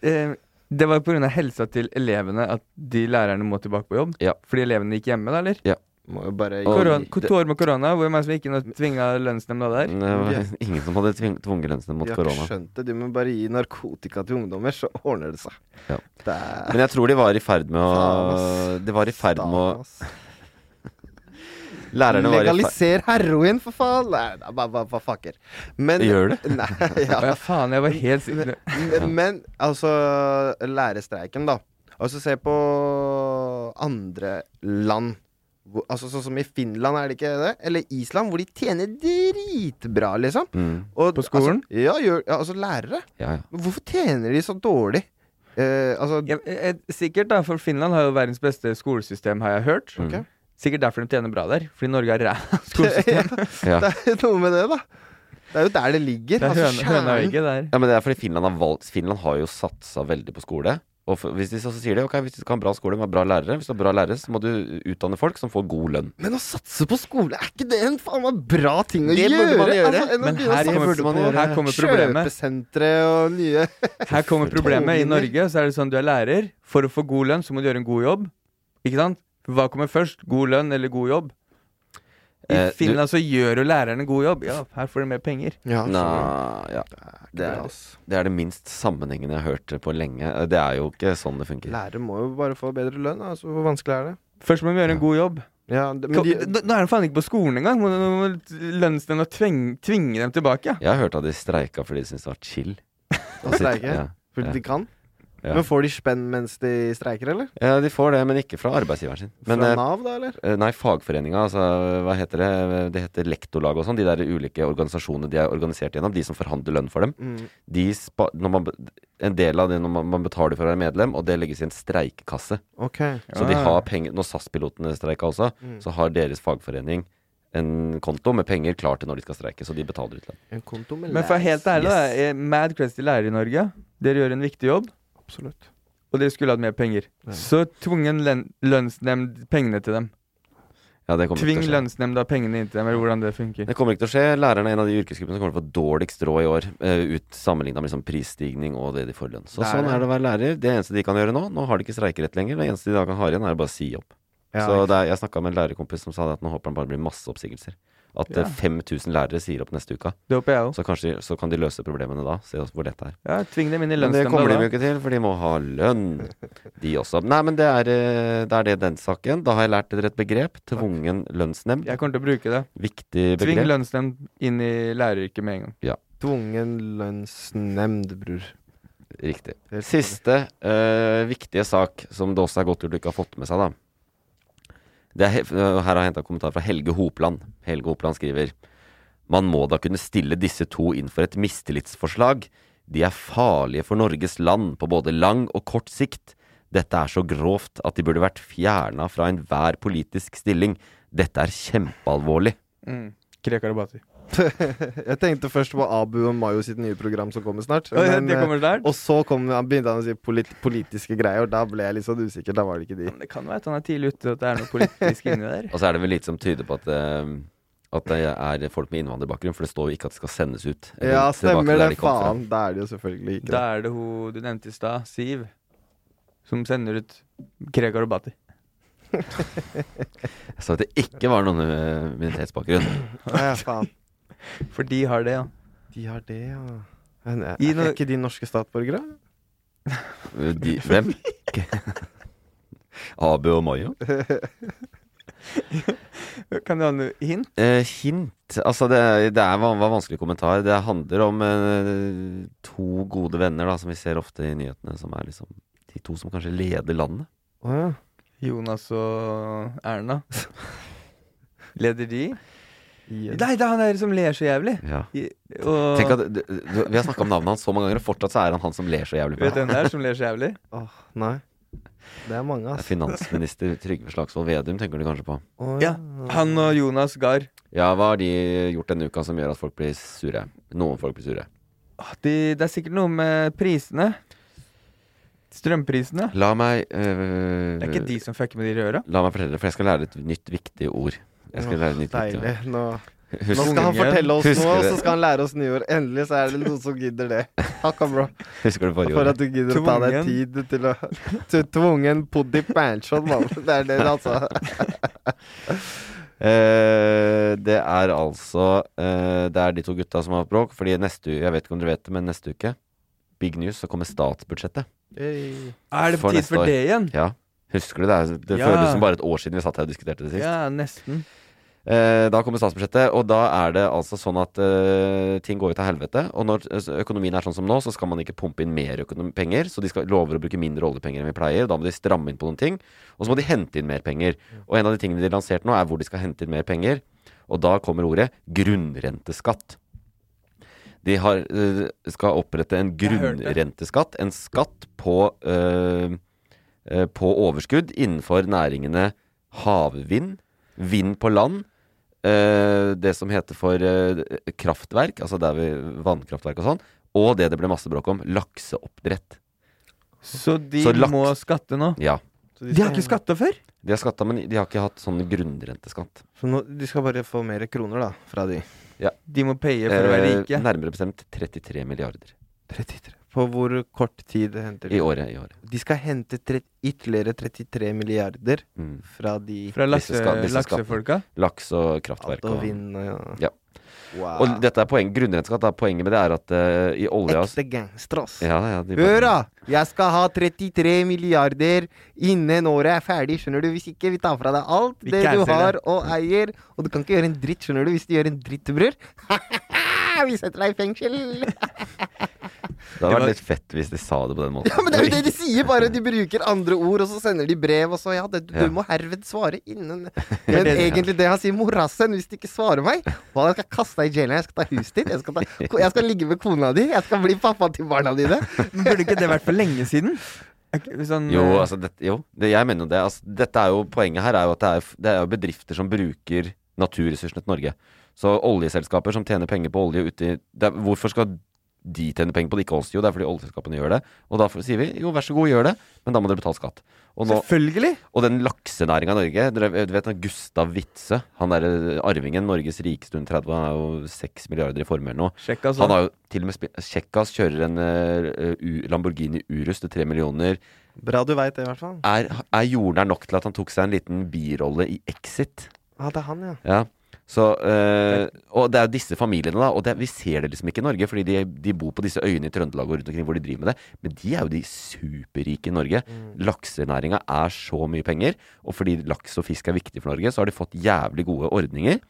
[SPEAKER 3] Eh, det var pga. helsa til elevene at de lærerne må tilbake på jobb.
[SPEAKER 2] Ja.
[SPEAKER 3] Fordi elevene gikk hjemme, da, eller?
[SPEAKER 2] Ja.
[SPEAKER 4] Må jo bare
[SPEAKER 3] Koron to år med korona, hvor mange som gikk inn og tvinga lønnsnemnda der?
[SPEAKER 2] Det var ingen som hadde tving, tvunget lønnsene mot
[SPEAKER 4] Jeg har ikke
[SPEAKER 2] korona.
[SPEAKER 4] skjønt det. Du må bare gi narkotika til ungdommer, så ordner det seg.
[SPEAKER 2] Ja.
[SPEAKER 4] Det er
[SPEAKER 2] Men jeg tror de var i ferd med å
[SPEAKER 4] Faen, ass.
[SPEAKER 2] De var i ferd med å Lærerne var i ferd
[SPEAKER 4] Legaliser heroin, for faen! Nei, det er bare, bare, bare fucker. Men
[SPEAKER 2] Gjør det?
[SPEAKER 4] [laughs]
[SPEAKER 3] [laughs]
[SPEAKER 4] Nei,
[SPEAKER 3] Ja.
[SPEAKER 4] ja.
[SPEAKER 3] faen, jeg var helt sikker.
[SPEAKER 4] Men, men altså, lærerstreiken, da. Altså, se på andre land. Hvor, altså Sånn som i Finland, er det ikke det? Eller Island, hvor de tjener dritbra, liksom.
[SPEAKER 2] Mm.
[SPEAKER 4] Og,
[SPEAKER 3] På skolen?
[SPEAKER 4] Altså, ja, gjør, ja, altså lærere.
[SPEAKER 2] Ja, ja.
[SPEAKER 4] Men Hvorfor tjener de så dårlig? Eh, altså
[SPEAKER 3] Ja, eh, eh, sikkert, da, for Finland har jo verdens beste skolesystem, har jeg hørt.
[SPEAKER 4] Ok.
[SPEAKER 3] Sikkert derfor de tjener bra der. Fordi Norge er
[SPEAKER 2] [laughs]
[SPEAKER 3] ræva skolesystem.
[SPEAKER 4] [laughs]
[SPEAKER 2] Ja.
[SPEAKER 4] Det er jo noe med det, da. Det er jo der det ligger.
[SPEAKER 3] Det er
[SPEAKER 4] altså,
[SPEAKER 3] høna- høna og
[SPEAKER 4] kjernen.
[SPEAKER 3] egget der.
[SPEAKER 2] Ja, men det er fordi Finland har valgt Finland har jo satsa veldig på skole. Og for, hvis de så så sier de, ok, hvis du skal ha en bra skole med bra lærere, hvis du har bra lærere, så må du utdanne folk som får god lønn.
[SPEAKER 4] Men å satse på skole, er ikke det en faen meg bra ting å
[SPEAKER 2] Det
[SPEAKER 4] gjøre?
[SPEAKER 2] burde man
[SPEAKER 4] Altså,
[SPEAKER 2] gjøre.
[SPEAKER 4] enn å
[SPEAKER 3] Men
[SPEAKER 4] begynne å
[SPEAKER 3] her
[SPEAKER 4] satse
[SPEAKER 3] kommer-
[SPEAKER 4] på
[SPEAKER 3] her kommer problemet.
[SPEAKER 4] Kjøpesentre og nye
[SPEAKER 3] Her kommer problemet. I Norge så er det sånn du er lærer. For å få god lønn, så må du gjøre en god jobb. Ikke sant? Hva kommer først? God lønn eller god jobb? I
[SPEAKER 2] Eh, du-
[SPEAKER 3] Finland så gjør jo læreren en god jobb. Ja, her får de mer penger.
[SPEAKER 4] Ja,
[SPEAKER 2] Nei, ja. Det
[SPEAKER 4] bra,
[SPEAKER 2] er,
[SPEAKER 4] ass.
[SPEAKER 2] det er det minst sammenhengende jeg har hørt på lenge. Det er jo ikke sånn det funker.
[SPEAKER 4] Lærere må jo bare få bedre lønn. Altså, hvor vanskelig er det?
[SPEAKER 3] Først må de gjøre en god jobb.
[SPEAKER 4] Ja, det,
[SPEAKER 3] Nå
[SPEAKER 4] men de,
[SPEAKER 3] nå er de faen ikke på skolen engang. Må- Nå må lønnsnemnda tvinge, tvinge dem tilbake.
[SPEAKER 2] Jeg har hørt at de streika fordi de syntes det var chill.
[SPEAKER 4] Å
[SPEAKER 2] Og sitt-
[SPEAKER 4] streike?
[SPEAKER 2] Ja.
[SPEAKER 4] fordi de kan.
[SPEAKER 2] Ja.
[SPEAKER 4] Men får de spenn mens de streiker, eller?
[SPEAKER 2] ja, Eh, de får det, men ikke fra arbeidsgiveren sin. Men,
[SPEAKER 4] Fra
[SPEAKER 2] eh,
[SPEAKER 4] Nav, da, eller?
[SPEAKER 2] Eh, Nei, fagforeninga, altså hva heter det? Det heter lektorlag og sånn. De der ulike organisasjonene de er organisert gjennom, de som forhandler lønn for dem.
[SPEAKER 4] Mm.
[SPEAKER 2] De spa når man, be- en del av det når man, man betaler for å være medlem, og det legges i en streikekasse.
[SPEAKER 4] Ok.
[SPEAKER 2] Så de har penger Når SAS-pilotene streika også,
[SPEAKER 4] Mm.
[SPEAKER 2] så har deres fagforening en konto med penger klar til når de skal streike, så de betaler ut lønn.
[SPEAKER 4] En konto med
[SPEAKER 3] Men for å være helt ærlig, da, eh, mad crazy lærere i Norge. Dere gjør en viktig jobb,
[SPEAKER 4] Absolutt.
[SPEAKER 3] og dere skulle hatt mer penger. Så tvungen lønn- lønnsnemnd pengene til dem.
[SPEAKER 2] Ja, det kommer ikke til å
[SPEAKER 3] Tving
[SPEAKER 2] skje.
[SPEAKER 3] lønnsnemnda pengene inn til dem, eller hvordan det funker.
[SPEAKER 2] Det kommer ikke til å skje. Lærerne er en av de yrkesgruppene som kommer til å få dårligst råd i år, eh, ut sammenligna med liksom prisstigning og det de får i lønn. Så
[SPEAKER 4] Det er
[SPEAKER 2] sånn
[SPEAKER 4] det.
[SPEAKER 2] er det å være lærer. Det eneste de kan gjøre nå, nå har de ikke streikerett lenger, det eneste de da kan ha igjen, er å bare si opp.
[SPEAKER 4] Ja,
[SPEAKER 2] så det er, jeg snakka med en lærerkompis som sa det at nå håper han bare blir masse oppsigelser. At
[SPEAKER 3] Ja.
[SPEAKER 2] eh, 5000 lærere sier opp neste uke.
[SPEAKER 3] Det håper jeg òg.
[SPEAKER 2] Så kanskje så kan de løse problemene da. Se oss hvor dette er.
[SPEAKER 3] Ja, tving dem inn i
[SPEAKER 2] Men det kommer de
[SPEAKER 3] lønnsnemnda.
[SPEAKER 2] jo ikke til, for de må ha lønn, de også. Nei, men det er eh, det, er det den saken. Da har jeg lært dere et begrep. Tvungen lønnsnemnd.
[SPEAKER 3] Jeg kommer til å bruke det.
[SPEAKER 2] Viktig
[SPEAKER 3] Tving
[SPEAKER 2] begrep.
[SPEAKER 3] lønnsnemnd inn i læreryrket med en gang.
[SPEAKER 2] Ja,
[SPEAKER 4] Tvungen lønnsnemnd, bror. [laughs]
[SPEAKER 2] riktig.
[SPEAKER 4] Helt
[SPEAKER 2] Siste eh, viktige sak, som det også er godt gjort du ikke har fått med seg, da. Det er, he- eh, her har jeg henta kommentar fra Helge Hopland. Helge Hopland skriver Man må da kunne stille disse to inn for et mistillitsforslag. De er farlige for Norges land på både lang og kort sikt. Dette er så grovt at de burde vært fjerna fra enhver politisk stilling. Dette er kjempealvorlig.
[SPEAKER 3] Mm. Krekar og Bati.
[SPEAKER 4] jeg tenkte først på Abu og Mayo sitt nye program som kommer snart.
[SPEAKER 3] Å, ja, det
[SPEAKER 4] eh,
[SPEAKER 3] kommer snart?
[SPEAKER 4] Og så kom, han begynte han å si polit politiske greier, og da ble jeg litt sånn usikker. Da var det ikke de.
[SPEAKER 3] Det kan være at han er tidlig ute, og at det er noe politisk inni der.
[SPEAKER 2] Og så er det vel lite som tyder på at, eh, at det er folk med innvandrerbakgrunn, for det står jo ikke at de skal sendes ut. eller
[SPEAKER 4] Ja,
[SPEAKER 2] tilbake
[SPEAKER 4] stemmer
[SPEAKER 2] der
[SPEAKER 4] det.
[SPEAKER 2] de kom fra.
[SPEAKER 4] Faen. Da er det jo selvfølgelig
[SPEAKER 3] Da
[SPEAKER 4] ikke det.
[SPEAKER 3] er det hun du nevnte i stad, Siv, som sender ut Krekar og Bati.
[SPEAKER 2] Jeg sa at det ikke var noen eh, minoritetsbakgrunn.
[SPEAKER 4] Nei, ja, faen.
[SPEAKER 3] For de har det, ja.
[SPEAKER 4] De har det, ja. Men eh, er,
[SPEAKER 3] Gi
[SPEAKER 4] er
[SPEAKER 3] noe-
[SPEAKER 4] ikke de norske statsborgere?
[SPEAKER 2] De, hvem? Abu og Mayo?
[SPEAKER 3] Kan du ha noe hint?
[SPEAKER 2] Eh, hint Altså, det, er- det er, van- var vanskelig kommentar. Det handler om eh, to gode venner, da, som vi ser ofte i nyhetene, som er liksom de to som kanskje leder landet.
[SPEAKER 4] Å ja.
[SPEAKER 3] Jonas og Erna. Leder de?
[SPEAKER 4] I-
[SPEAKER 3] Nei, det er han der som ler så jævlig.
[SPEAKER 2] Ja.
[SPEAKER 3] I, og
[SPEAKER 2] Tenk at, du, du, vi har snakka om navnet hans så mange ganger, og fortsatt så er han han som ler så jævlig. på
[SPEAKER 3] Vet du hvem det er som ler så jævlig?
[SPEAKER 4] Åh, nei. Det er mange,
[SPEAKER 2] Det er
[SPEAKER 4] ass.
[SPEAKER 2] Finansminister Trygve Slagsvold Vedum tenker du kanskje på.
[SPEAKER 4] Å,
[SPEAKER 3] Ja. Han og Jonas Gahr.
[SPEAKER 2] Ja, hva har de gjort denne uka som gjør at folk blir sure? Noen folk blir sure.
[SPEAKER 3] Å, De, det er sikkert noe med prisene. Strømprisene.
[SPEAKER 2] La meg øh,
[SPEAKER 3] Det er ikke de som fucker med de røra.
[SPEAKER 2] La meg fortelle, for jeg skal lære et nytt viktig ord. Jeg skal
[SPEAKER 4] Åh,
[SPEAKER 2] lære et nytt viktig
[SPEAKER 4] Deilig.
[SPEAKER 2] ord. [laughs]
[SPEAKER 4] Nå, nå
[SPEAKER 2] Husk-
[SPEAKER 4] skal han fortelle oss
[SPEAKER 2] Husker
[SPEAKER 4] noe, og
[SPEAKER 2] det.
[SPEAKER 4] så skal han lære oss nyord. Endelig så er det noen som gidder det. Takk, bro.
[SPEAKER 2] Husker du forrige
[SPEAKER 4] For
[SPEAKER 2] ordet?
[SPEAKER 4] at du gidder å ta deg
[SPEAKER 3] Tvungen.
[SPEAKER 4] tid til å til Tvungen poddy panchon, mann. Det er det, altså.
[SPEAKER 2] Eh, det er altså eh, Det er de to gutta som har bråk, fordi neste uke Jeg vet ikke om dere vet det, men neste uke, big news, så kommer statsbudsjettet.
[SPEAKER 3] Er det
[SPEAKER 2] For
[SPEAKER 3] på tid
[SPEAKER 2] neste år.
[SPEAKER 3] for det igjen?
[SPEAKER 2] Ja. Husker du det? er- Det
[SPEAKER 3] Ja.
[SPEAKER 2] føles som bare et år siden vi satt her og diskuterte det sist.
[SPEAKER 3] Ja, nesten.
[SPEAKER 2] Eh, Da kommer statsbudsjettet, og da er det altså sånn at eh, ting går jo til helvete. Og når eh, økonomien er sånn som nå, så skal man ikke pumpe inn mer økonom- penger. Så de skal lover å bruke mindre oljepenger enn vi pleier. Da må de stramme inn på noen ting. Og så må de hente inn mer penger. Og en av de tingene de har lansert nå, er hvor de skal hente inn mer penger. Og da kommer ordet grunnrenteskatt. De har, eh, skal opprette en
[SPEAKER 3] Jeg hørte.
[SPEAKER 2] grunnrenteskatt. En skatt på, eh, eh, på overskudd innenfor næringene havvind, vind på land, eh, det som heter for eh, kraftverk, altså der vi vannkraftverk og sånn, og det det ble masse bråk om, lakseoppdrett.
[SPEAKER 3] Så de
[SPEAKER 2] Så lagt-
[SPEAKER 3] må skatte nå.
[SPEAKER 2] Ja.
[SPEAKER 3] De har ikke skatta før!
[SPEAKER 2] De har skatta, men de har ikke hatt sånn grunnrenteskatt.
[SPEAKER 4] Så nå, de skal bare få mer kroner, da, fra de.
[SPEAKER 3] De må paye for å være
[SPEAKER 2] Eh,
[SPEAKER 3] rike.
[SPEAKER 2] nærmere bestemt 33 milliarder
[SPEAKER 4] 33. På hvor kort tid henter
[SPEAKER 2] i
[SPEAKER 4] de?
[SPEAKER 2] året. I året.
[SPEAKER 4] De skal hente tre, ytterligere 33 milliarder
[SPEAKER 2] Mm.
[SPEAKER 4] fra de
[SPEAKER 3] Fra
[SPEAKER 2] Disse
[SPEAKER 3] lakse,
[SPEAKER 2] ska- disse skattene.
[SPEAKER 3] laksefolka.
[SPEAKER 2] Laks og kraftverk.
[SPEAKER 4] alt og
[SPEAKER 2] Og,
[SPEAKER 4] vind og
[SPEAKER 2] Ja.
[SPEAKER 4] ja. Wow.
[SPEAKER 2] og dette er poeng, grunnrenteskatt. Er poenget med det er at eh, i olja
[SPEAKER 4] Ekte gangster, ass.
[SPEAKER 2] ja, ja, de bare-
[SPEAKER 4] Hør, da! Jeg skal ha 33 milliarder innen året er ferdig, skjønner du? Hvis ikke, vi tar fra deg alt
[SPEAKER 3] Vi
[SPEAKER 4] det du
[SPEAKER 3] canceler
[SPEAKER 4] har
[SPEAKER 3] det.
[SPEAKER 4] og eier. Og du kan ikke gjøre en dritt, skjønner du? Hvis du gjør en dritt, bror. [laughs] vi setter deg i fengsel!
[SPEAKER 2] Det hadde
[SPEAKER 3] Det var-
[SPEAKER 2] vært litt fett hvis de sa det på den måten.
[SPEAKER 4] Ja, men det er jo det de sier, bare de bruker andre ord, og så sender de brev, og så ja, det, du
[SPEAKER 2] Ja.
[SPEAKER 4] må herved svare [laughs] innen Men egentlig det han sier, morassen, hvis du ikke svarer meg, hva jeg skal kaste deg i jailen, jeg skal ta huset ditt, jeg skal, ta, jeg skal ligge med kona di, jeg skal bli pappaen til barna dine.
[SPEAKER 3] Men burde ikke det vært for lenge siden? Er ikke- Sånn,
[SPEAKER 2] Jo,
[SPEAKER 3] eh,
[SPEAKER 2] altså, det, jo det, jeg mener jo det. Altså, dette er jo, poenget her er jo at det er, f- det er jo bedrifter som bruker naturressursene til Norge. Så oljeselskaper som tjener penger på olje ute i det, er- Hvorfor skal de tjene penger på det, ikke oss? Jo, det er fordi oljeselskapene gjør det. Og da f- sier vi jo, vær så god, gjør det, men da må dere betale skatt. Og, nå,
[SPEAKER 3] Selvfølgelig!
[SPEAKER 2] og den laksenæringa i Norge dere, Du vet han Gustav Witzøe, han derre arvingen, Norges rikeste under 30, han er jo 6 milliarder i formue eller noe.
[SPEAKER 3] Sjekk altså.
[SPEAKER 2] Han har jo til og med spi- Kjekkas kjører en eh, U- Lamborghini Urus til tre millioner.
[SPEAKER 4] Bra du veit det, i hvert fall.
[SPEAKER 2] Er, er jordnær nok til at han tok seg en liten birolle i Exit?
[SPEAKER 4] Ja, det er han, ja.
[SPEAKER 2] Ja. Så, eh, og det er jo disse familiene, da. Og det, vi ser det liksom ikke i Norge, fordi de, de bor på disse øyene i Trøndelag og rundt omkring hvor de driver med det. Men de er jo de superrike i Norge. Laksenæringa er så mye penger. Og fordi laks og fisk er viktig for Norge, så har de fått jævlig gode ordninger.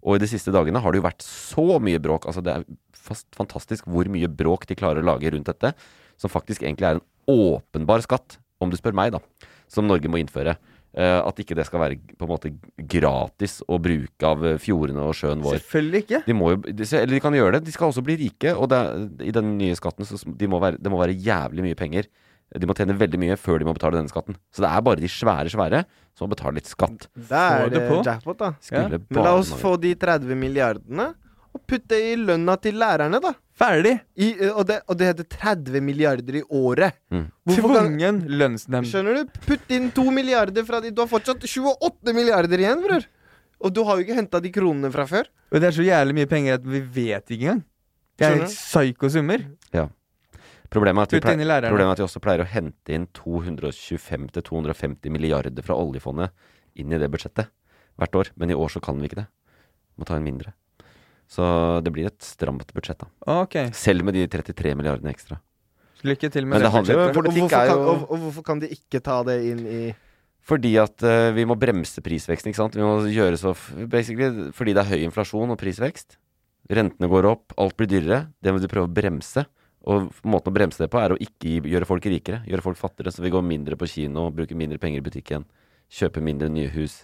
[SPEAKER 2] Og i de siste dagene har det jo vært så mye bråk. Altså det er fast fantastisk hvor mye bråk de klarer å lage rundt dette. Som faktisk egentlig er en åpenbar skatt, om du spør meg, da. Som Norge må innføre. Eh, at ikke det skal være på en måte gratis å bruke av eh, fjordene og sjøen vår.
[SPEAKER 3] Selvfølgelig ikke.
[SPEAKER 2] De må jo, de, se- eller de kan gjøre det. De skal også bli rike. Og det, er- i den nye skatten så s- de må være, det må være jævlig mye penger. De må tjene veldig mye før de må betale denne skatten. Så det er bare de svære, svære som må betale litt skatt.
[SPEAKER 4] Da er det eh, jackpot, da.
[SPEAKER 2] Skulle
[SPEAKER 4] Men la
[SPEAKER 2] bare
[SPEAKER 4] oss
[SPEAKER 2] mangle.
[SPEAKER 4] få de 30 milliardene og putte i lønna til lærerne, da.
[SPEAKER 3] Ferdig.
[SPEAKER 4] I, eh, og, det, og det heter 30 milliarder i året. Hvorfor kan-
[SPEAKER 3] Tvungen lønnsnemnd.
[SPEAKER 4] Skjønner du? Putt inn 2 milliarder fra de Du har fortsatt 28 milliarder igjen, bror. Og du har jo ikke henta de kronene fra før.
[SPEAKER 3] Og det er så jævlig mye penger at vi vet ikke engang. Det er
[SPEAKER 4] Skjønner
[SPEAKER 3] helt psykosummer.
[SPEAKER 2] Ja. Problemet er, at vi
[SPEAKER 3] Putt inn i
[SPEAKER 2] pleier,
[SPEAKER 3] lærerne.
[SPEAKER 2] problemet er at vi også pleier å hente inn 225-250 milliarder fra oljefondet inn i det budsjettet hvert år. Men i år så kan vi ikke det. Må ta inn mindre. Så det blir et stramt budsjett, da.
[SPEAKER 3] Ok,
[SPEAKER 2] Selv med de 33 milliardene ekstra.
[SPEAKER 3] Lykke til
[SPEAKER 2] Men
[SPEAKER 3] med
[SPEAKER 2] det handler jo-
[SPEAKER 3] budsjettet.
[SPEAKER 2] politikk
[SPEAKER 4] og, hvorfor
[SPEAKER 2] er
[SPEAKER 4] kan,
[SPEAKER 2] jo-
[SPEAKER 4] og, og hvorfor kan de ikke ta det inn i
[SPEAKER 2] Fordi at eh, vi må bremse prisveksten, ikke sant? Vi må gjøre så f- Basically fordi det er høy inflasjon og prisvekst. Rentene går opp, alt blir dyrere. Det må du prøve å bremse. Og måten å bremse det på er å ikke gi- gjøre folk rikere, gjøre folk fattigere. Så vi går mindre på kino, bruker mindre penger i butikken, kjøper mindre nye hus.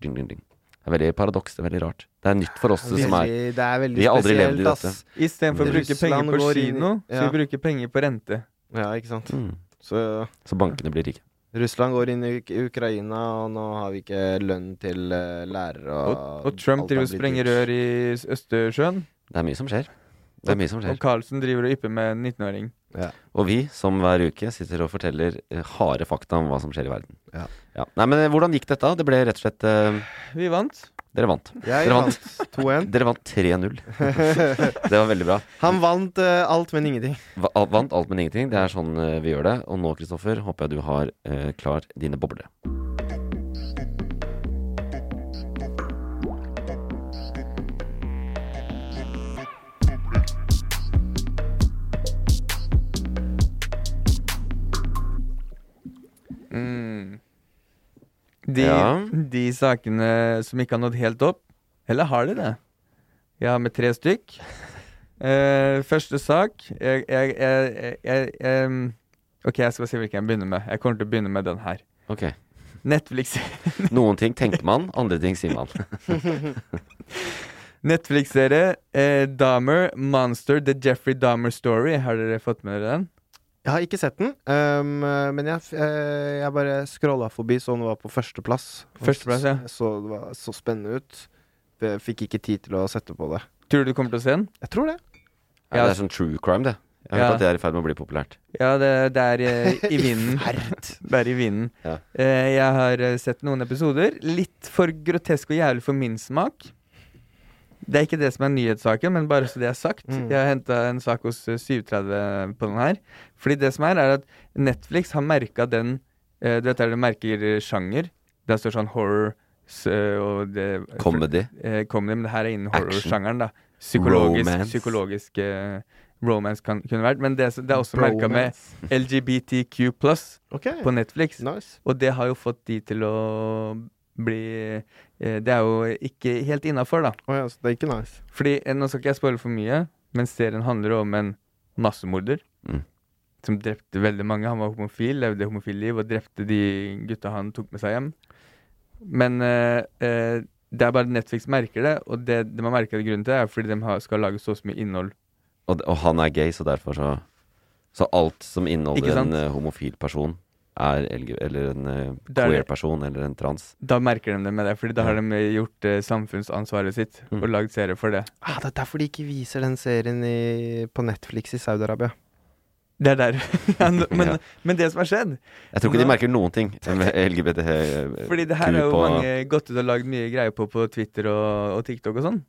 [SPEAKER 2] Ding, ding, ding. Det er veldig paradoks, det er veldig rart. Det er nytt for oss som er
[SPEAKER 4] Veldig- det er veldig
[SPEAKER 2] Vi har aldri levd
[SPEAKER 4] spesielt,
[SPEAKER 2] i dette.
[SPEAKER 4] ass.
[SPEAKER 3] Istedenfor å bruke
[SPEAKER 4] Russland
[SPEAKER 3] penger på
[SPEAKER 4] går inn i-
[SPEAKER 3] kino, så
[SPEAKER 4] Ja.
[SPEAKER 3] vi bruker penger på rente.
[SPEAKER 4] Ja, ikke sant.
[SPEAKER 2] Mm.
[SPEAKER 4] Så
[SPEAKER 2] Så bankene blir rike.
[SPEAKER 4] Russland går inn i Uk Ukraina, og nå har vi ikke lønn til eh, lærere og
[SPEAKER 3] Og, og Trump
[SPEAKER 4] alt er
[SPEAKER 3] driver og
[SPEAKER 4] blitt
[SPEAKER 3] sprenger
[SPEAKER 4] dyrt.
[SPEAKER 3] rør i s- Østersjøen.
[SPEAKER 2] Det er mye som skjer. Det er mye som skjer.
[SPEAKER 3] Og Carlsen driver og ypper med en 19-åring.
[SPEAKER 2] Og vi, som hver uke, sitter og forteller eh, harde fakta om hva som skjer i verden.
[SPEAKER 4] Ja.
[SPEAKER 2] Nei, men eh, hvordan gikk dette? da? Det ble rett og slett eh,
[SPEAKER 3] Vi vant.
[SPEAKER 2] Dere vant.
[SPEAKER 4] Jeg
[SPEAKER 2] dere
[SPEAKER 4] vant 2-1.
[SPEAKER 2] Dere vant 3-0. det var veldig bra.
[SPEAKER 4] Han vant eh, alt, men ingenting.
[SPEAKER 2] Va- al- Vant alt, men ingenting. Det er sånn eh, vi gjør det. Og nå, Kristoffer, håper jeg du har eh, klar dine bobler.
[SPEAKER 3] Mm. De,
[SPEAKER 2] Ja.
[SPEAKER 3] de sakene som ikke har nådd helt opp Eller har de det? Jeg har med tre
[SPEAKER 4] [laughs]
[SPEAKER 3] stykk. Eh, første sak jeg, jeg, jeg, jeg, jeg, em, Ok, jeg skal si hvilken jeg begynner med. Jeg kommer til å begynne med den her.
[SPEAKER 2] Ok.
[SPEAKER 3] Netflix [laughs]
[SPEAKER 2] Noen ting tenker man, andre ting sier man.
[SPEAKER 3] Netflix-serie eh, Dahmer Monster The Jeffrey Dahmer Story. Har dere fått med dere den?
[SPEAKER 4] Jeg har ikke sett den, ehm, men jeg, eh, jeg bare scrolla forbi så den var på førsteplass.
[SPEAKER 3] Førsteplass, ja.
[SPEAKER 4] Så det var så spennende ut. Jeg fikk ikke tid til å sette på det.
[SPEAKER 3] Tror du du kommer til å se den?
[SPEAKER 4] Jeg tror det.
[SPEAKER 2] Ja, det er sånn true crime, det. Jeg har
[SPEAKER 3] Ja.
[SPEAKER 2] hørt at det er i ferd med å bli populært.
[SPEAKER 3] Ja, det, det er eh,
[SPEAKER 2] [laughs]
[SPEAKER 3] i vinden. Det er i vinden.
[SPEAKER 2] Ja.
[SPEAKER 3] Eh, jeg har eh, sett noen episoder. Litt for grotesk og jævlig for min smak. Det er ikke det som er nyhetssaken, men bare så det er sagt.
[SPEAKER 4] Mm.
[SPEAKER 3] Jeg har henta en sak hos eh, 730 på den her. Fordi det som er, er at Netflix har merka den eh, Du vet der det merker eh, sjanger? Der står sånn horror s- eh, og det,
[SPEAKER 2] Comedy.
[SPEAKER 3] eh, comedy, men det her er innen
[SPEAKER 2] Action.
[SPEAKER 3] horrorsjangeren, da. Psykologisk,
[SPEAKER 2] Romance.
[SPEAKER 3] psykologisk eh, romance kan, kunne vært. Men det, det er også merka med
[SPEAKER 4] Bromance.
[SPEAKER 3] LGBTQ pluss
[SPEAKER 4] Ok.
[SPEAKER 3] på Netflix.
[SPEAKER 4] Nice.
[SPEAKER 3] Og det har jo fått de til å bli eh, Det er jo ikke helt innafor, da.
[SPEAKER 4] Å ja, så det er ikke nice.
[SPEAKER 3] Fordi eh, Nå skal ikke jeg spoile for mye, men serien handler jo om en massemorder
[SPEAKER 2] Mm.
[SPEAKER 3] som drepte veldig mange. Han var homofil, levde homofilt liv og drepte de gutta han tok med seg hjem. Men eh, eh, det er bare Netflix merker det, og det de har merket grunnen til, det er fordi de har, skal lage så mye innhold.
[SPEAKER 2] Og, og han er gay, så derfor så Så alt som
[SPEAKER 3] Ikke
[SPEAKER 2] inneholder
[SPEAKER 3] sant?
[SPEAKER 2] en eh, homofil person, er LG, eller en eh,
[SPEAKER 3] Det er det.
[SPEAKER 2] queer person, eller en trans.
[SPEAKER 3] Da merker de det med det, fordi da har de gjort eh, samfunnsansvaret sitt
[SPEAKER 2] Mm.
[SPEAKER 3] og lagd serie for det.
[SPEAKER 4] Ah, det er derfor de ikke viser den serien i, på Netflix i Saudi-Arabia.
[SPEAKER 3] Det er der. [laughs] ja, nå-
[SPEAKER 2] [laughs]
[SPEAKER 3] men,
[SPEAKER 2] Ja.
[SPEAKER 3] men det som har skjedd
[SPEAKER 2] Jeg tror ikke de
[SPEAKER 3] Nå-
[SPEAKER 2] merker noen ting
[SPEAKER 4] [laughs]
[SPEAKER 2] med LGBT eh,
[SPEAKER 3] Fordi det her er jo mange gått ut og lagd mye greier på på Twitter og, og TikTok og sånn.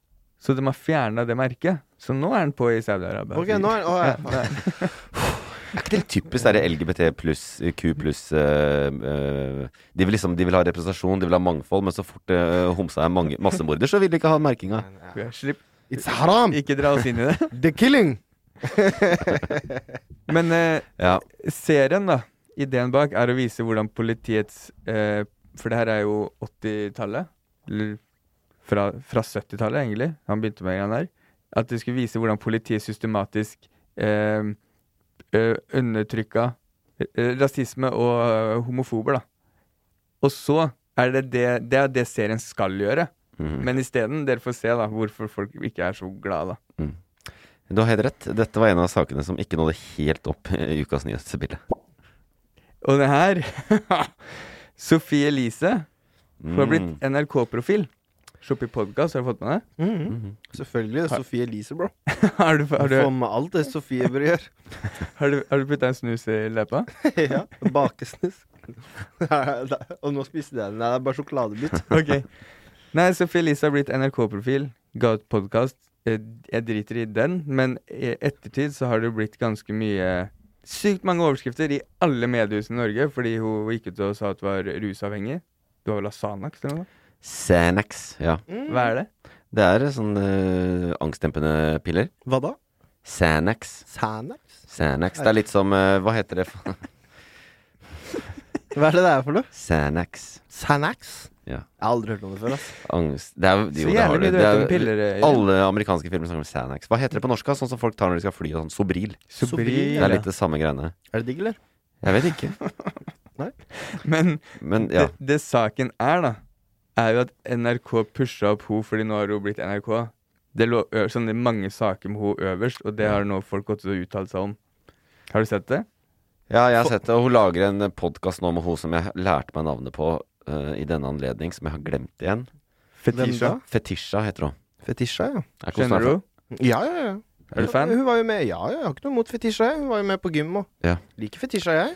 [SPEAKER 3] Så de har fjerna det merket. Så nå er den på i Saudi-Arabia.
[SPEAKER 4] Ok, nå er- å, ja.
[SPEAKER 3] Ja, nei.
[SPEAKER 2] Er ikke det litt typisk derre LGBT pluss Q pluss eh, eh, de, vil liksom, de vil ha representasjon, de vil ha mangfold, men så fort eh, homsa er mange, massemorder, så vil de ikke ha merkinga.
[SPEAKER 3] Slipp.
[SPEAKER 4] It's haram!
[SPEAKER 3] Ikke dra oss inn i det. [laughs]
[SPEAKER 4] The killing!
[SPEAKER 3] Men eh,
[SPEAKER 2] Ja.
[SPEAKER 3] serien, da. Ideen bak er å vise hvordan politiets eh, For det her er jo 80-tallet. Eller fra, fra 70-tallet, egentlig. Han begynte med en gang der. At de skulle vise hvordan politiet systematisk eh, eh, undertrykka eh, rasisme og eh, homofober, da. Og så er det det, det, er det serien skal gjøre.
[SPEAKER 2] Mhm.
[SPEAKER 3] Men isteden, dere får se da hvorfor folk ikke er så glad, da.
[SPEAKER 2] Du har helt rett. Dette var en av sakene som ikke nådde helt opp i ukas nyhetsbilde.
[SPEAKER 3] Og det her [laughs] Sofie Elise Hun har
[SPEAKER 2] Mm.
[SPEAKER 3] blitt NRK-profil Shoppi podcast, har du fått med det?
[SPEAKER 4] Selvfølgelig. Det er Sofie Elise, bro.
[SPEAKER 3] [laughs] Har du, har du,
[SPEAKER 4] Få med alt det Sofie bør gjøre.
[SPEAKER 3] har du, har du puttet en snus i
[SPEAKER 2] [laughs]
[SPEAKER 3] leppa?
[SPEAKER 4] ja. [laughs] Bakesnus. Og nå spiste jeg den. Nei, det er bare sjokoladebit.
[SPEAKER 3] Ok Nei, Sofie Elise har blitt NRK-profil Ga ut podcast Eh, Jeg driter i den Men i ettertid så har det blitt ganske mye Sykt mange overskrifter i alle mediehus i Norge Fordi hun gikk ut og sa at hun var rusavhengig Du har vel Asanax eller noe?
[SPEAKER 2] Xanax, ja.
[SPEAKER 3] Hva er det?
[SPEAKER 2] Det er sånne eh, angstdempende piller.
[SPEAKER 4] Hva da?
[SPEAKER 2] Xanax.
[SPEAKER 4] Sanax?
[SPEAKER 2] Xanax. Det er litt som eh, Hva heter det? for-
[SPEAKER 4] Hva er det det er for noe?
[SPEAKER 2] Xanax.
[SPEAKER 4] Sanax?
[SPEAKER 2] Ja.
[SPEAKER 4] Jeg har aldri hørt om det før, ass.
[SPEAKER 2] Angst det er, jo,
[SPEAKER 3] Så
[SPEAKER 2] det har
[SPEAKER 3] jævlig
[SPEAKER 2] det.
[SPEAKER 3] mye du
[SPEAKER 2] Det
[SPEAKER 3] vet
[SPEAKER 2] er-
[SPEAKER 3] om piller, eh, Jørgen.
[SPEAKER 2] Alle amerikanske filmer snakker om Xanax. Hva heter det på norsk? da? Sånn som folk tar når de skal fly og sånn. Sobril.
[SPEAKER 3] Sobril,
[SPEAKER 2] Det er litt det samme greiene.
[SPEAKER 4] Er det digg, eller?
[SPEAKER 2] Jeg vet ikke.
[SPEAKER 3] [laughs] Men
[SPEAKER 2] Men ja.
[SPEAKER 3] det, det saken er, da, er jo at NRK pusha opp henne fordi nå har hun blitt NRK. Det lå ø sånne mange saker med henne øverst, og det har nå folk gått og uttalt seg om. Har du sett det?
[SPEAKER 2] Ja, jeg har sett det. Og hun lager en podkast nå med hun som jeg lærte meg navnet på eh, i denne anledning, som jeg har glemt igjen.
[SPEAKER 3] Fetisha.
[SPEAKER 4] da?
[SPEAKER 2] Fetisha heter hun.
[SPEAKER 4] Fetisha, ja.
[SPEAKER 2] Er ikke hun
[SPEAKER 3] Skjønner du?
[SPEAKER 2] snart-
[SPEAKER 4] Ja, ja, ja.
[SPEAKER 2] Er du
[SPEAKER 3] fan?
[SPEAKER 4] Hun var jo med. Ja, ja, jeg har ikke noe mot fetisja. jeg. Hun var jo med på gym og
[SPEAKER 2] Ja.
[SPEAKER 4] Liker fetisja, jeg.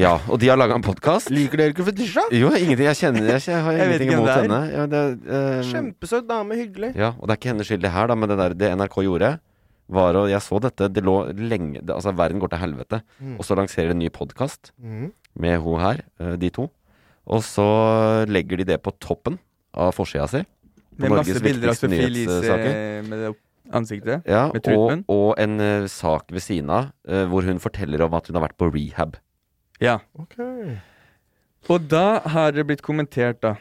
[SPEAKER 2] ja. Og de har laga en podkast.
[SPEAKER 4] Liker dere ikke fetisja?
[SPEAKER 2] Jo, ingenting. Jeg kjenner jeg, kjenner- jeg har
[SPEAKER 3] Jeg vet
[SPEAKER 2] ingenting
[SPEAKER 3] ikke hvem
[SPEAKER 2] imot
[SPEAKER 3] det er.
[SPEAKER 2] henne. Ja, det, er,
[SPEAKER 4] Mm.
[SPEAKER 2] eh,
[SPEAKER 4] Kjempesøt dame, hyggelig.
[SPEAKER 2] Ja, og det er ikke hennes skyld det her, da, men det, der, det NRK gjorde, var å Jeg så dette, det lå lenge det, Altså, verden går til helvete.
[SPEAKER 3] Mm.
[SPEAKER 2] Og så lanserer de en ny podkast
[SPEAKER 4] Mm.
[SPEAKER 2] med hun her, eh, de to. Og så legger de det på toppen av forsida si. På
[SPEAKER 3] Med masse
[SPEAKER 2] Norges
[SPEAKER 3] bilder av
[SPEAKER 2] viktigste
[SPEAKER 3] Sophie Elise
[SPEAKER 2] nyhetssaker.
[SPEAKER 3] eh, med det opp- ansiktet.
[SPEAKER 2] Ja,
[SPEAKER 3] med
[SPEAKER 2] og,
[SPEAKER 3] trupen.
[SPEAKER 2] og en eh, sak ved siden av eh, hvor hun forteller om at hun har vært på rehab.
[SPEAKER 3] Ja.
[SPEAKER 4] Ok.
[SPEAKER 3] Og da har det blitt kommentert, da.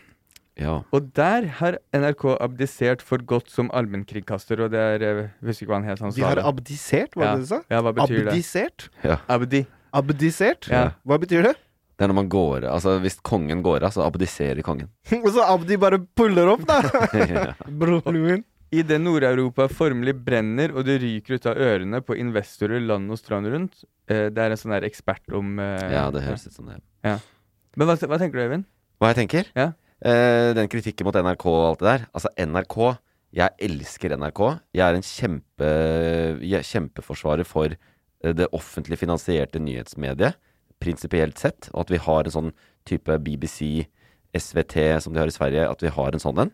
[SPEAKER 2] Ja.
[SPEAKER 3] Og der har NRK abdisert for godt som allmennkringkaster, og det er eh, Jeg husker ikke hva han het, han
[SPEAKER 4] De har
[SPEAKER 3] det.
[SPEAKER 4] abdisert, var det det du sa?
[SPEAKER 3] Ja, hva betyr det?
[SPEAKER 4] Abdisert?
[SPEAKER 3] Abdi.
[SPEAKER 4] Abdisert?
[SPEAKER 3] Ja.
[SPEAKER 4] Hva betyr det? [laughs]
[SPEAKER 2] Det er når man går Altså, hvis kongen går av, så abdiserer kongen. [laughs]
[SPEAKER 4] Og så Abdi bare puller opp,
[SPEAKER 3] [laughs]
[SPEAKER 4] da!
[SPEAKER 2] ja.
[SPEAKER 4] Broren min.
[SPEAKER 3] Idet Nord-Europa formelig brenner og det ryker ut av ørene på investorer land og strand rundt. Eh, det er en sånn der ekspert om eh,
[SPEAKER 2] ja, det høres ut som det.
[SPEAKER 3] Men hva, hva tenker du, Øyvind?
[SPEAKER 2] Hva jeg tenker?
[SPEAKER 3] Ja.
[SPEAKER 2] Eh, den kritikken mot NRK og alt det der. Altså, NRK Jeg elsker NRK. Jeg er en kjempe, jeg er kjempeforsvarer for eh, det offentlig finansierte nyhetsmediet, prinsipielt sett. Og at vi har en sånn type BBC, SVT som de har i Sverige, at vi har en sånn en.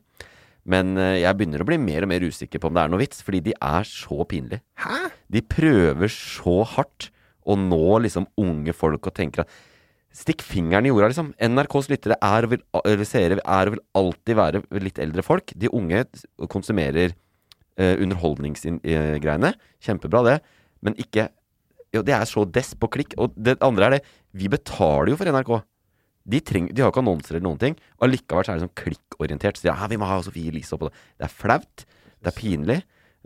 [SPEAKER 2] Men eh, jeg begynner å bli mer og mer usikker på om det er noe vits, fordi de er så pinlige.
[SPEAKER 4] Hæ?
[SPEAKER 2] De prøver så hardt å nå liksom unge folk og tenker at Stikk fingeren i jorda, liksom. NRKs lyttere er og vil, eller seere er og vil alltid være litt eldre folk. De unge konsumerer eh, underholdningsgreiene. Kjempebra, det. Men ikke jo, Det er så dess på klikk. Og det andre er det Vi betaler jo for NRK. De, treng, de har jo ikke annonser eller noen ting. Allikevel så er det sånn klikkorientert. Så de, ja, vi må ha Sofie Elise oppå det. Det er flaut. Det er pinlig.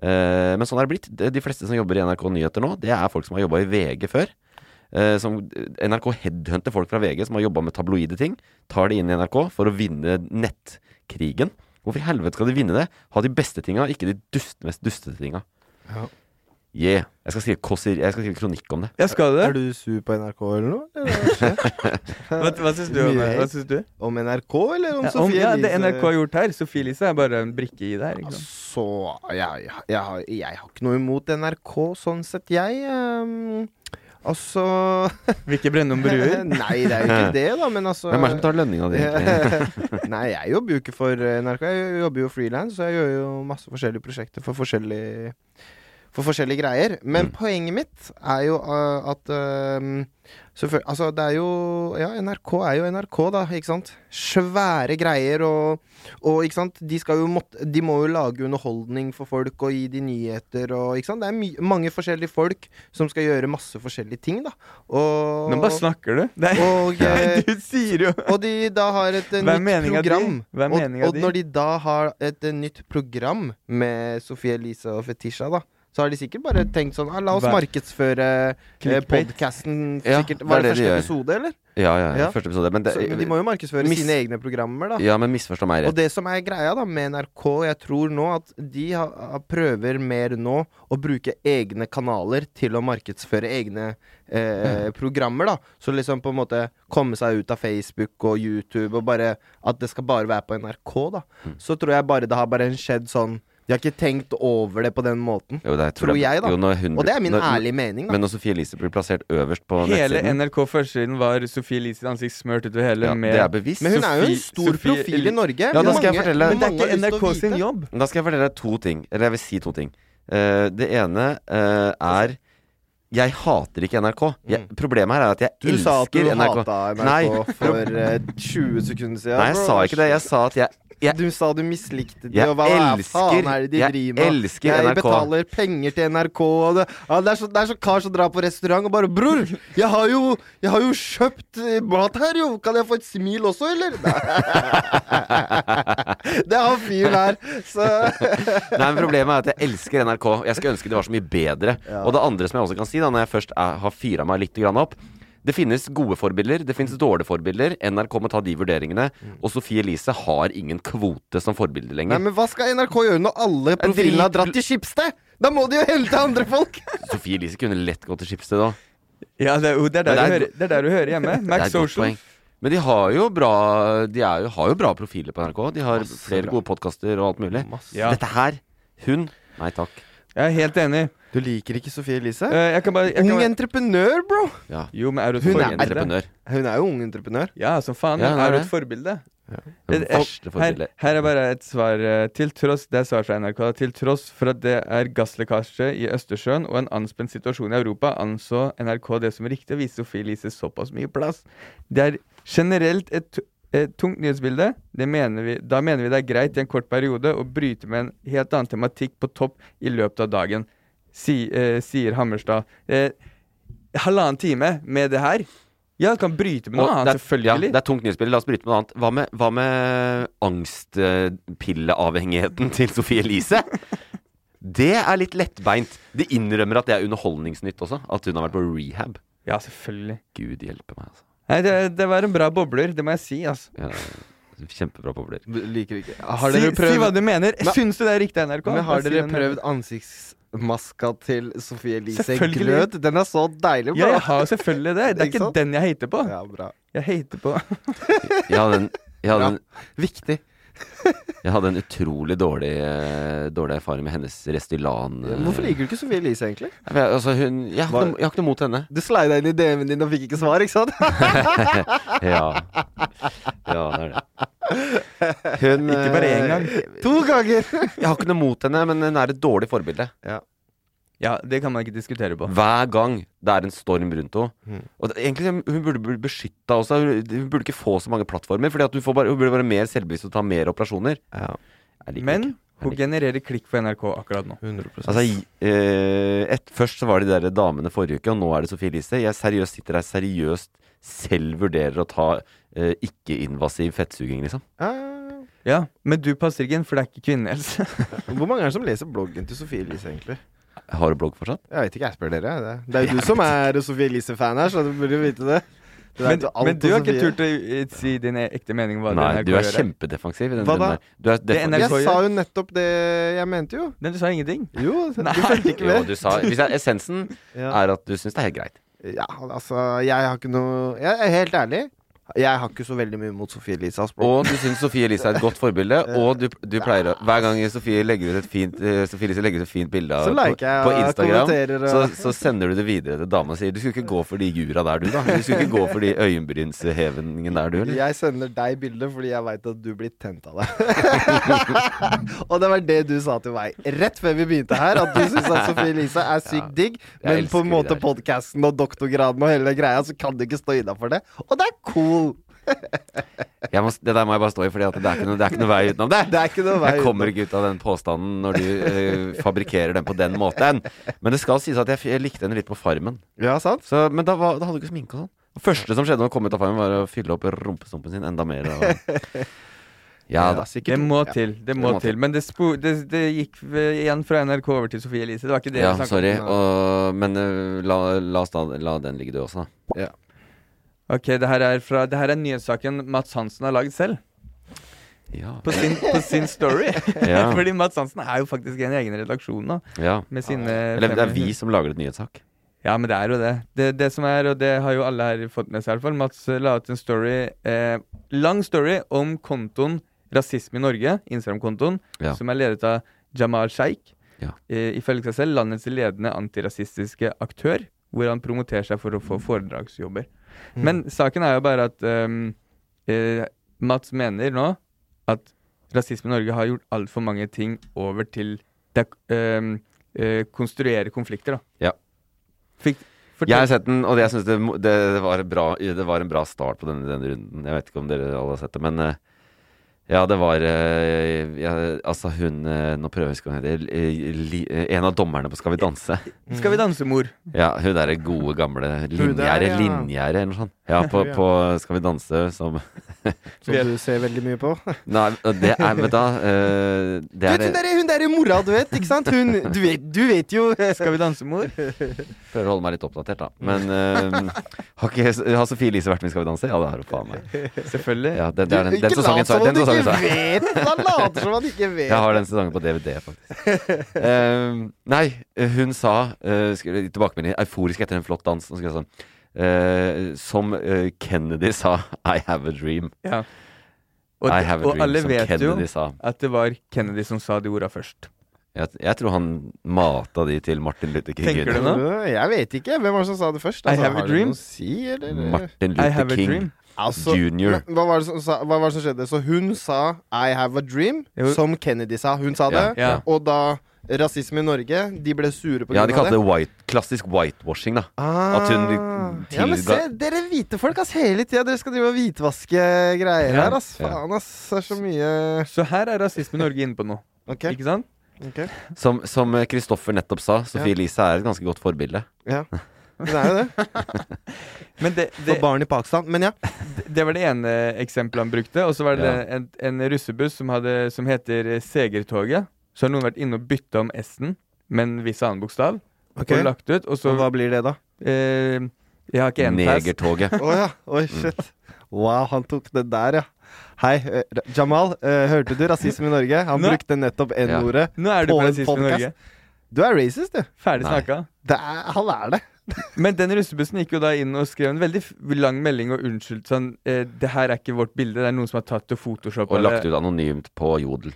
[SPEAKER 2] Eh, men sånn er det blitt. De de fleste som jobber i NRK Nyheter nå, det er folk som har jobba i VG før. Eh, som, NRK headhunter folk fra VG som har jobba med tabloide ting. Tar de inn i NRK for å vinne nettkrigen. Hvorfor i helvete skal de vinne det? Ha de beste tinga, ikke de dust, mest dustete tinga.
[SPEAKER 4] Ja.
[SPEAKER 2] Yeah. Jeg skal, skrive kåser, jeg skal skrive kronikk om det.
[SPEAKER 3] Ja, skal du det?
[SPEAKER 4] [laughs] Er du sur på NRK eller noe? Eller?
[SPEAKER 3] [laughs] Hva, hva syns du om det?
[SPEAKER 4] Mye
[SPEAKER 3] Hva
[SPEAKER 4] hate.
[SPEAKER 3] syns du?
[SPEAKER 4] Om NRK eller om
[SPEAKER 3] Ja, om,
[SPEAKER 4] Sofie
[SPEAKER 3] ja, det
[SPEAKER 4] Elise?
[SPEAKER 3] NRK har gjort her. Sophie Elise er bare en brikke i det her. Ikke sant?
[SPEAKER 4] Så jeg, jeg, har- jeg har ikke noe imot NRK sånn sett, jeg. ehm, altså
[SPEAKER 3] Vil ikke brenne noen bruer.
[SPEAKER 4] [laughs] Nei, det er
[SPEAKER 3] [laughs]
[SPEAKER 4] jo ikke det, da, men altså
[SPEAKER 2] Hvem er det som tar lønninga di, egentlig?
[SPEAKER 4] Nei, jeg jobber jo ikke for eh, NRK. Jeg jobber jo frilans, så jeg gjør jo masse forskjellige prosjekter for forskjellige for forskjellige greier.
[SPEAKER 3] Mm.
[SPEAKER 4] Men poenget mitt er jo uh, at um, selvfølgelig- Altså, det er jo Ja, NRK er jo NRK, da, ikke sant? Svære greier og, og ikke sant? De, skal jo måtte, de må jo lage underholdning for folk og gi de nyheter og ikke sant? Det er my mange forskjellige folk som skal gjøre masse forskjellige ting, da. Og
[SPEAKER 3] Nå bare snakker du. Det [laughs] er,
[SPEAKER 4] og, eh,
[SPEAKER 3] du sier jo
[SPEAKER 4] og de da har et eh,
[SPEAKER 3] Hva er
[SPEAKER 4] nytt
[SPEAKER 3] meningen din?
[SPEAKER 4] program.
[SPEAKER 3] Hva er meningen
[SPEAKER 4] og, og
[SPEAKER 3] din?
[SPEAKER 4] når de da har et eh, nytt program med Sofie Elise og Fetisha, da så har de sikkert bare tenkt sånn ah, La oss
[SPEAKER 2] Hva-
[SPEAKER 4] markedsføre eh,
[SPEAKER 2] Clickbait.
[SPEAKER 4] podkasten
[SPEAKER 2] Ja,
[SPEAKER 4] sikkert.
[SPEAKER 2] det er
[SPEAKER 4] Var det,
[SPEAKER 2] det de
[SPEAKER 4] første
[SPEAKER 2] gjør.
[SPEAKER 4] episode, eller?
[SPEAKER 2] Ja, ja, ja, første episode, men det-
[SPEAKER 4] så, men de må jo markedsføre
[SPEAKER 2] Mis-
[SPEAKER 4] sine egne programmer, da.
[SPEAKER 2] Ja, men misforstå meg
[SPEAKER 4] Og
[SPEAKER 2] rett.
[SPEAKER 4] det som er greia da med NRK, jeg tror nå at de har, har- prøver mer nå å bruke egne kanaler til å markedsføre egne
[SPEAKER 2] Mm.
[SPEAKER 4] eh, programmer, da. Så liksom på en måte komme seg ut av Facebook og YouTube, og bare at det skal bare være på NRK, da.
[SPEAKER 2] Mm.
[SPEAKER 4] Så tror jeg bare det har bare skjedd sånn De har ikke tenkt over det på den måten.
[SPEAKER 2] Jo, det er-
[SPEAKER 4] tror jeg, da.
[SPEAKER 2] jo, når hun-
[SPEAKER 4] og det er min
[SPEAKER 2] når-
[SPEAKER 4] ærlige mening, da.
[SPEAKER 2] Men når Sophie Elise blir plassert øverst på
[SPEAKER 3] Hele
[SPEAKER 2] nettsiden
[SPEAKER 3] NRK førstesiden var Sophie Elises ansikt smurt utover hele.
[SPEAKER 2] Ja,
[SPEAKER 3] med
[SPEAKER 2] det er bevisst.
[SPEAKER 4] Men hun er jo en
[SPEAKER 3] Sophie-
[SPEAKER 4] stor
[SPEAKER 3] Sophie
[SPEAKER 4] profil i
[SPEAKER 3] Elise-
[SPEAKER 2] Ja,
[SPEAKER 4] Norge.
[SPEAKER 2] da skal jeg
[SPEAKER 4] Mange-
[SPEAKER 2] fortelle
[SPEAKER 3] Men det
[SPEAKER 4] mange har
[SPEAKER 3] er
[SPEAKER 4] lyst til å
[SPEAKER 3] ikke NRK sin
[SPEAKER 4] vite.
[SPEAKER 3] jobb.
[SPEAKER 2] Da skal jeg fortelle deg to ting. Eller jeg vil si to ting. Eh, det ene eh, er jeg hater ikke NRK. Jeg, problemet her er at jeg
[SPEAKER 4] Mm. Du
[SPEAKER 2] elsker
[SPEAKER 4] sa at du
[SPEAKER 2] NRK.
[SPEAKER 4] hata NRK
[SPEAKER 2] [laughs] Nei,
[SPEAKER 4] for eh, 20 sekunder siden.
[SPEAKER 2] nei, jeg sa ikke det. Jeg sa at jeg,
[SPEAKER 4] Du sa du mislikte det,
[SPEAKER 2] Jeg
[SPEAKER 4] og hva er faen
[SPEAKER 2] elsker-
[SPEAKER 4] er det de
[SPEAKER 2] jeg
[SPEAKER 4] driver med?
[SPEAKER 2] elsker
[SPEAKER 4] jeg
[SPEAKER 2] NRK.
[SPEAKER 4] betaler penger til NRK, og det, ja, det, er så, det er så kar som drar på restaurant og bare 'Bror, jeg har jo, jeg har jo kjøpt eh, mat her, jo! Kan jeg få et smil også, eller?' [laughs] Nei. Det er han fyren her, så
[SPEAKER 2] [laughs] Nei, men Problemet er at jeg elsker NRK. Jeg skulle ønske det var så mye bedre. Og det andre som jeg også kan si, da når jeg først er, har fyra meg litt grann opp Det finnes gode forbilder, det finnes dårlige forbilder. NRK må ta de vurderingene. Og Sophie Elise har ingen kvote som forbilde lenger.
[SPEAKER 4] Mm. Nei, men hva skal NRK gjøre når alle profilene har dratt til Skipsted? Da må de jo helle til andre
[SPEAKER 2] [laughs]
[SPEAKER 4] folk!
[SPEAKER 2] Sophie Elise kunne lett gå til Schibsted da.
[SPEAKER 3] Ja, det er, jo- det er, der,
[SPEAKER 2] Men det er
[SPEAKER 3] du hører,
[SPEAKER 2] go-
[SPEAKER 3] det er der du hører
[SPEAKER 2] [laughs]
[SPEAKER 3] hjemme.
[SPEAKER 2] Det er
[SPEAKER 3] Max
[SPEAKER 2] et godt
[SPEAKER 3] Social.
[SPEAKER 2] poeng. Men de har jo bra De er jo, har jo bra profiler på NRK. De har flere
[SPEAKER 3] bra.
[SPEAKER 2] gode podkaster og alt mulig.
[SPEAKER 3] Ja.
[SPEAKER 2] Dette her Hun Nei takk.
[SPEAKER 3] Jeg er helt enig.
[SPEAKER 4] Du liker ikke Sofie Elise?
[SPEAKER 3] Eh, jeg kan bare, jeg kan
[SPEAKER 4] Ung
[SPEAKER 3] bare
[SPEAKER 4] entreprenør, bro!
[SPEAKER 2] Ja.
[SPEAKER 3] Jo, men er du et
[SPEAKER 4] Hun er Eh,
[SPEAKER 3] forbilde?
[SPEAKER 2] entreprenør.
[SPEAKER 4] Hun er jo ung entreprenør.
[SPEAKER 3] Ja, som faen.
[SPEAKER 2] Ja, hun er
[SPEAKER 3] er du
[SPEAKER 2] det.
[SPEAKER 3] et forbilde?
[SPEAKER 2] Det
[SPEAKER 3] Eh, eh,
[SPEAKER 2] verste
[SPEAKER 3] her,
[SPEAKER 2] forbildet.
[SPEAKER 3] her er bare et svar. eh, Til tross, det er svar fra NRK. Til tross for at det er gasslekkasje i Østersjøen og en anspent situasjon i Europa, anså NRK det som riktig å vise Sophie Elise såpass mye plass. Det er generelt et, tu- et tungt nyhetsbilde. Det mener vi, da mener vi det er greit i en kort periode å bryte med en helt annen tematikk på topp i løpet av dagen, si, eh, sier Hammerstad. Eh, halvannen time med det her. Ja, du kan bryte med noe
[SPEAKER 2] Og det
[SPEAKER 3] annet,
[SPEAKER 2] er-
[SPEAKER 3] selvfølgelig.
[SPEAKER 2] Ja, det er tungt nyhetsbilde. La oss bryte med noe annet. Hva med, hva med angstpilleavhengigheten [laughs] til Sophie Elise? Det er litt lettbeint. De innrømmer at det er Underholdningsnytt også. At hun har vært på rehab.
[SPEAKER 3] Ja, selvfølgelig.
[SPEAKER 2] Gud hjelpe meg, altså.
[SPEAKER 3] Nei, det, det var en bra bobler, det må jeg si, altså.
[SPEAKER 2] Ja, kjempebra bobler.
[SPEAKER 4] Du liker ikke
[SPEAKER 3] Si, si hva du mener. Syns du det er riktig, NRK?
[SPEAKER 4] Men har
[SPEAKER 3] Bare si
[SPEAKER 4] dere
[SPEAKER 3] den
[SPEAKER 4] prøvd
[SPEAKER 3] meningen.
[SPEAKER 4] ansiktsmaska til Sofie Elise
[SPEAKER 3] Selvfølgelig.
[SPEAKER 4] Glød? Den er så deilig,
[SPEAKER 3] Ja,
[SPEAKER 4] bro!
[SPEAKER 3] jeg har jo selvfølgelig det. Det er [laughs]
[SPEAKER 4] Ikke
[SPEAKER 3] ikke
[SPEAKER 4] sant?
[SPEAKER 3] den jeg hater på.
[SPEAKER 4] [laughs] Ja, bra.
[SPEAKER 3] Jeg hater på [laughs]
[SPEAKER 2] Jeg hadde en, jeg hadde en
[SPEAKER 4] Viktig.
[SPEAKER 2] Jeg hadde en utrolig dårlig, eh, dårlig erfaring med hennes Restylan. eh.
[SPEAKER 4] Hvorfor liker du ikke Sofie Elise, egentlig?
[SPEAKER 2] Jeg vet- Altså, hun, jeg, har ikke noe, jeg har ikke noe mot henne.
[SPEAKER 4] Du slida inn i DM-en din og fikk ikke svar, ikke sant? [laughs]
[SPEAKER 2] Ja. ja, det er det. Hun,
[SPEAKER 3] Ikke bare én
[SPEAKER 2] eh,
[SPEAKER 3] gang.
[SPEAKER 4] to [laughs] ganger!
[SPEAKER 2] Jeg har ikke noe mot henne, men hun er et dårlig forbilde.
[SPEAKER 3] Ja, det kan man ikke diskutere på.
[SPEAKER 2] Hver gang det er en storm rundt
[SPEAKER 3] Mm.
[SPEAKER 2] henne. Og det, egentlig Hun burde bli beskytta også. Hun, hun burde ikke få så mange plattformer. Fordi at hun, får bare, hun burde være mer selvbevisst og ta mer operasjoner. Jeg liker
[SPEAKER 3] Men
[SPEAKER 2] ikke.
[SPEAKER 3] hun genererer klikk for NRK akkurat nå.
[SPEAKER 4] 100
[SPEAKER 2] Altså, jeg- eh, et, først så var det de der damene forrige uke, og nå er det Sofie Elise. Jeg seriøst sitter der seriøst selv vurderer å ta eh, ikke-invasiv fettsuging, liksom.
[SPEAKER 3] Ja, Men du passer ikke inn, for det er ikke kvinnehelse.
[SPEAKER 4] Hvor mange er det som leser bloggen til Sofie Elise, egentlig?
[SPEAKER 2] Har du blogg fortsatt?
[SPEAKER 4] Jeg vet ikke, jeg spør dere. Det, [laughs] det er jo du som er Sofie Elise-fan her, så du burde jo vite det. Du
[SPEAKER 3] [laughs]
[SPEAKER 4] vet
[SPEAKER 3] Men,
[SPEAKER 4] jo alt
[SPEAKER 3] men du
[SPEAKER 4] om
[SPEAKER 3] har ikke
[SPEAKER 4] Sofie.
[SPEAKER 3] turt å eh, si din e- ekte mening hva
[SPEAKER 2] Nei,
[SPEAKER 3] det
[SPEAKER 2] du er
[SPEAKER 3] NRK gjør.
[SPEAKER 2] kjempedefensiv. i den
[SPEAKER 4] Hva
[SPEAKER 2] runden
[SPEAKER 4] da?
[SPEAKER 2] der. Du er
[SPEAKER 3] Det er
[SPEAKER 2] defensiv.
[SPEAKER 3] NRK.
[SPEAKER 4] Jeg sa jo nettopp det jeg mente, jo.
[SPEAKER 3] Men du sa ingenting.
[SPEAKER 4] Jo, du
[SPEAKER 3] Nei.
[SPEAKER 4] fulgte ikke
[SPEAKER 2] Jo,
[SPEAKER 4] med.
[SPEAKER 2] du sa, hvis jeg, essensen
[SPEAKER 4] Ja.
[SPEAKER 2] er at du syns det er helt greit.
[SPEAKER 4] Ja, altså, jeg har ikke noe Jeg er helt ærlig. Jeg har ikke så veldig mye mot Sofie Elise. Asbjørn.
[SPEAKER 2] Og du syns Sofie Elise er et godt forbilde, og du, du pleier å Hver gang Sofie, legger ut et fint, eh, Sofie Elise legger ut et fint bilde av-
[SPEAKER 4] Så liker jeg
[SPEAKER 2] på, på
[SPEAKER 4] og
[SPEAKER 2] Instagram,
[SPEAKER 4] kommenterer
[SPEAKER 2] så,
[SPEAKER 4] og-
[SPEAKER 2] så sender du det videre til dama og sier Du skulle ikke gå for de jura der, du, da. Du skulle ikke gå for de øyenbrynshevingene der, du, eller?
[SPEAKER 4] Jeg sender deg bildet fordi jeg veit at du blir tent [laughs] av det. og det var det du sa til meg rett før vi begynte her, at du syns at Sophie Elise er sykt digg,
[SPEAKER 2] jeg
[SPEAKER 4] men
[SPEAKER 2] elsker
[SPEAKER 4] på en
[SPEAKER 2] det
[SPEAKER 4] måte
[SPEAKER 2] der.
[SPEAKER 4] podkasten og doktorgraden og hele den greia, så kan du ikke stå innafor det. Og det er cool!
[SPEAKER 2] Jeg må, det der må jeg bare stå i, for det er ikke noe, det er ikke noe vei utenom det.
[SPEAKER 4] Det er ikke noe vei
[SPEAKER 2] jeg kommer ikke ut av den påstanden når du eh, fabrikkerer den på den måten. Men det skal sies at jeg, f- jeg likte henne litt på Farmen.
[SPEAKER 4] Ja, sant?
[SPEAKER 2] Så, men da, var, da hadde du ikke sminke og sånn. Det første som skjedde når du kom ut av Farmen, var å fylle opp rumpestumpen sin enda mer. Og... Ja da.
[SPEAKER 3] Det må til. Det må til. Men det, spo det, det gikk eh, igjen fra NRK over til Sofie Elise. Det var ikke det
[SPEAKER 2] Ja,
[SPEAKER 3] vi snakket
[SPEAKER 2] sorry.
[SPEAKER 3] om.
[SPEAKER 2] Og, men eh, la, la, oss da, la den ligge, du også, da.
[SPEAKER 3] Ok, det her er, fra, det her er nyhetssaken Mats Hansen har lagd selv. På, sin, på sin story.
[SPEAKER 2] [laughs]
[SPEAKER 3] [laughs]
[SPEAKER 2] Ja.
[SPEAKER 3] Fordi Mats Hansen er jo faktisk en egen redaksjon nå.
[SPEAKER 2] Ja.
[SPEAKER 3] Med sine
[SPEAKER 2] Eller det er
[SPEAKER 3] 500.
[SPEAKER 2] vi som lager et nyhetssak.
[SPEAKER 3] Ja, men det er jo det. Det, det som er, og det har jo alle her fått med seg i hvert fall, Mats eh, la ut en story, eh, lang story om kontoen Rasisme i Norge, Instagram-kontoen,
[SPEAKER 2] Ja.
[SPEAKER 3] som er ledet av Jamal Sheikh.
[SPEAKER 2] Ja.
[SPEAKER 3] Eh, ifølge seg selv landets ledende antirasistiske aktør, hvor han promoterer seg for å få foredragsjobber.
[SPEAKER 4] Mm.
[SPEAKER 3] Men saken er jo bare at ehm, eh, Mats mener nå at rasisme i Norge har gjort altfor mange ting over til det, ehm, eh, konstruere konflikter, da.
[SPEAKER 2] Ja.
[SPEAKER 3] Fikk, fortell-
[SPEAKER 2] Jeg har sett den, og jeg syns det, mo- det, var bra, det var en bra start på denne, denne runden. Jeg vet ikke om dere alle har sett det, men eh, ja, det var eh, ja, Altså, hun eh, Nå prøver jeg å huske hva hun heter. eh, Li- eh, En av dommerne på Skal vi danse.
[SPEAKER 3] Skal vi danse, mor?
[SPEAKER 2] Ja, hun derre gode, gamle
[SPEAKER 3] Hun der,
[SPEAKER 2] Linjære,
[SPEAKER 3] ja.
[SPEAKER 2] Linjære eller noe sånt. Ja, på, på Skal vi danse som
[SPEAKER 4] Som du ser veldig mye på.
[SPEAKER 2] Nei, det er Vet du hva eh, Det
[SPEAKER 4] Vet
[SPEAKER 2] er
[SPEAKER 4] hun derre hun der mora, du vet, ikke sant? Hun Du vet, du vet jo
[SPEAKER 3] Skal vi danse,
[SPEAKER 4] [laughs]
[SPEAKER 3] mor?
[SPEAKER 2] Prøver å holde meg litt oppdatert, da. Men eh, har, ikke, har Sofie Elise vært med i Skal vi danse? Ja, det har hun faen meg.
[SPEAKER 3] Selvfølgelig.
[SPEAKER 2] Ja, den, det er den,
[SPEAKER 4] Ikke
[SPEAKER 2] den sesongen
[SPEAKER 4] lat
[SPEAKER 2] så
[SPEAKER 4] som
[SPEAKER 2] den
[SPEAKER 4] om du
[SPEAKER 2] sesongen
[SPEAKER 4] ikke
[SPEAKER 2] så-
[SPEAKER 4] vet! Man later som man ikke vet.
[SPEAKER 2] Jeg har den sesongen på DVD, faktisk. Ehm, nei, hun sa eh, skulle, i tilbakemelding euforisk etter en flott dans. Og skulle jeg sånn eh, Som eh, Kennedy sa, I have a dream.
[SPEAKER 3] Ja. Og,
[SPEAKER 2] I
[SPEAKER 3] det-
[SPEAKER 2] have a
[SPEAKER 3] og
[SPEAKER 2] dream,
[SPEAKER 3] alle
[SPEAKER 2] som
[SPEAKER 3] vet jo
[SPEAKER 2] Kennedy sa.
[SPEAKER 3] at det var Kennedy som sa de orda først.
[SPEAKER 2] Jeg, jeg tror han mata de til Martin Luther King.
[SPEAKER 3] Tenker du nå?
[SPEAKER 4] Jeg vet ikke. Hvem var det som sa det først? Altså,
[SPEAKER 3] I have a
[SPEAKER 4] har det
[SPEAKER 3] dream.
[SPEAKER 4] noe å Si, eller?
[SPEAKER 2] Martin
[SPEAKER 3] I
[SPEAKER 2] Luther
[SPEAKER 3] have a
[SPEAKER 2] King
[SPEAKER 3] dream.
[SPEAKER 4] Altså,
[SPEAKER 2] junior.
[SPEAKER 4] men Hva var, det som, sa, hva var det som skjedde? Så hun sa 'I have a dream',
[SPEAKER 2] Jo.
[SPEAKER 4] som Kennedy sa. Hun sa
[SPEAKER 2] Ja,
[SPEAKER 4] det.
[SPEAKER 2] ja.
[SPEAKER 4] Og da rasisme i Norge, de ble sure på
[SPEAKER 2] Ja, de
[SPEAKER 4] grunn av
[SPEAKER 2] kalte
[SPEAKER 4] det.
[SPEAKER 2] det white, klassisk whitewashing, da.
[SPEAKER 4] Ah.
[SPEAKER 2] At hun
[SPEAKER 4] Ja, men se,
[SPEAKER 2] tilga
[SPEAKER 4] dere hvite folk, ass, hele tida. Dere skal drive og hvitvaske greier
[SPEAKER 3] Ja,
[SPEAKER 4] her, ass.
[SPEAKER 2] ja.
[SPEAKER 4] Faen, ass. Det er så mye
[SPEAKER 3] Så her er rasisme i Norge inne på noe.
[SPEAKER 4] Ok.
[SPEAKER 3] Ikke sant?
[SPEAKER 4] Ok.
[SPEAKER 2] Som som Kristoffer nettopp sa, Sofie
[SPEAKER 4] Ja.
[SPEAKER 2] Elise er et ganske godt forbilde.
[SPEAKER 4] Ja. Men det er jo det.
[SPEAKER 3] Men det,
[SPEAKER 4] For
[SPEAKER 3] [laughs] det,
[SPEAKER 4] barn i Pakistan. Men ja.
[SPEAKER 3] det var det ene eksempelet han brukte. Og så var det
[SPEAKER 2] Ja.
[SPEAKER 3] en, en russebuss som, hadde, som heter eh, Segertoget. Så har noen vært inne og bytta om S-en med en viss annen bokstav.
[SPEAKER 4] Ok.
[SPEAKER 3] Og lagt ut. Og så
[SPEAKER 4] Så hva blir det, da?
[SPEAKER 3] eh, Jeg har ikke en pass.
[SPEAKER 2] Negertoget.
[SPEAKER 4] Å ja. Oi, shit. Wow, han tok det der, ja. Hei, eh, Ra- Jamal. eh, hørte du rasisme i Norge? Han
[SPEAKER 3] Nå-
[SPEAKER 4] brukte nettopp N-ordet.
[SPEAKER 3] Nå er du
[SPEAKER 4] På
[SPEAKER 3] på
[SPEAKER 4] en
[SPEAKER 3] rasisme i Norge.
[SPEAKER 4] podcast. Du er racist, du.
[SPEAKER 3] Ferdig
[SPEAKER 2] Nei.
[SPEAKER 3] snakka.
[SPEAKER 4] Det er, han er det.
[SPEAKER 3] Men den russebussen gikk jo da inn og skrev en veldig f- lang melding og unnskyldte sånn eh, Det her er ikke vårt bilde, det er noen som har tatt og photoshoppet
[SPEAKER 2] Og lagt ut anonymt på Jodel.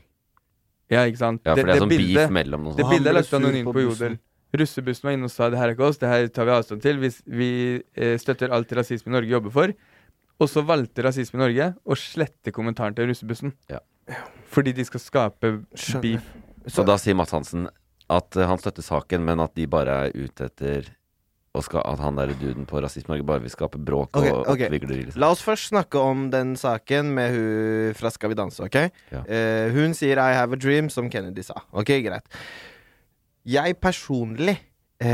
[SPEAKER 3] Ja, ikke sant?
[SPEAKER 2] Ja, for det, er sånn
[SPEAKER 3] bildet-
[SPEAKER 2] beef mellom noen
[SPEAKER 3] Det
[SPEAKER 4] Og
[SPEAKER 2] sånne.
[SPEAKER 4] han
[SPEAKER 3] bildet er
[SPEAKER 4] ble
[SPEAKER 3] lagt av noen
[SPEAKER 4] sur
[SPEAKER 3] inn
[SPEAKER 4] på
[SPEAKER 3] på
[SPEAKER 4] bussen.
[SPEAKER 3] Jodel. Russebussen var inne og sa det her er ikke oss, det her tar vi avstand til. Vi, s- vi eh, støtter alt rasisme i Norge jobber for. Og så valgte Rasisme i Norge å slette kommentaren til russebussen.
[SPEAKER 2] Ja.
[SPEAKER 3] Fordi de skal skape beef.
[SPEAKER 2] Og da sier Mads Hansen at eh, han støtter saken, men at de bare er ute etter og skal, at han der duden på Rasisme Norge bare vil skape bråk
[SPEAKER 4] Ok,
[SPEAKER 2] og
[SPEAKER 4] ok.
[SPEAKER 2] oppvigleri. Liksom.
[SPEAKER 4] La oss først snakke om den saken med hun fra Skal vi danse, OK?
[SPEAKER 2] Ja.
[SPEAKER 4] Eh, hun sier 'I have a dream', som Kennedy sa. OK, greit. Jeg personlig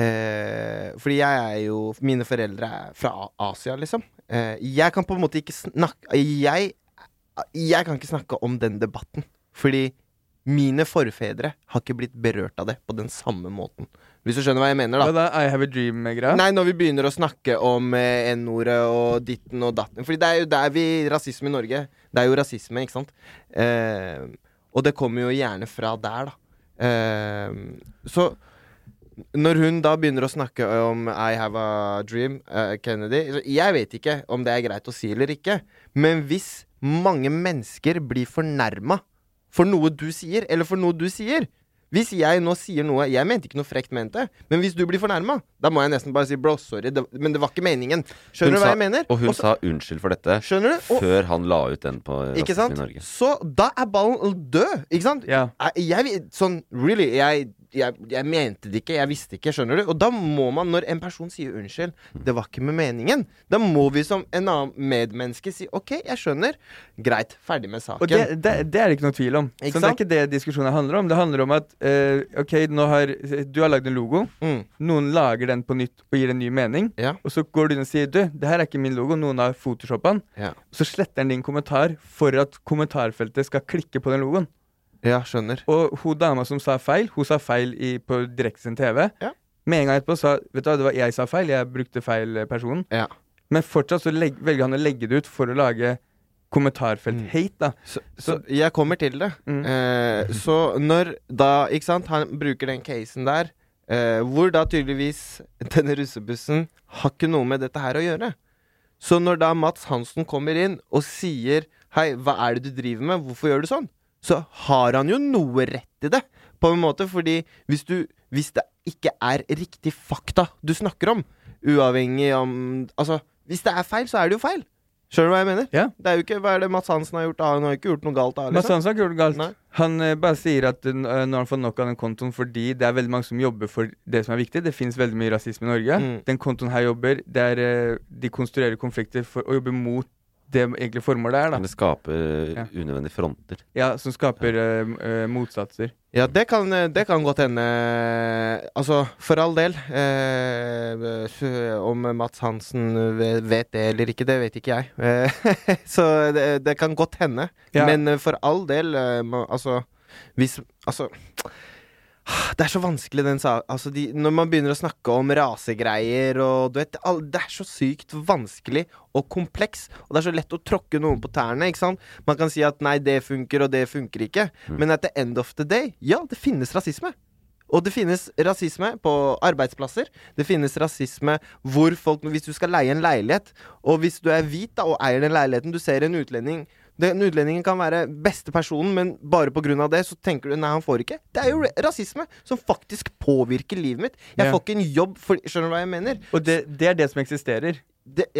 [SPEAKER 4] eh, Fordi jeg er jo Mine foreldre er fra Asia, liksom. Eh, jeg kan på en måte ikke snakke jeg, jeg kan ikke snakke om den debatten. Fordi mine forfedre har ikke blitt berørt av det på den samme måten. Hvis du skjønner hva jeg mener, da.
[SPEAKER 3] Hva da? I have a dream-greia?
[SPEAKER 4] Nei, når vi begynner å snakke om eh, N-ordet og ditten og datten. Fordi det er jo der vi Rasisme i Norge. Det er jo rasisme, ikke sant? Eh, og det kommer jo gjerne fra der, da. Eh, Ehm, så Når hun da begynner å snakke om I have a dream, eh, Kennedy så Jeg vet ikke om det er greit å si eller ikke, men hvis mange mennesker blir fornærma for noe du sier, eller for noe du sier Hvis jeg nå sier noe Jeg mente ikke noe frekt ment det, men hvis du blir fornærma, da må jeg nesten bare si bro, sorry, det, men det var ikke meningen.
[SPEAKER 2] Hun
[SPEAKER 4] Skjønner du hva
[SPEAKER 2] sa-
[SPEAKER 4] jeg mener?
[SPEAKER 2] Og hun
[SPEAKER 4] Og så-
[SPEAKER 2] sa unnskyld for dette
[SPEAKER 4] Skjønner du? Og-
[SPEAKER 2] før han la ut den på
[SPEAKER 4] Ikke
[SPEAKER 2] Rasisme
[SPEAKER 4] sant? Sånn,
[SPEAKER 2] i Norge.
[SPEAKER 4] Så da er ballen død, ikke sant? Jeg, jeg, sånn, really, jeg, jeg, jeg mente det ikke, jeg visste ikke, skjønner du? Og da må man, når en person sier unnskyld, det var ikke med meningen, da må vi som en annen medmenneske si ok, jeg skjønner, greit, ferdig med saken.
[SPEAKER 3] Og det, det, det er det ikke noe tvil om.
[SPEAKER 4] Ikke
[SPEAKER 3] så det er
[SPEAKER 4] sant?
[SPEAKER 3] ikke det diskusjonen handler om. Det handler om at eh, ok, nå har, du har lagd en logo.
[SPEAKER 4] Mm.
[SPEAKER 3] Noen lager den på nytt og gir en ny mening. Og så går du inn og sier du, det her er ikke min logo, noen har photoshoppa den.
[SPEAKER 4] Ja.
[SPEAKER 3] Så sletter den din kommentar for at kommentarfeltet skal klikke på den logoen.
[SPEAKER 4] Ja, skjønner.
[SPEAKER 3] Og hun dama som sa feil, hun sa feil i, på direktesendt TV. Med en gang etterpå sa vet du hva, det var jeg sa feil, jeg brukte feil eh, person. Men fortsatt så legg, velger han å legge det ut for å lage kommentarfelt-hate, da.
[SPEAKER 4] Så jeg kommer til det. Eh, så når da, ikke sant, han bruker den casen der, eh, hvor da tydeligvis denne russebussen har ikke noe med dette her å gjøre. Så når da Mats Hansen kommer inn og sier Hei, hva er det du driver med? Hvorfor gjør du sånn? Så har han jo noe rett i det, på en måte, fordi hvis du Hvis det ikke er riktig fakta du snakker om, uavhengig om Altså, hvis det er feil, så er det jo feil. Skjønner du hva jeg mener? Det er jo ikke, Hva er det Mats Hansen har gjort? da? Han har jo ikke gjort noe galt. da, liksom.
[SPEAKER 3] Masse annet har ikke gjort noe galt. Han eh, bare sier at eh, nå har han fått nok av den kontoen fordi det er veldig mange som jobber for det som er viktig. Det fins veldig mye rasisme i Norge.
[SPEAKER 4] Mm.
[SPEAKER 3] Den kontoen her jobber. Det er, eh, de konstruerer konflikter for å jobbe mot det egentlige formålet er.
[SPEAKER 2] Men
[SPEAKER 3] da
[SPEAKER 2] det skaper
[SPEAKER 3] Ja.
[SPEAKER 2] unødvendige fronter.
[SPEAKER 3] Ja, Som skaper eh, m- eh, motsatser.
[SPEAKER 4] Ja, det kan, det kan godt hende Altså, for all del. Eh, s- om Mats Hansen ve- vet det eller ikke, det vet ikke jeg. Eh, [laughs] så det, det kan godt hende.
[SPEAKER 3] Ja.
[SPEAKER 4] Men eh, for all del, eh, må- altså Hvis Altså det er så vanskelig, den sa altså de, Når man begynner å snakke om rasegreier og du vet all, Det er så sykt vanskelig og kompleks, og det er så lett å tråkke noen på tærne, ikke sant? Man kan si at nei, det funker, og det funker ikke. Men at the end of the day, ja, det finnes rasisme. Og det finnes rasisme på arbeidsplasser. Det finnes rasisme hvor folk Hvis du skal leie en leilighet, og hvis du er hvit da, og eier den leiligheten, du ser en utlending den utlendingen kan være beste personen, men bare pga. det så tenker du nei, han får ikke. Det er jo re- rasisme som faktisk påvirker livet mitt. Jeg
[SPEAKER 3] Ja.
[SPEAKER 4] får ikke en jobb, for, skjønner du hva jeg mener?
[SPEAKER 3] Og det, det er det som eksisterer.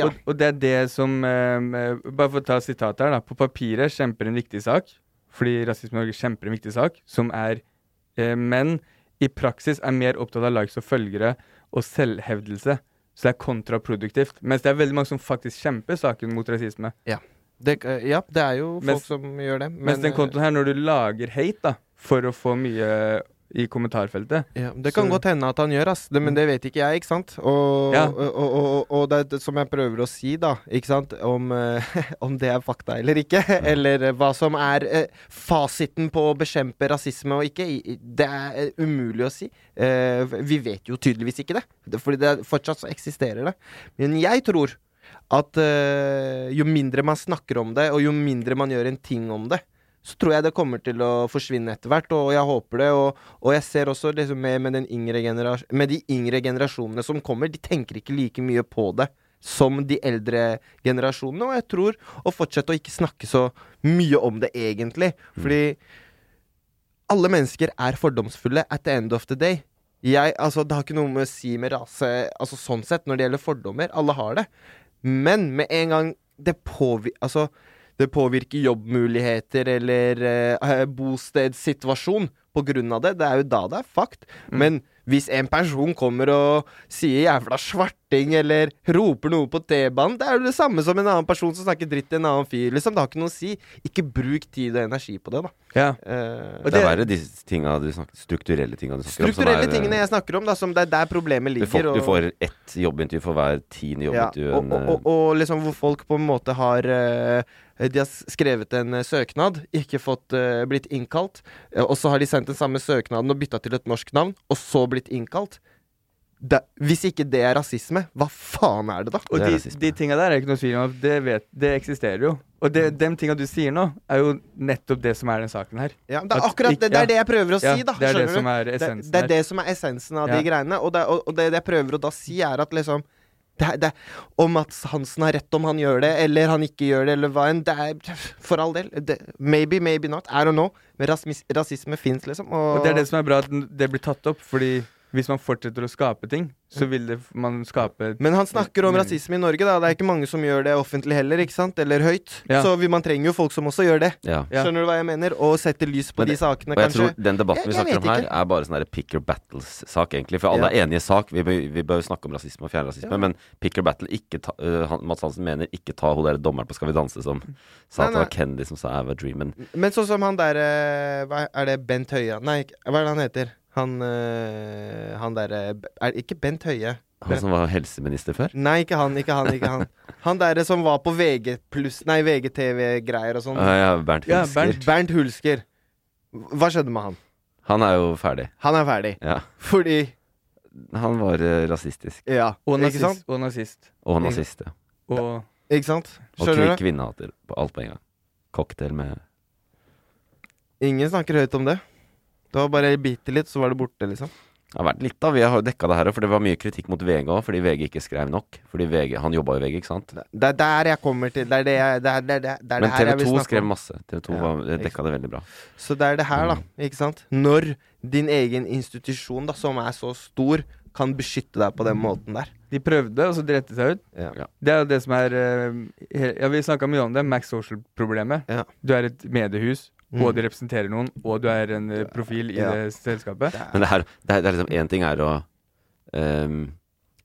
[SPEAKER 3] og, og det er det som eh, Bare for å ta sitatet her, da. På papiret kjemper en viktig sak, fordi Rasisme i Norge kjemper en viktig sak, som er eh, menn i praksis er mer opptatt av likes og følgere og selvhevdelse. Så det er kontraproduktivt. Mens det er veldig mange som faktisk kjemper saken mot rasisme.
[SPEAKER 4] Ja, det, ja, det er jo folk
[SPEAKER 3] Mens-
[SPEAKER 4] som gjør det.
[SPEAKER 3] mens den kontoen her, når du lager hate da, for å få mye i kommentarfeltet
[SPEAKER 4] Ja, Det kan godt hende at han gjør, ass. Det, men det vet ikke jeg, ikke sant? Og,
[SPEAKER 3] Ja.
[SPEAKER 4] og, og, og, og det, er det som jeg prøver å si, da, ikke sant, om, eh, [laughs] om det er fakta eller ikke, eller eh, hva som er eh, fasiten på å bekjempe rasisme og ikke, i- i- det er eh, umulig å si. Eh, vi vet jo tydeligvis ikke det, Det- fordi det er, fortsatt så eksisterer det. Men jeg tror at eh, jo mindre man snakker om det, og jo mindre man gjør en ting om det, så tror jeg det kommer til å forsvinne etter hvert, og jeg håper det. Og, og jeg ser også liksom med, med, den yngre generas- med de yngre generasjonene som kommer, de tenker ikke like mye på det som de eldre generasjonene. Og jeg tror å fortsette å ikke snakke så mye om det, egentlig. Fordi alle mennesker er fordomsfulle at the end of the day. Jeg, altså, det har ikke noe med å si med rase Altså sånn sett, når det gjelder fordommer. Alle har det. Men med en gang det påvirker Altså, det påvirker jobbmuligheter eller eh, bostedssituasjon på grunn av det. Det er jo da det er fucked. Men hvis en person kommer og sier jævla svarting eller roper noe på T-banen, det er jo det samme som en annen person som snakker dritt til en annen fyr. Liksom, det har ikke noe å si. Ikke bruk tid og energi på det, da.
[SPEAKER 3] Ja.
[SPEAKER 4] Eh,
[SPEAKER 2] det, er verre de tinga du snakker, strukturelle tinga du snakker
[SPEAKER 4] Strukturelle
[SPEAKER 2] om. som er, eh,
[SPEAKER 4] tingene jeg snakker om, da, som det er der problemet
[SPEAKER 2] du,
[SPEAKER 4] ligger.
[SPEAKER 2] får, du
[SPEAKER 4] og-
[SPEAKER 2] får ett jobbintervju for hver tiende jobbintervju.
[SPEAKER 4] ja, og,
[SPEAKER 2] en,
[SPEAKER 4] og, og, og liksom hvor folk på en måte har eh, De har s- skrevet en eh, søknad, ikke fått eh, blitt innkalt, eh, og så har de sendt den samme søknaden og bytta til et norsk navn, og så blitt innkalt. Da, hvis ikke det er rasisme, hva faen er det da?
[SPEAKER 3] Og de, de tinga der er ikke noe tvil om. at Det, vet, det eksisterer jo. Og det,
[SPEAKER 2] Mm.
[SPEAKER 3] de tinga du sier nå, er jo nettopp det som er den saken her.
[SPEAKER 4] Ja, men det er
[SPEAKER 3] At
[SPEAKER 4] akkurat
[SPEAKER 3] ikk-
[SPEAKER 4] det, det
[SPEAKER 3] ja.
[SPEAKER 4] er det jeg prøver å si,
[SPEAKER 3] Ja, Det
[SPEAKER 4] da.
[SPEAKER 3] er det
[SPEAKER 4] skjønner
[SPEAKER 3] som er
[SPEAKER 4] du?
[SPEAKER 3] essensen
[SPEAKER 4] det, det
[SPEAKER 3] her.
[SPEAKER 4] er det som er essensen av de
[SPEAKER 3] Ja.
[SPEAKER 4] greiene. Og det, og, og det jeg prøver å da si, er at liksom det, er- det, er- Om Mats Hansen har rett om han gjør det, eller han ikke gjør det, eller hva enn. Det er for all del. Det, maybe, maybe not. I don't know. Men rasmis, rasisme fins, liksom. Og,
[SPEAKER 3] Og det er det som er bra at n- det blir tatt opp, fordi hvis man fortsetter å skape ting, så vil det, f- man skape
[SPEAKER 4] Men han snakker om
[SPEAKER 3] mening.
[SPEAKER 4] rasisme i Norge, da. Det er ikke mange som gjør det offentlig heller, ikke sant? Eller høyt.
[SPEAKER 2] Ja.
[SPEAKER 4] Så vi, man trenger jo folk som også gjør det.
[SPEAKER 2] eh, Ja. Ja.
[SPEAKER 4] Skjønner du hva jeg mener? Og setter lys på
[SPEAKER 2] Men det-
[SPEAKER 4] de
[SPEAKER 2] og
[SPEAKER 4] sakene,
[SPEAKER 2] jeg
[SPEAKER 4] kanskje.
[SPEAKER 2] tror Den debatten vi
[SPEAKER 4] Jeg- jeg
[SPEAKER 2] snakker om
[SPEAKER 4] vet
[SPEAKER 2] her,
[SPEAKER 4] ikke.
[SPEAKER 2] er bare sånn der pick your battles-sak, egentlig. For alle
[SPEAKER 4] Ja.
[SPEAKER 2] er enige i sak. Vi bør, vi bør snakke om rasisme og fjernrasisme.
[SPEAKER 4] Ja.
[SPEAKER 2] Men pick your battle ikke ta, øh, han, Mads Hansen mener ikke ta hun der dommeren på Skal vi danse som sa
[SPEAKER 4] Nei,
[SPEAKER 2] at det var
[SPEAKER 4] nei.
[SPEAKER 2] Kennedy som sa I have a dream. Men
[SPEAKER 4] Men sånn som han der eh, hva Er det Bent Høie? Nei, ikke- hva er det han heter? Han, eh, han derre Er det ikke Bent Høie?
[SPEAKER 2] han som var helseminister før?
[SPEAKER 4] Nei, ikke han, ikke han, ikke han. Han derre som var på VG pluss Nei, VGTV-greier og sånn.
[SPEAKER 2] Ja, Ah, ja, Bernt Ja, Hulsker. Bernt-
[SPEAKER 4] Bernt Hulsker. Hva skjedde med han?
[SPEAKER 2] Han er jo ferdig.
[SPEAKER 4] Han er ferdig.
[SPEAKER 2] Ja.
[SPEAKER 4] Fordi
[SPEAKER 2] Han var øh, rasistisk.
[SPEAKER 4] Ja.
[SPEAKER 3] Og
[SPEAKER 4] ikke sant?
[SPEAKER 3] nazist. Og nazist.
[SPEAKER 2] Og nazist, ja.
[SPEAKER 3] Og
[SPEAKER 4] Ikke sant?
[SPEAKER 2] Og
[SPEAKER 4] Mm. Skjønner
[SPEAKER 2] kvin-
[SPEAKER 4] du?
[SPEAKER 2] kvinnehater. på Alt på en gang. Cocktail med
[SPEAKER 4] Ingen snakker høyt om det. Det var bare bitte litt, så var det borte, liksom.
[SPEAKER 2] Det har vært litt, da. Vi har jo dekka det her òg, for det var mye kritikk mot VG òg, fordi VG ikke skrev nok. Fordi VG, Han jobba i VG, ikke sant?
[SPEAKER 4] Det er der jeg kommer til. Det er det jeg det er, det er, det er det
[SPEAKER 2] Men
[SPEAKER 4] her jeg
[SPEAKER 2] TV
[SPEAKER 4] vil
[SPEAKER 2] 2
[SPEAKER 4] snakke
[SPEAKER 2] skrev
[SPEAKER 4] om.
[SPEAKER 2] masse. TV 2
[SPEAKER 4] Ja,
[SPEAKER 2] var,
[SPEAKER 4] ikke
[SPEAKER 2] dekka det veldig bra.
[SPEAKER 4] Så det er det her, da. Ikke sant? Når din egen institusjon, da, som er så stor, kan beskytte deg på den måten der.
[SPEAKER 3] De prøvde, og så dreit de seg ut. Det er jo det som er eh, he- Ja, vi snakka mye om det. Max Social-problemet. Du er et mediehus,
[SPEAKER 2] Mm.
[SPEAKER 3] og du representerer noen, og du er en eh, profil i
[SPEAKER 2] Ja.
[SPEAKER 3] det selskapet.
[SPEAKER 2] Men det er, det er, det er liksom én ting er å ehm,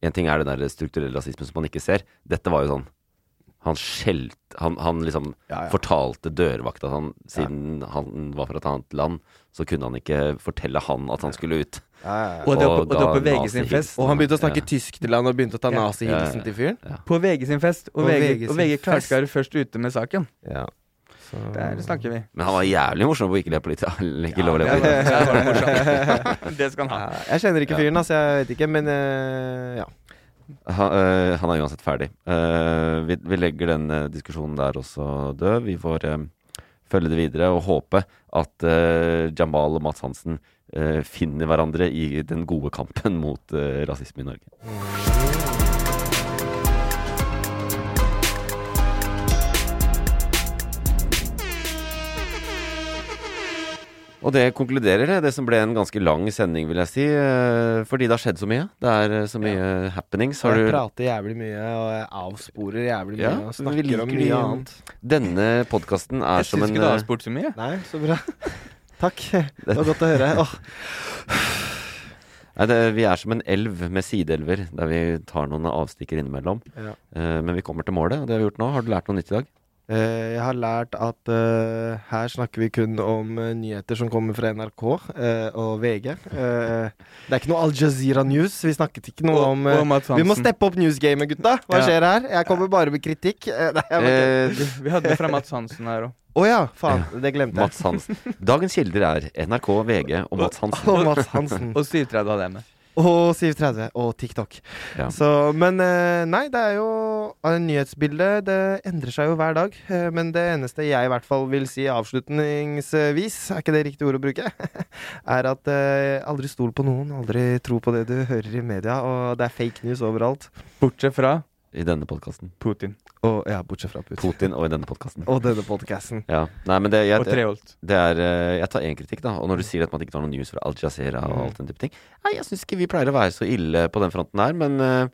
[SPEAKER 2] En ting er den der strukturelle rasismen som man ikke ser. Dette var jo sånn Han skjelte Han, han liksom fortalte dørvakta at han Siden han var fra et annet land, så kunne han ikke fortelle han at han skulle ut.
[SPEAKER 3] Og det var på- og det var på
[SPEAKER 2] ga
[SPEAKER 3] VG sin
[SPEAKER 2] nazihilsen.
[SPEAKER 3] fest.
[SPEAKER 4] Og han begynte å snakke
[SPEAKER 2] Ja.
[SPEAKER 4] tysk til han og begynte å ta
[SPEAKER 3] Ja.
[SPEAKER 4] nazihilsen
[SPEAKER 2] Ja, ja,
[SPEAKER 4] til fyren.
[SPEAKER 3] På VG sin fest, Mm. og,
[SPEAKER 4] Og
[SPEAKER 3] VG,
[SPEAKER 4] VG
[SPEAKER 3] og
[SPEAKER 4] sin
[SPEAKER 3] VG klarte
[SPEAKER 4] fest.
[SPEAKER 3] ikke å være først ute med saken.
[SPEAKER 4] Ja.
[SPEAKER 3] Der snakker vi.
[SPEAKER 2] Men han var jævlig morsom på Ikke le på litt. Ikke lov å le
[SPEAKER 3] Ja,
[SPEAKER 2] på litt.
[SPEAKER 3] der var [laughs] det [laughs] morsomt. Det skal han ha.
[SPEAKER 4] Ja, Jeg kjenner ikke
[SPEAKER 2] Ja.
[SPEAKER 4] fyren, altså. Jeg vet ikke, men eh, ja.
[SPEAKER 2] Han, øh, han er uansett ferdig. Eh, vi, vi legger den eh, diskusjonen der også død. Vi får eh, følge det videre og håpe at eh, Jamal og Mats Hansen eh, finner hverandre i den gode kampen mot eh, rasisme i Norge. Og det konkluderer det, det som ble en ganske lang sending, vil jeg si. eh, Fordi det har skjedd så mye. Det er eh, så mye happenings. Har
[SPEAKER 4] Jeg
[SPEAKER 2] du
[SPEAKER 4] prater jævlig mye, og jeg avsporer jævlig mye,
[SPEAKER 2] Ja,
[SPEAKER 4] og
[SPEAKER 2] vi
[SPEAKER 4] snakker
[SPEAKER 2] liker
[SPEAKER 4] om
[SPEAKER 2] de-
[SPEAKER 4] mye annet.
[SPEAKER 2] Denne podkasten er
[SPEAKER 3] Jeg
[SPEAKER 2] som
[SPEAKER 3] syns
[SPEAKER 2] en
[SPEAKER 3] ikke du har
[SPEAKER 2] eh,
[SPEAKER 3] spurt så mye.
[SPEAKER 4] Nei, så [laughs] bra. Takk. Det var godt å høre. Åh.
[SPEAKER 2] Nei, det, vi er som en elv med sideelver, der vi tar noen avstikker innimellom.
[SPEAKER 4] Ja.
[SPEAKER 2] Eh, men vi kommer til målet, og det har vi gjort nå. Har du lært noe nytt i dag?
[SPEAKER 4] Eh, jeg har lært at eh, her snakker vi kun om eh, nyheter som kommer fra NRK eh, og VG. Eh, det er ikke noe Al Jazeera News. Vi snakket ikke noe
[SPEAKER 3] Og-
[SPEAKER 4] om eh,
[SPEAKER 3] og Mads
[SPEAKER 4] Vi må
[SPEAKER 3] Hansen.
[SPEAKER 4] steppe opp newsgamet, gutta. Hva
[SPEAKER 3] Ja.
[SPEAKER 4] skjer her? Jeg kommer bare med kritikk. Eh, nei, jeg bare-
[SPEAKER 3] Vi vi hadde det fra Mats Hansen her òg.
[SPEAKER 4] Å ja, faen. Det glemte jeg.
[SPEAKER 2] Eh, Mats Hansen. Dagens kilder er NRK, VG og Mats Hansen.
[SPEAKER 4] [laughs] Og Mads Hansen.
[SPEAKER 3] Og 37 hadde jeg med.
[SPEAKER 4] Og 730 og TikTok.
[SPEAKER 2] Ja.
[SPEAKER 4] Så, men eh, nei, det er jo eh, Nyhetsbildet det endrer seg jo hver dag. eh, Men det eneste jeg i hvert fall vil si avslutningsvis, er ikke det riktige ord å bruke, [laughs] er at eh, aldri stol på noen. Aldri tro på det du hører i media. Og det er fake news overalt.
[SPEAKER 3] Bortsett fra
[SPEAKER 2] I denne podkasten.
[SPEAKER 3] Putin.
[SPEAKER 4] Og, ja, bortsett fra Putin.
[SPEAKER 2] Putin og i denne podkasten.
[SPEAKER 4] Og denne podcasten.
[SPEAKER 2] Ja. Nei, men det, jeg,
[SPEAKER 3] Og Treholt.
[SPEAKER 2] Det er, eh, jeg tar én kritikk, da. Og når du sier at man ikke tar noen news fra Al Jazeera og
[SPEAKER 3] Mm.
[SPEAKER 2] alt den type ting Nei, jeg syns ikke vi pleier å være så ille på den fronten her, men eh,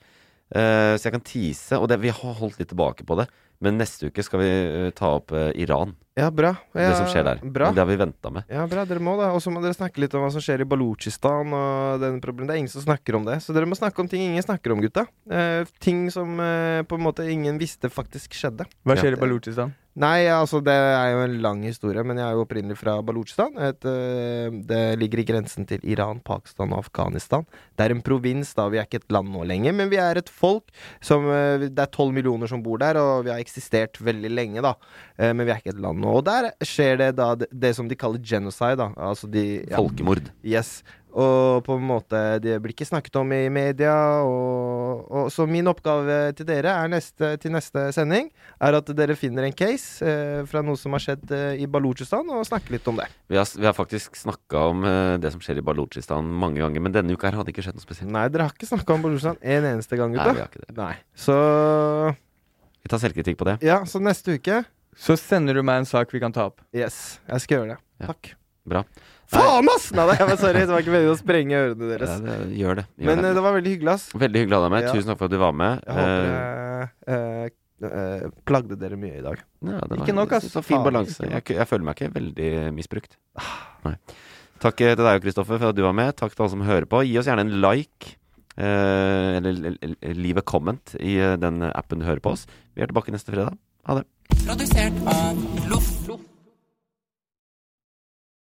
[SPEAKER 2] eh, Så jeg kan tease, og det, vi har holdt litt tilbake på det. Men neste uke skal vi eh, ta opp eh, Iran.
[SPEAKER 4] Ja, bra. Ja,
[SPEAKER 2] det som skjer der.
[SPEAKER 4] Bra.
[SPEAKER 2] Men Det har vi venta med.
[SPEAKER 4] Ja, bra, dere må det. Og så må dere snakke litt om hva som skjer i Balutsjistan. og den problemen. Det er ingen som snakker om det. Så dere må snakke om ting ingen snakker om, gutta. Eh, ting som eh, på en måte ingen visste faktisk skjedde.
[SPEAKER 3] Hva skjer i Balutsjistan?
[SPEAKER 4] Nei, altså det er jo en lang historie, men jeg er jo opprinnelig fra Balutsjistan. Et, eh, det ligger i grensen til Iran, Pakistan og Afghanistan. Det er en provins, da. Vi er ikke et land nå lenger, men vi er et folk som eh, Det er tolv millioner som bor der, og vi har eksistert veldig lenge, da. Eh, Men vi er ikke et land nå. Og der skjer det da det, det som de kaller genocide, da. Altså de ja.
[SPEAKER 2] Folkemord.
[SPEAKER 4] Yes. Og på en måte det blir ikke snakket om i media. Og, og, så min oppgave til dere er neste, til neste sending er at dere finner en case eh, fra noe som har skjedd eh, i Balutsjistan, og snakker litt om det.
[SPEAKER 2] Vi har, vi har faktisk snakka om eh, det som skjer i Balutsjistan mange ganger, men denne uka her hadde ikke skjedd noe spesielt.
[SPEAKER 4] Nei, dere har ikke snakka om Balutsjistan en eneste gang, gutta.
[SPEAKER 2] Nei, vi har ikke det.
[SPEAKER 4] Så
[SPEAKER 2] Vi tar selvkritikk på det.
[SPEAKER 4] ja, så neste uke
[SPEAKER 3] Så sender du meg en sak vi kan ta opp.
[SPEAKER 4] Yes, jeg skal gjøre det. Takk.
[SPEAKER 2] Bra.
[SPEAKER 4] Faen, ass! Nei, nei, jeg var sorry. Det var ikke meningen å sprenge ørene
[SPEAKER 2] Ja,
[SPEAKER 4] deres.
[SPEAKER 2] det- gjør det. Gjør
[SPEAKER 4] Men
[SPEAKER 2] det.
[SPEAKER 4] eh, det var veldig hyggelig, ass.
[SPEAKER 2] Veldig hyggelig å ha deg med.
[SPEAKER 4] Ja.
[SPEAKER 2] Tusen takk for at du var med. Eh,
[SPEAKER 4] Jeg håper jeg eh, eh, plagde dere mye i dag.
[SPEAKER 2] Eh, ja, det var
[SPEAKER 4] ikke nok,
[SPEAKER 2] en
[SPEAKER 4] ass.
[SPEAKER 2] Så fin
[SPEAKER 4] Faen,
[SPEAKER 2] balanse.
[SPEAKER 4] ikke
[SPEAKER 2] Jeg,
[SPEAKER 4] nok. Ah.
[SPEAKER 2] jeg føler meg ikke veldig misbrukt. Nei. Takk eh, til deg, Kristoffer, for at du var med. Takk til alle som hører på. Gi oss gjerne en like. eh, eller l- l- leave a comment i eh, den appen du hører på oss. Vi er tilbake neste fredag. Ha det.
[SPEAKER 6] Produsert av Loff.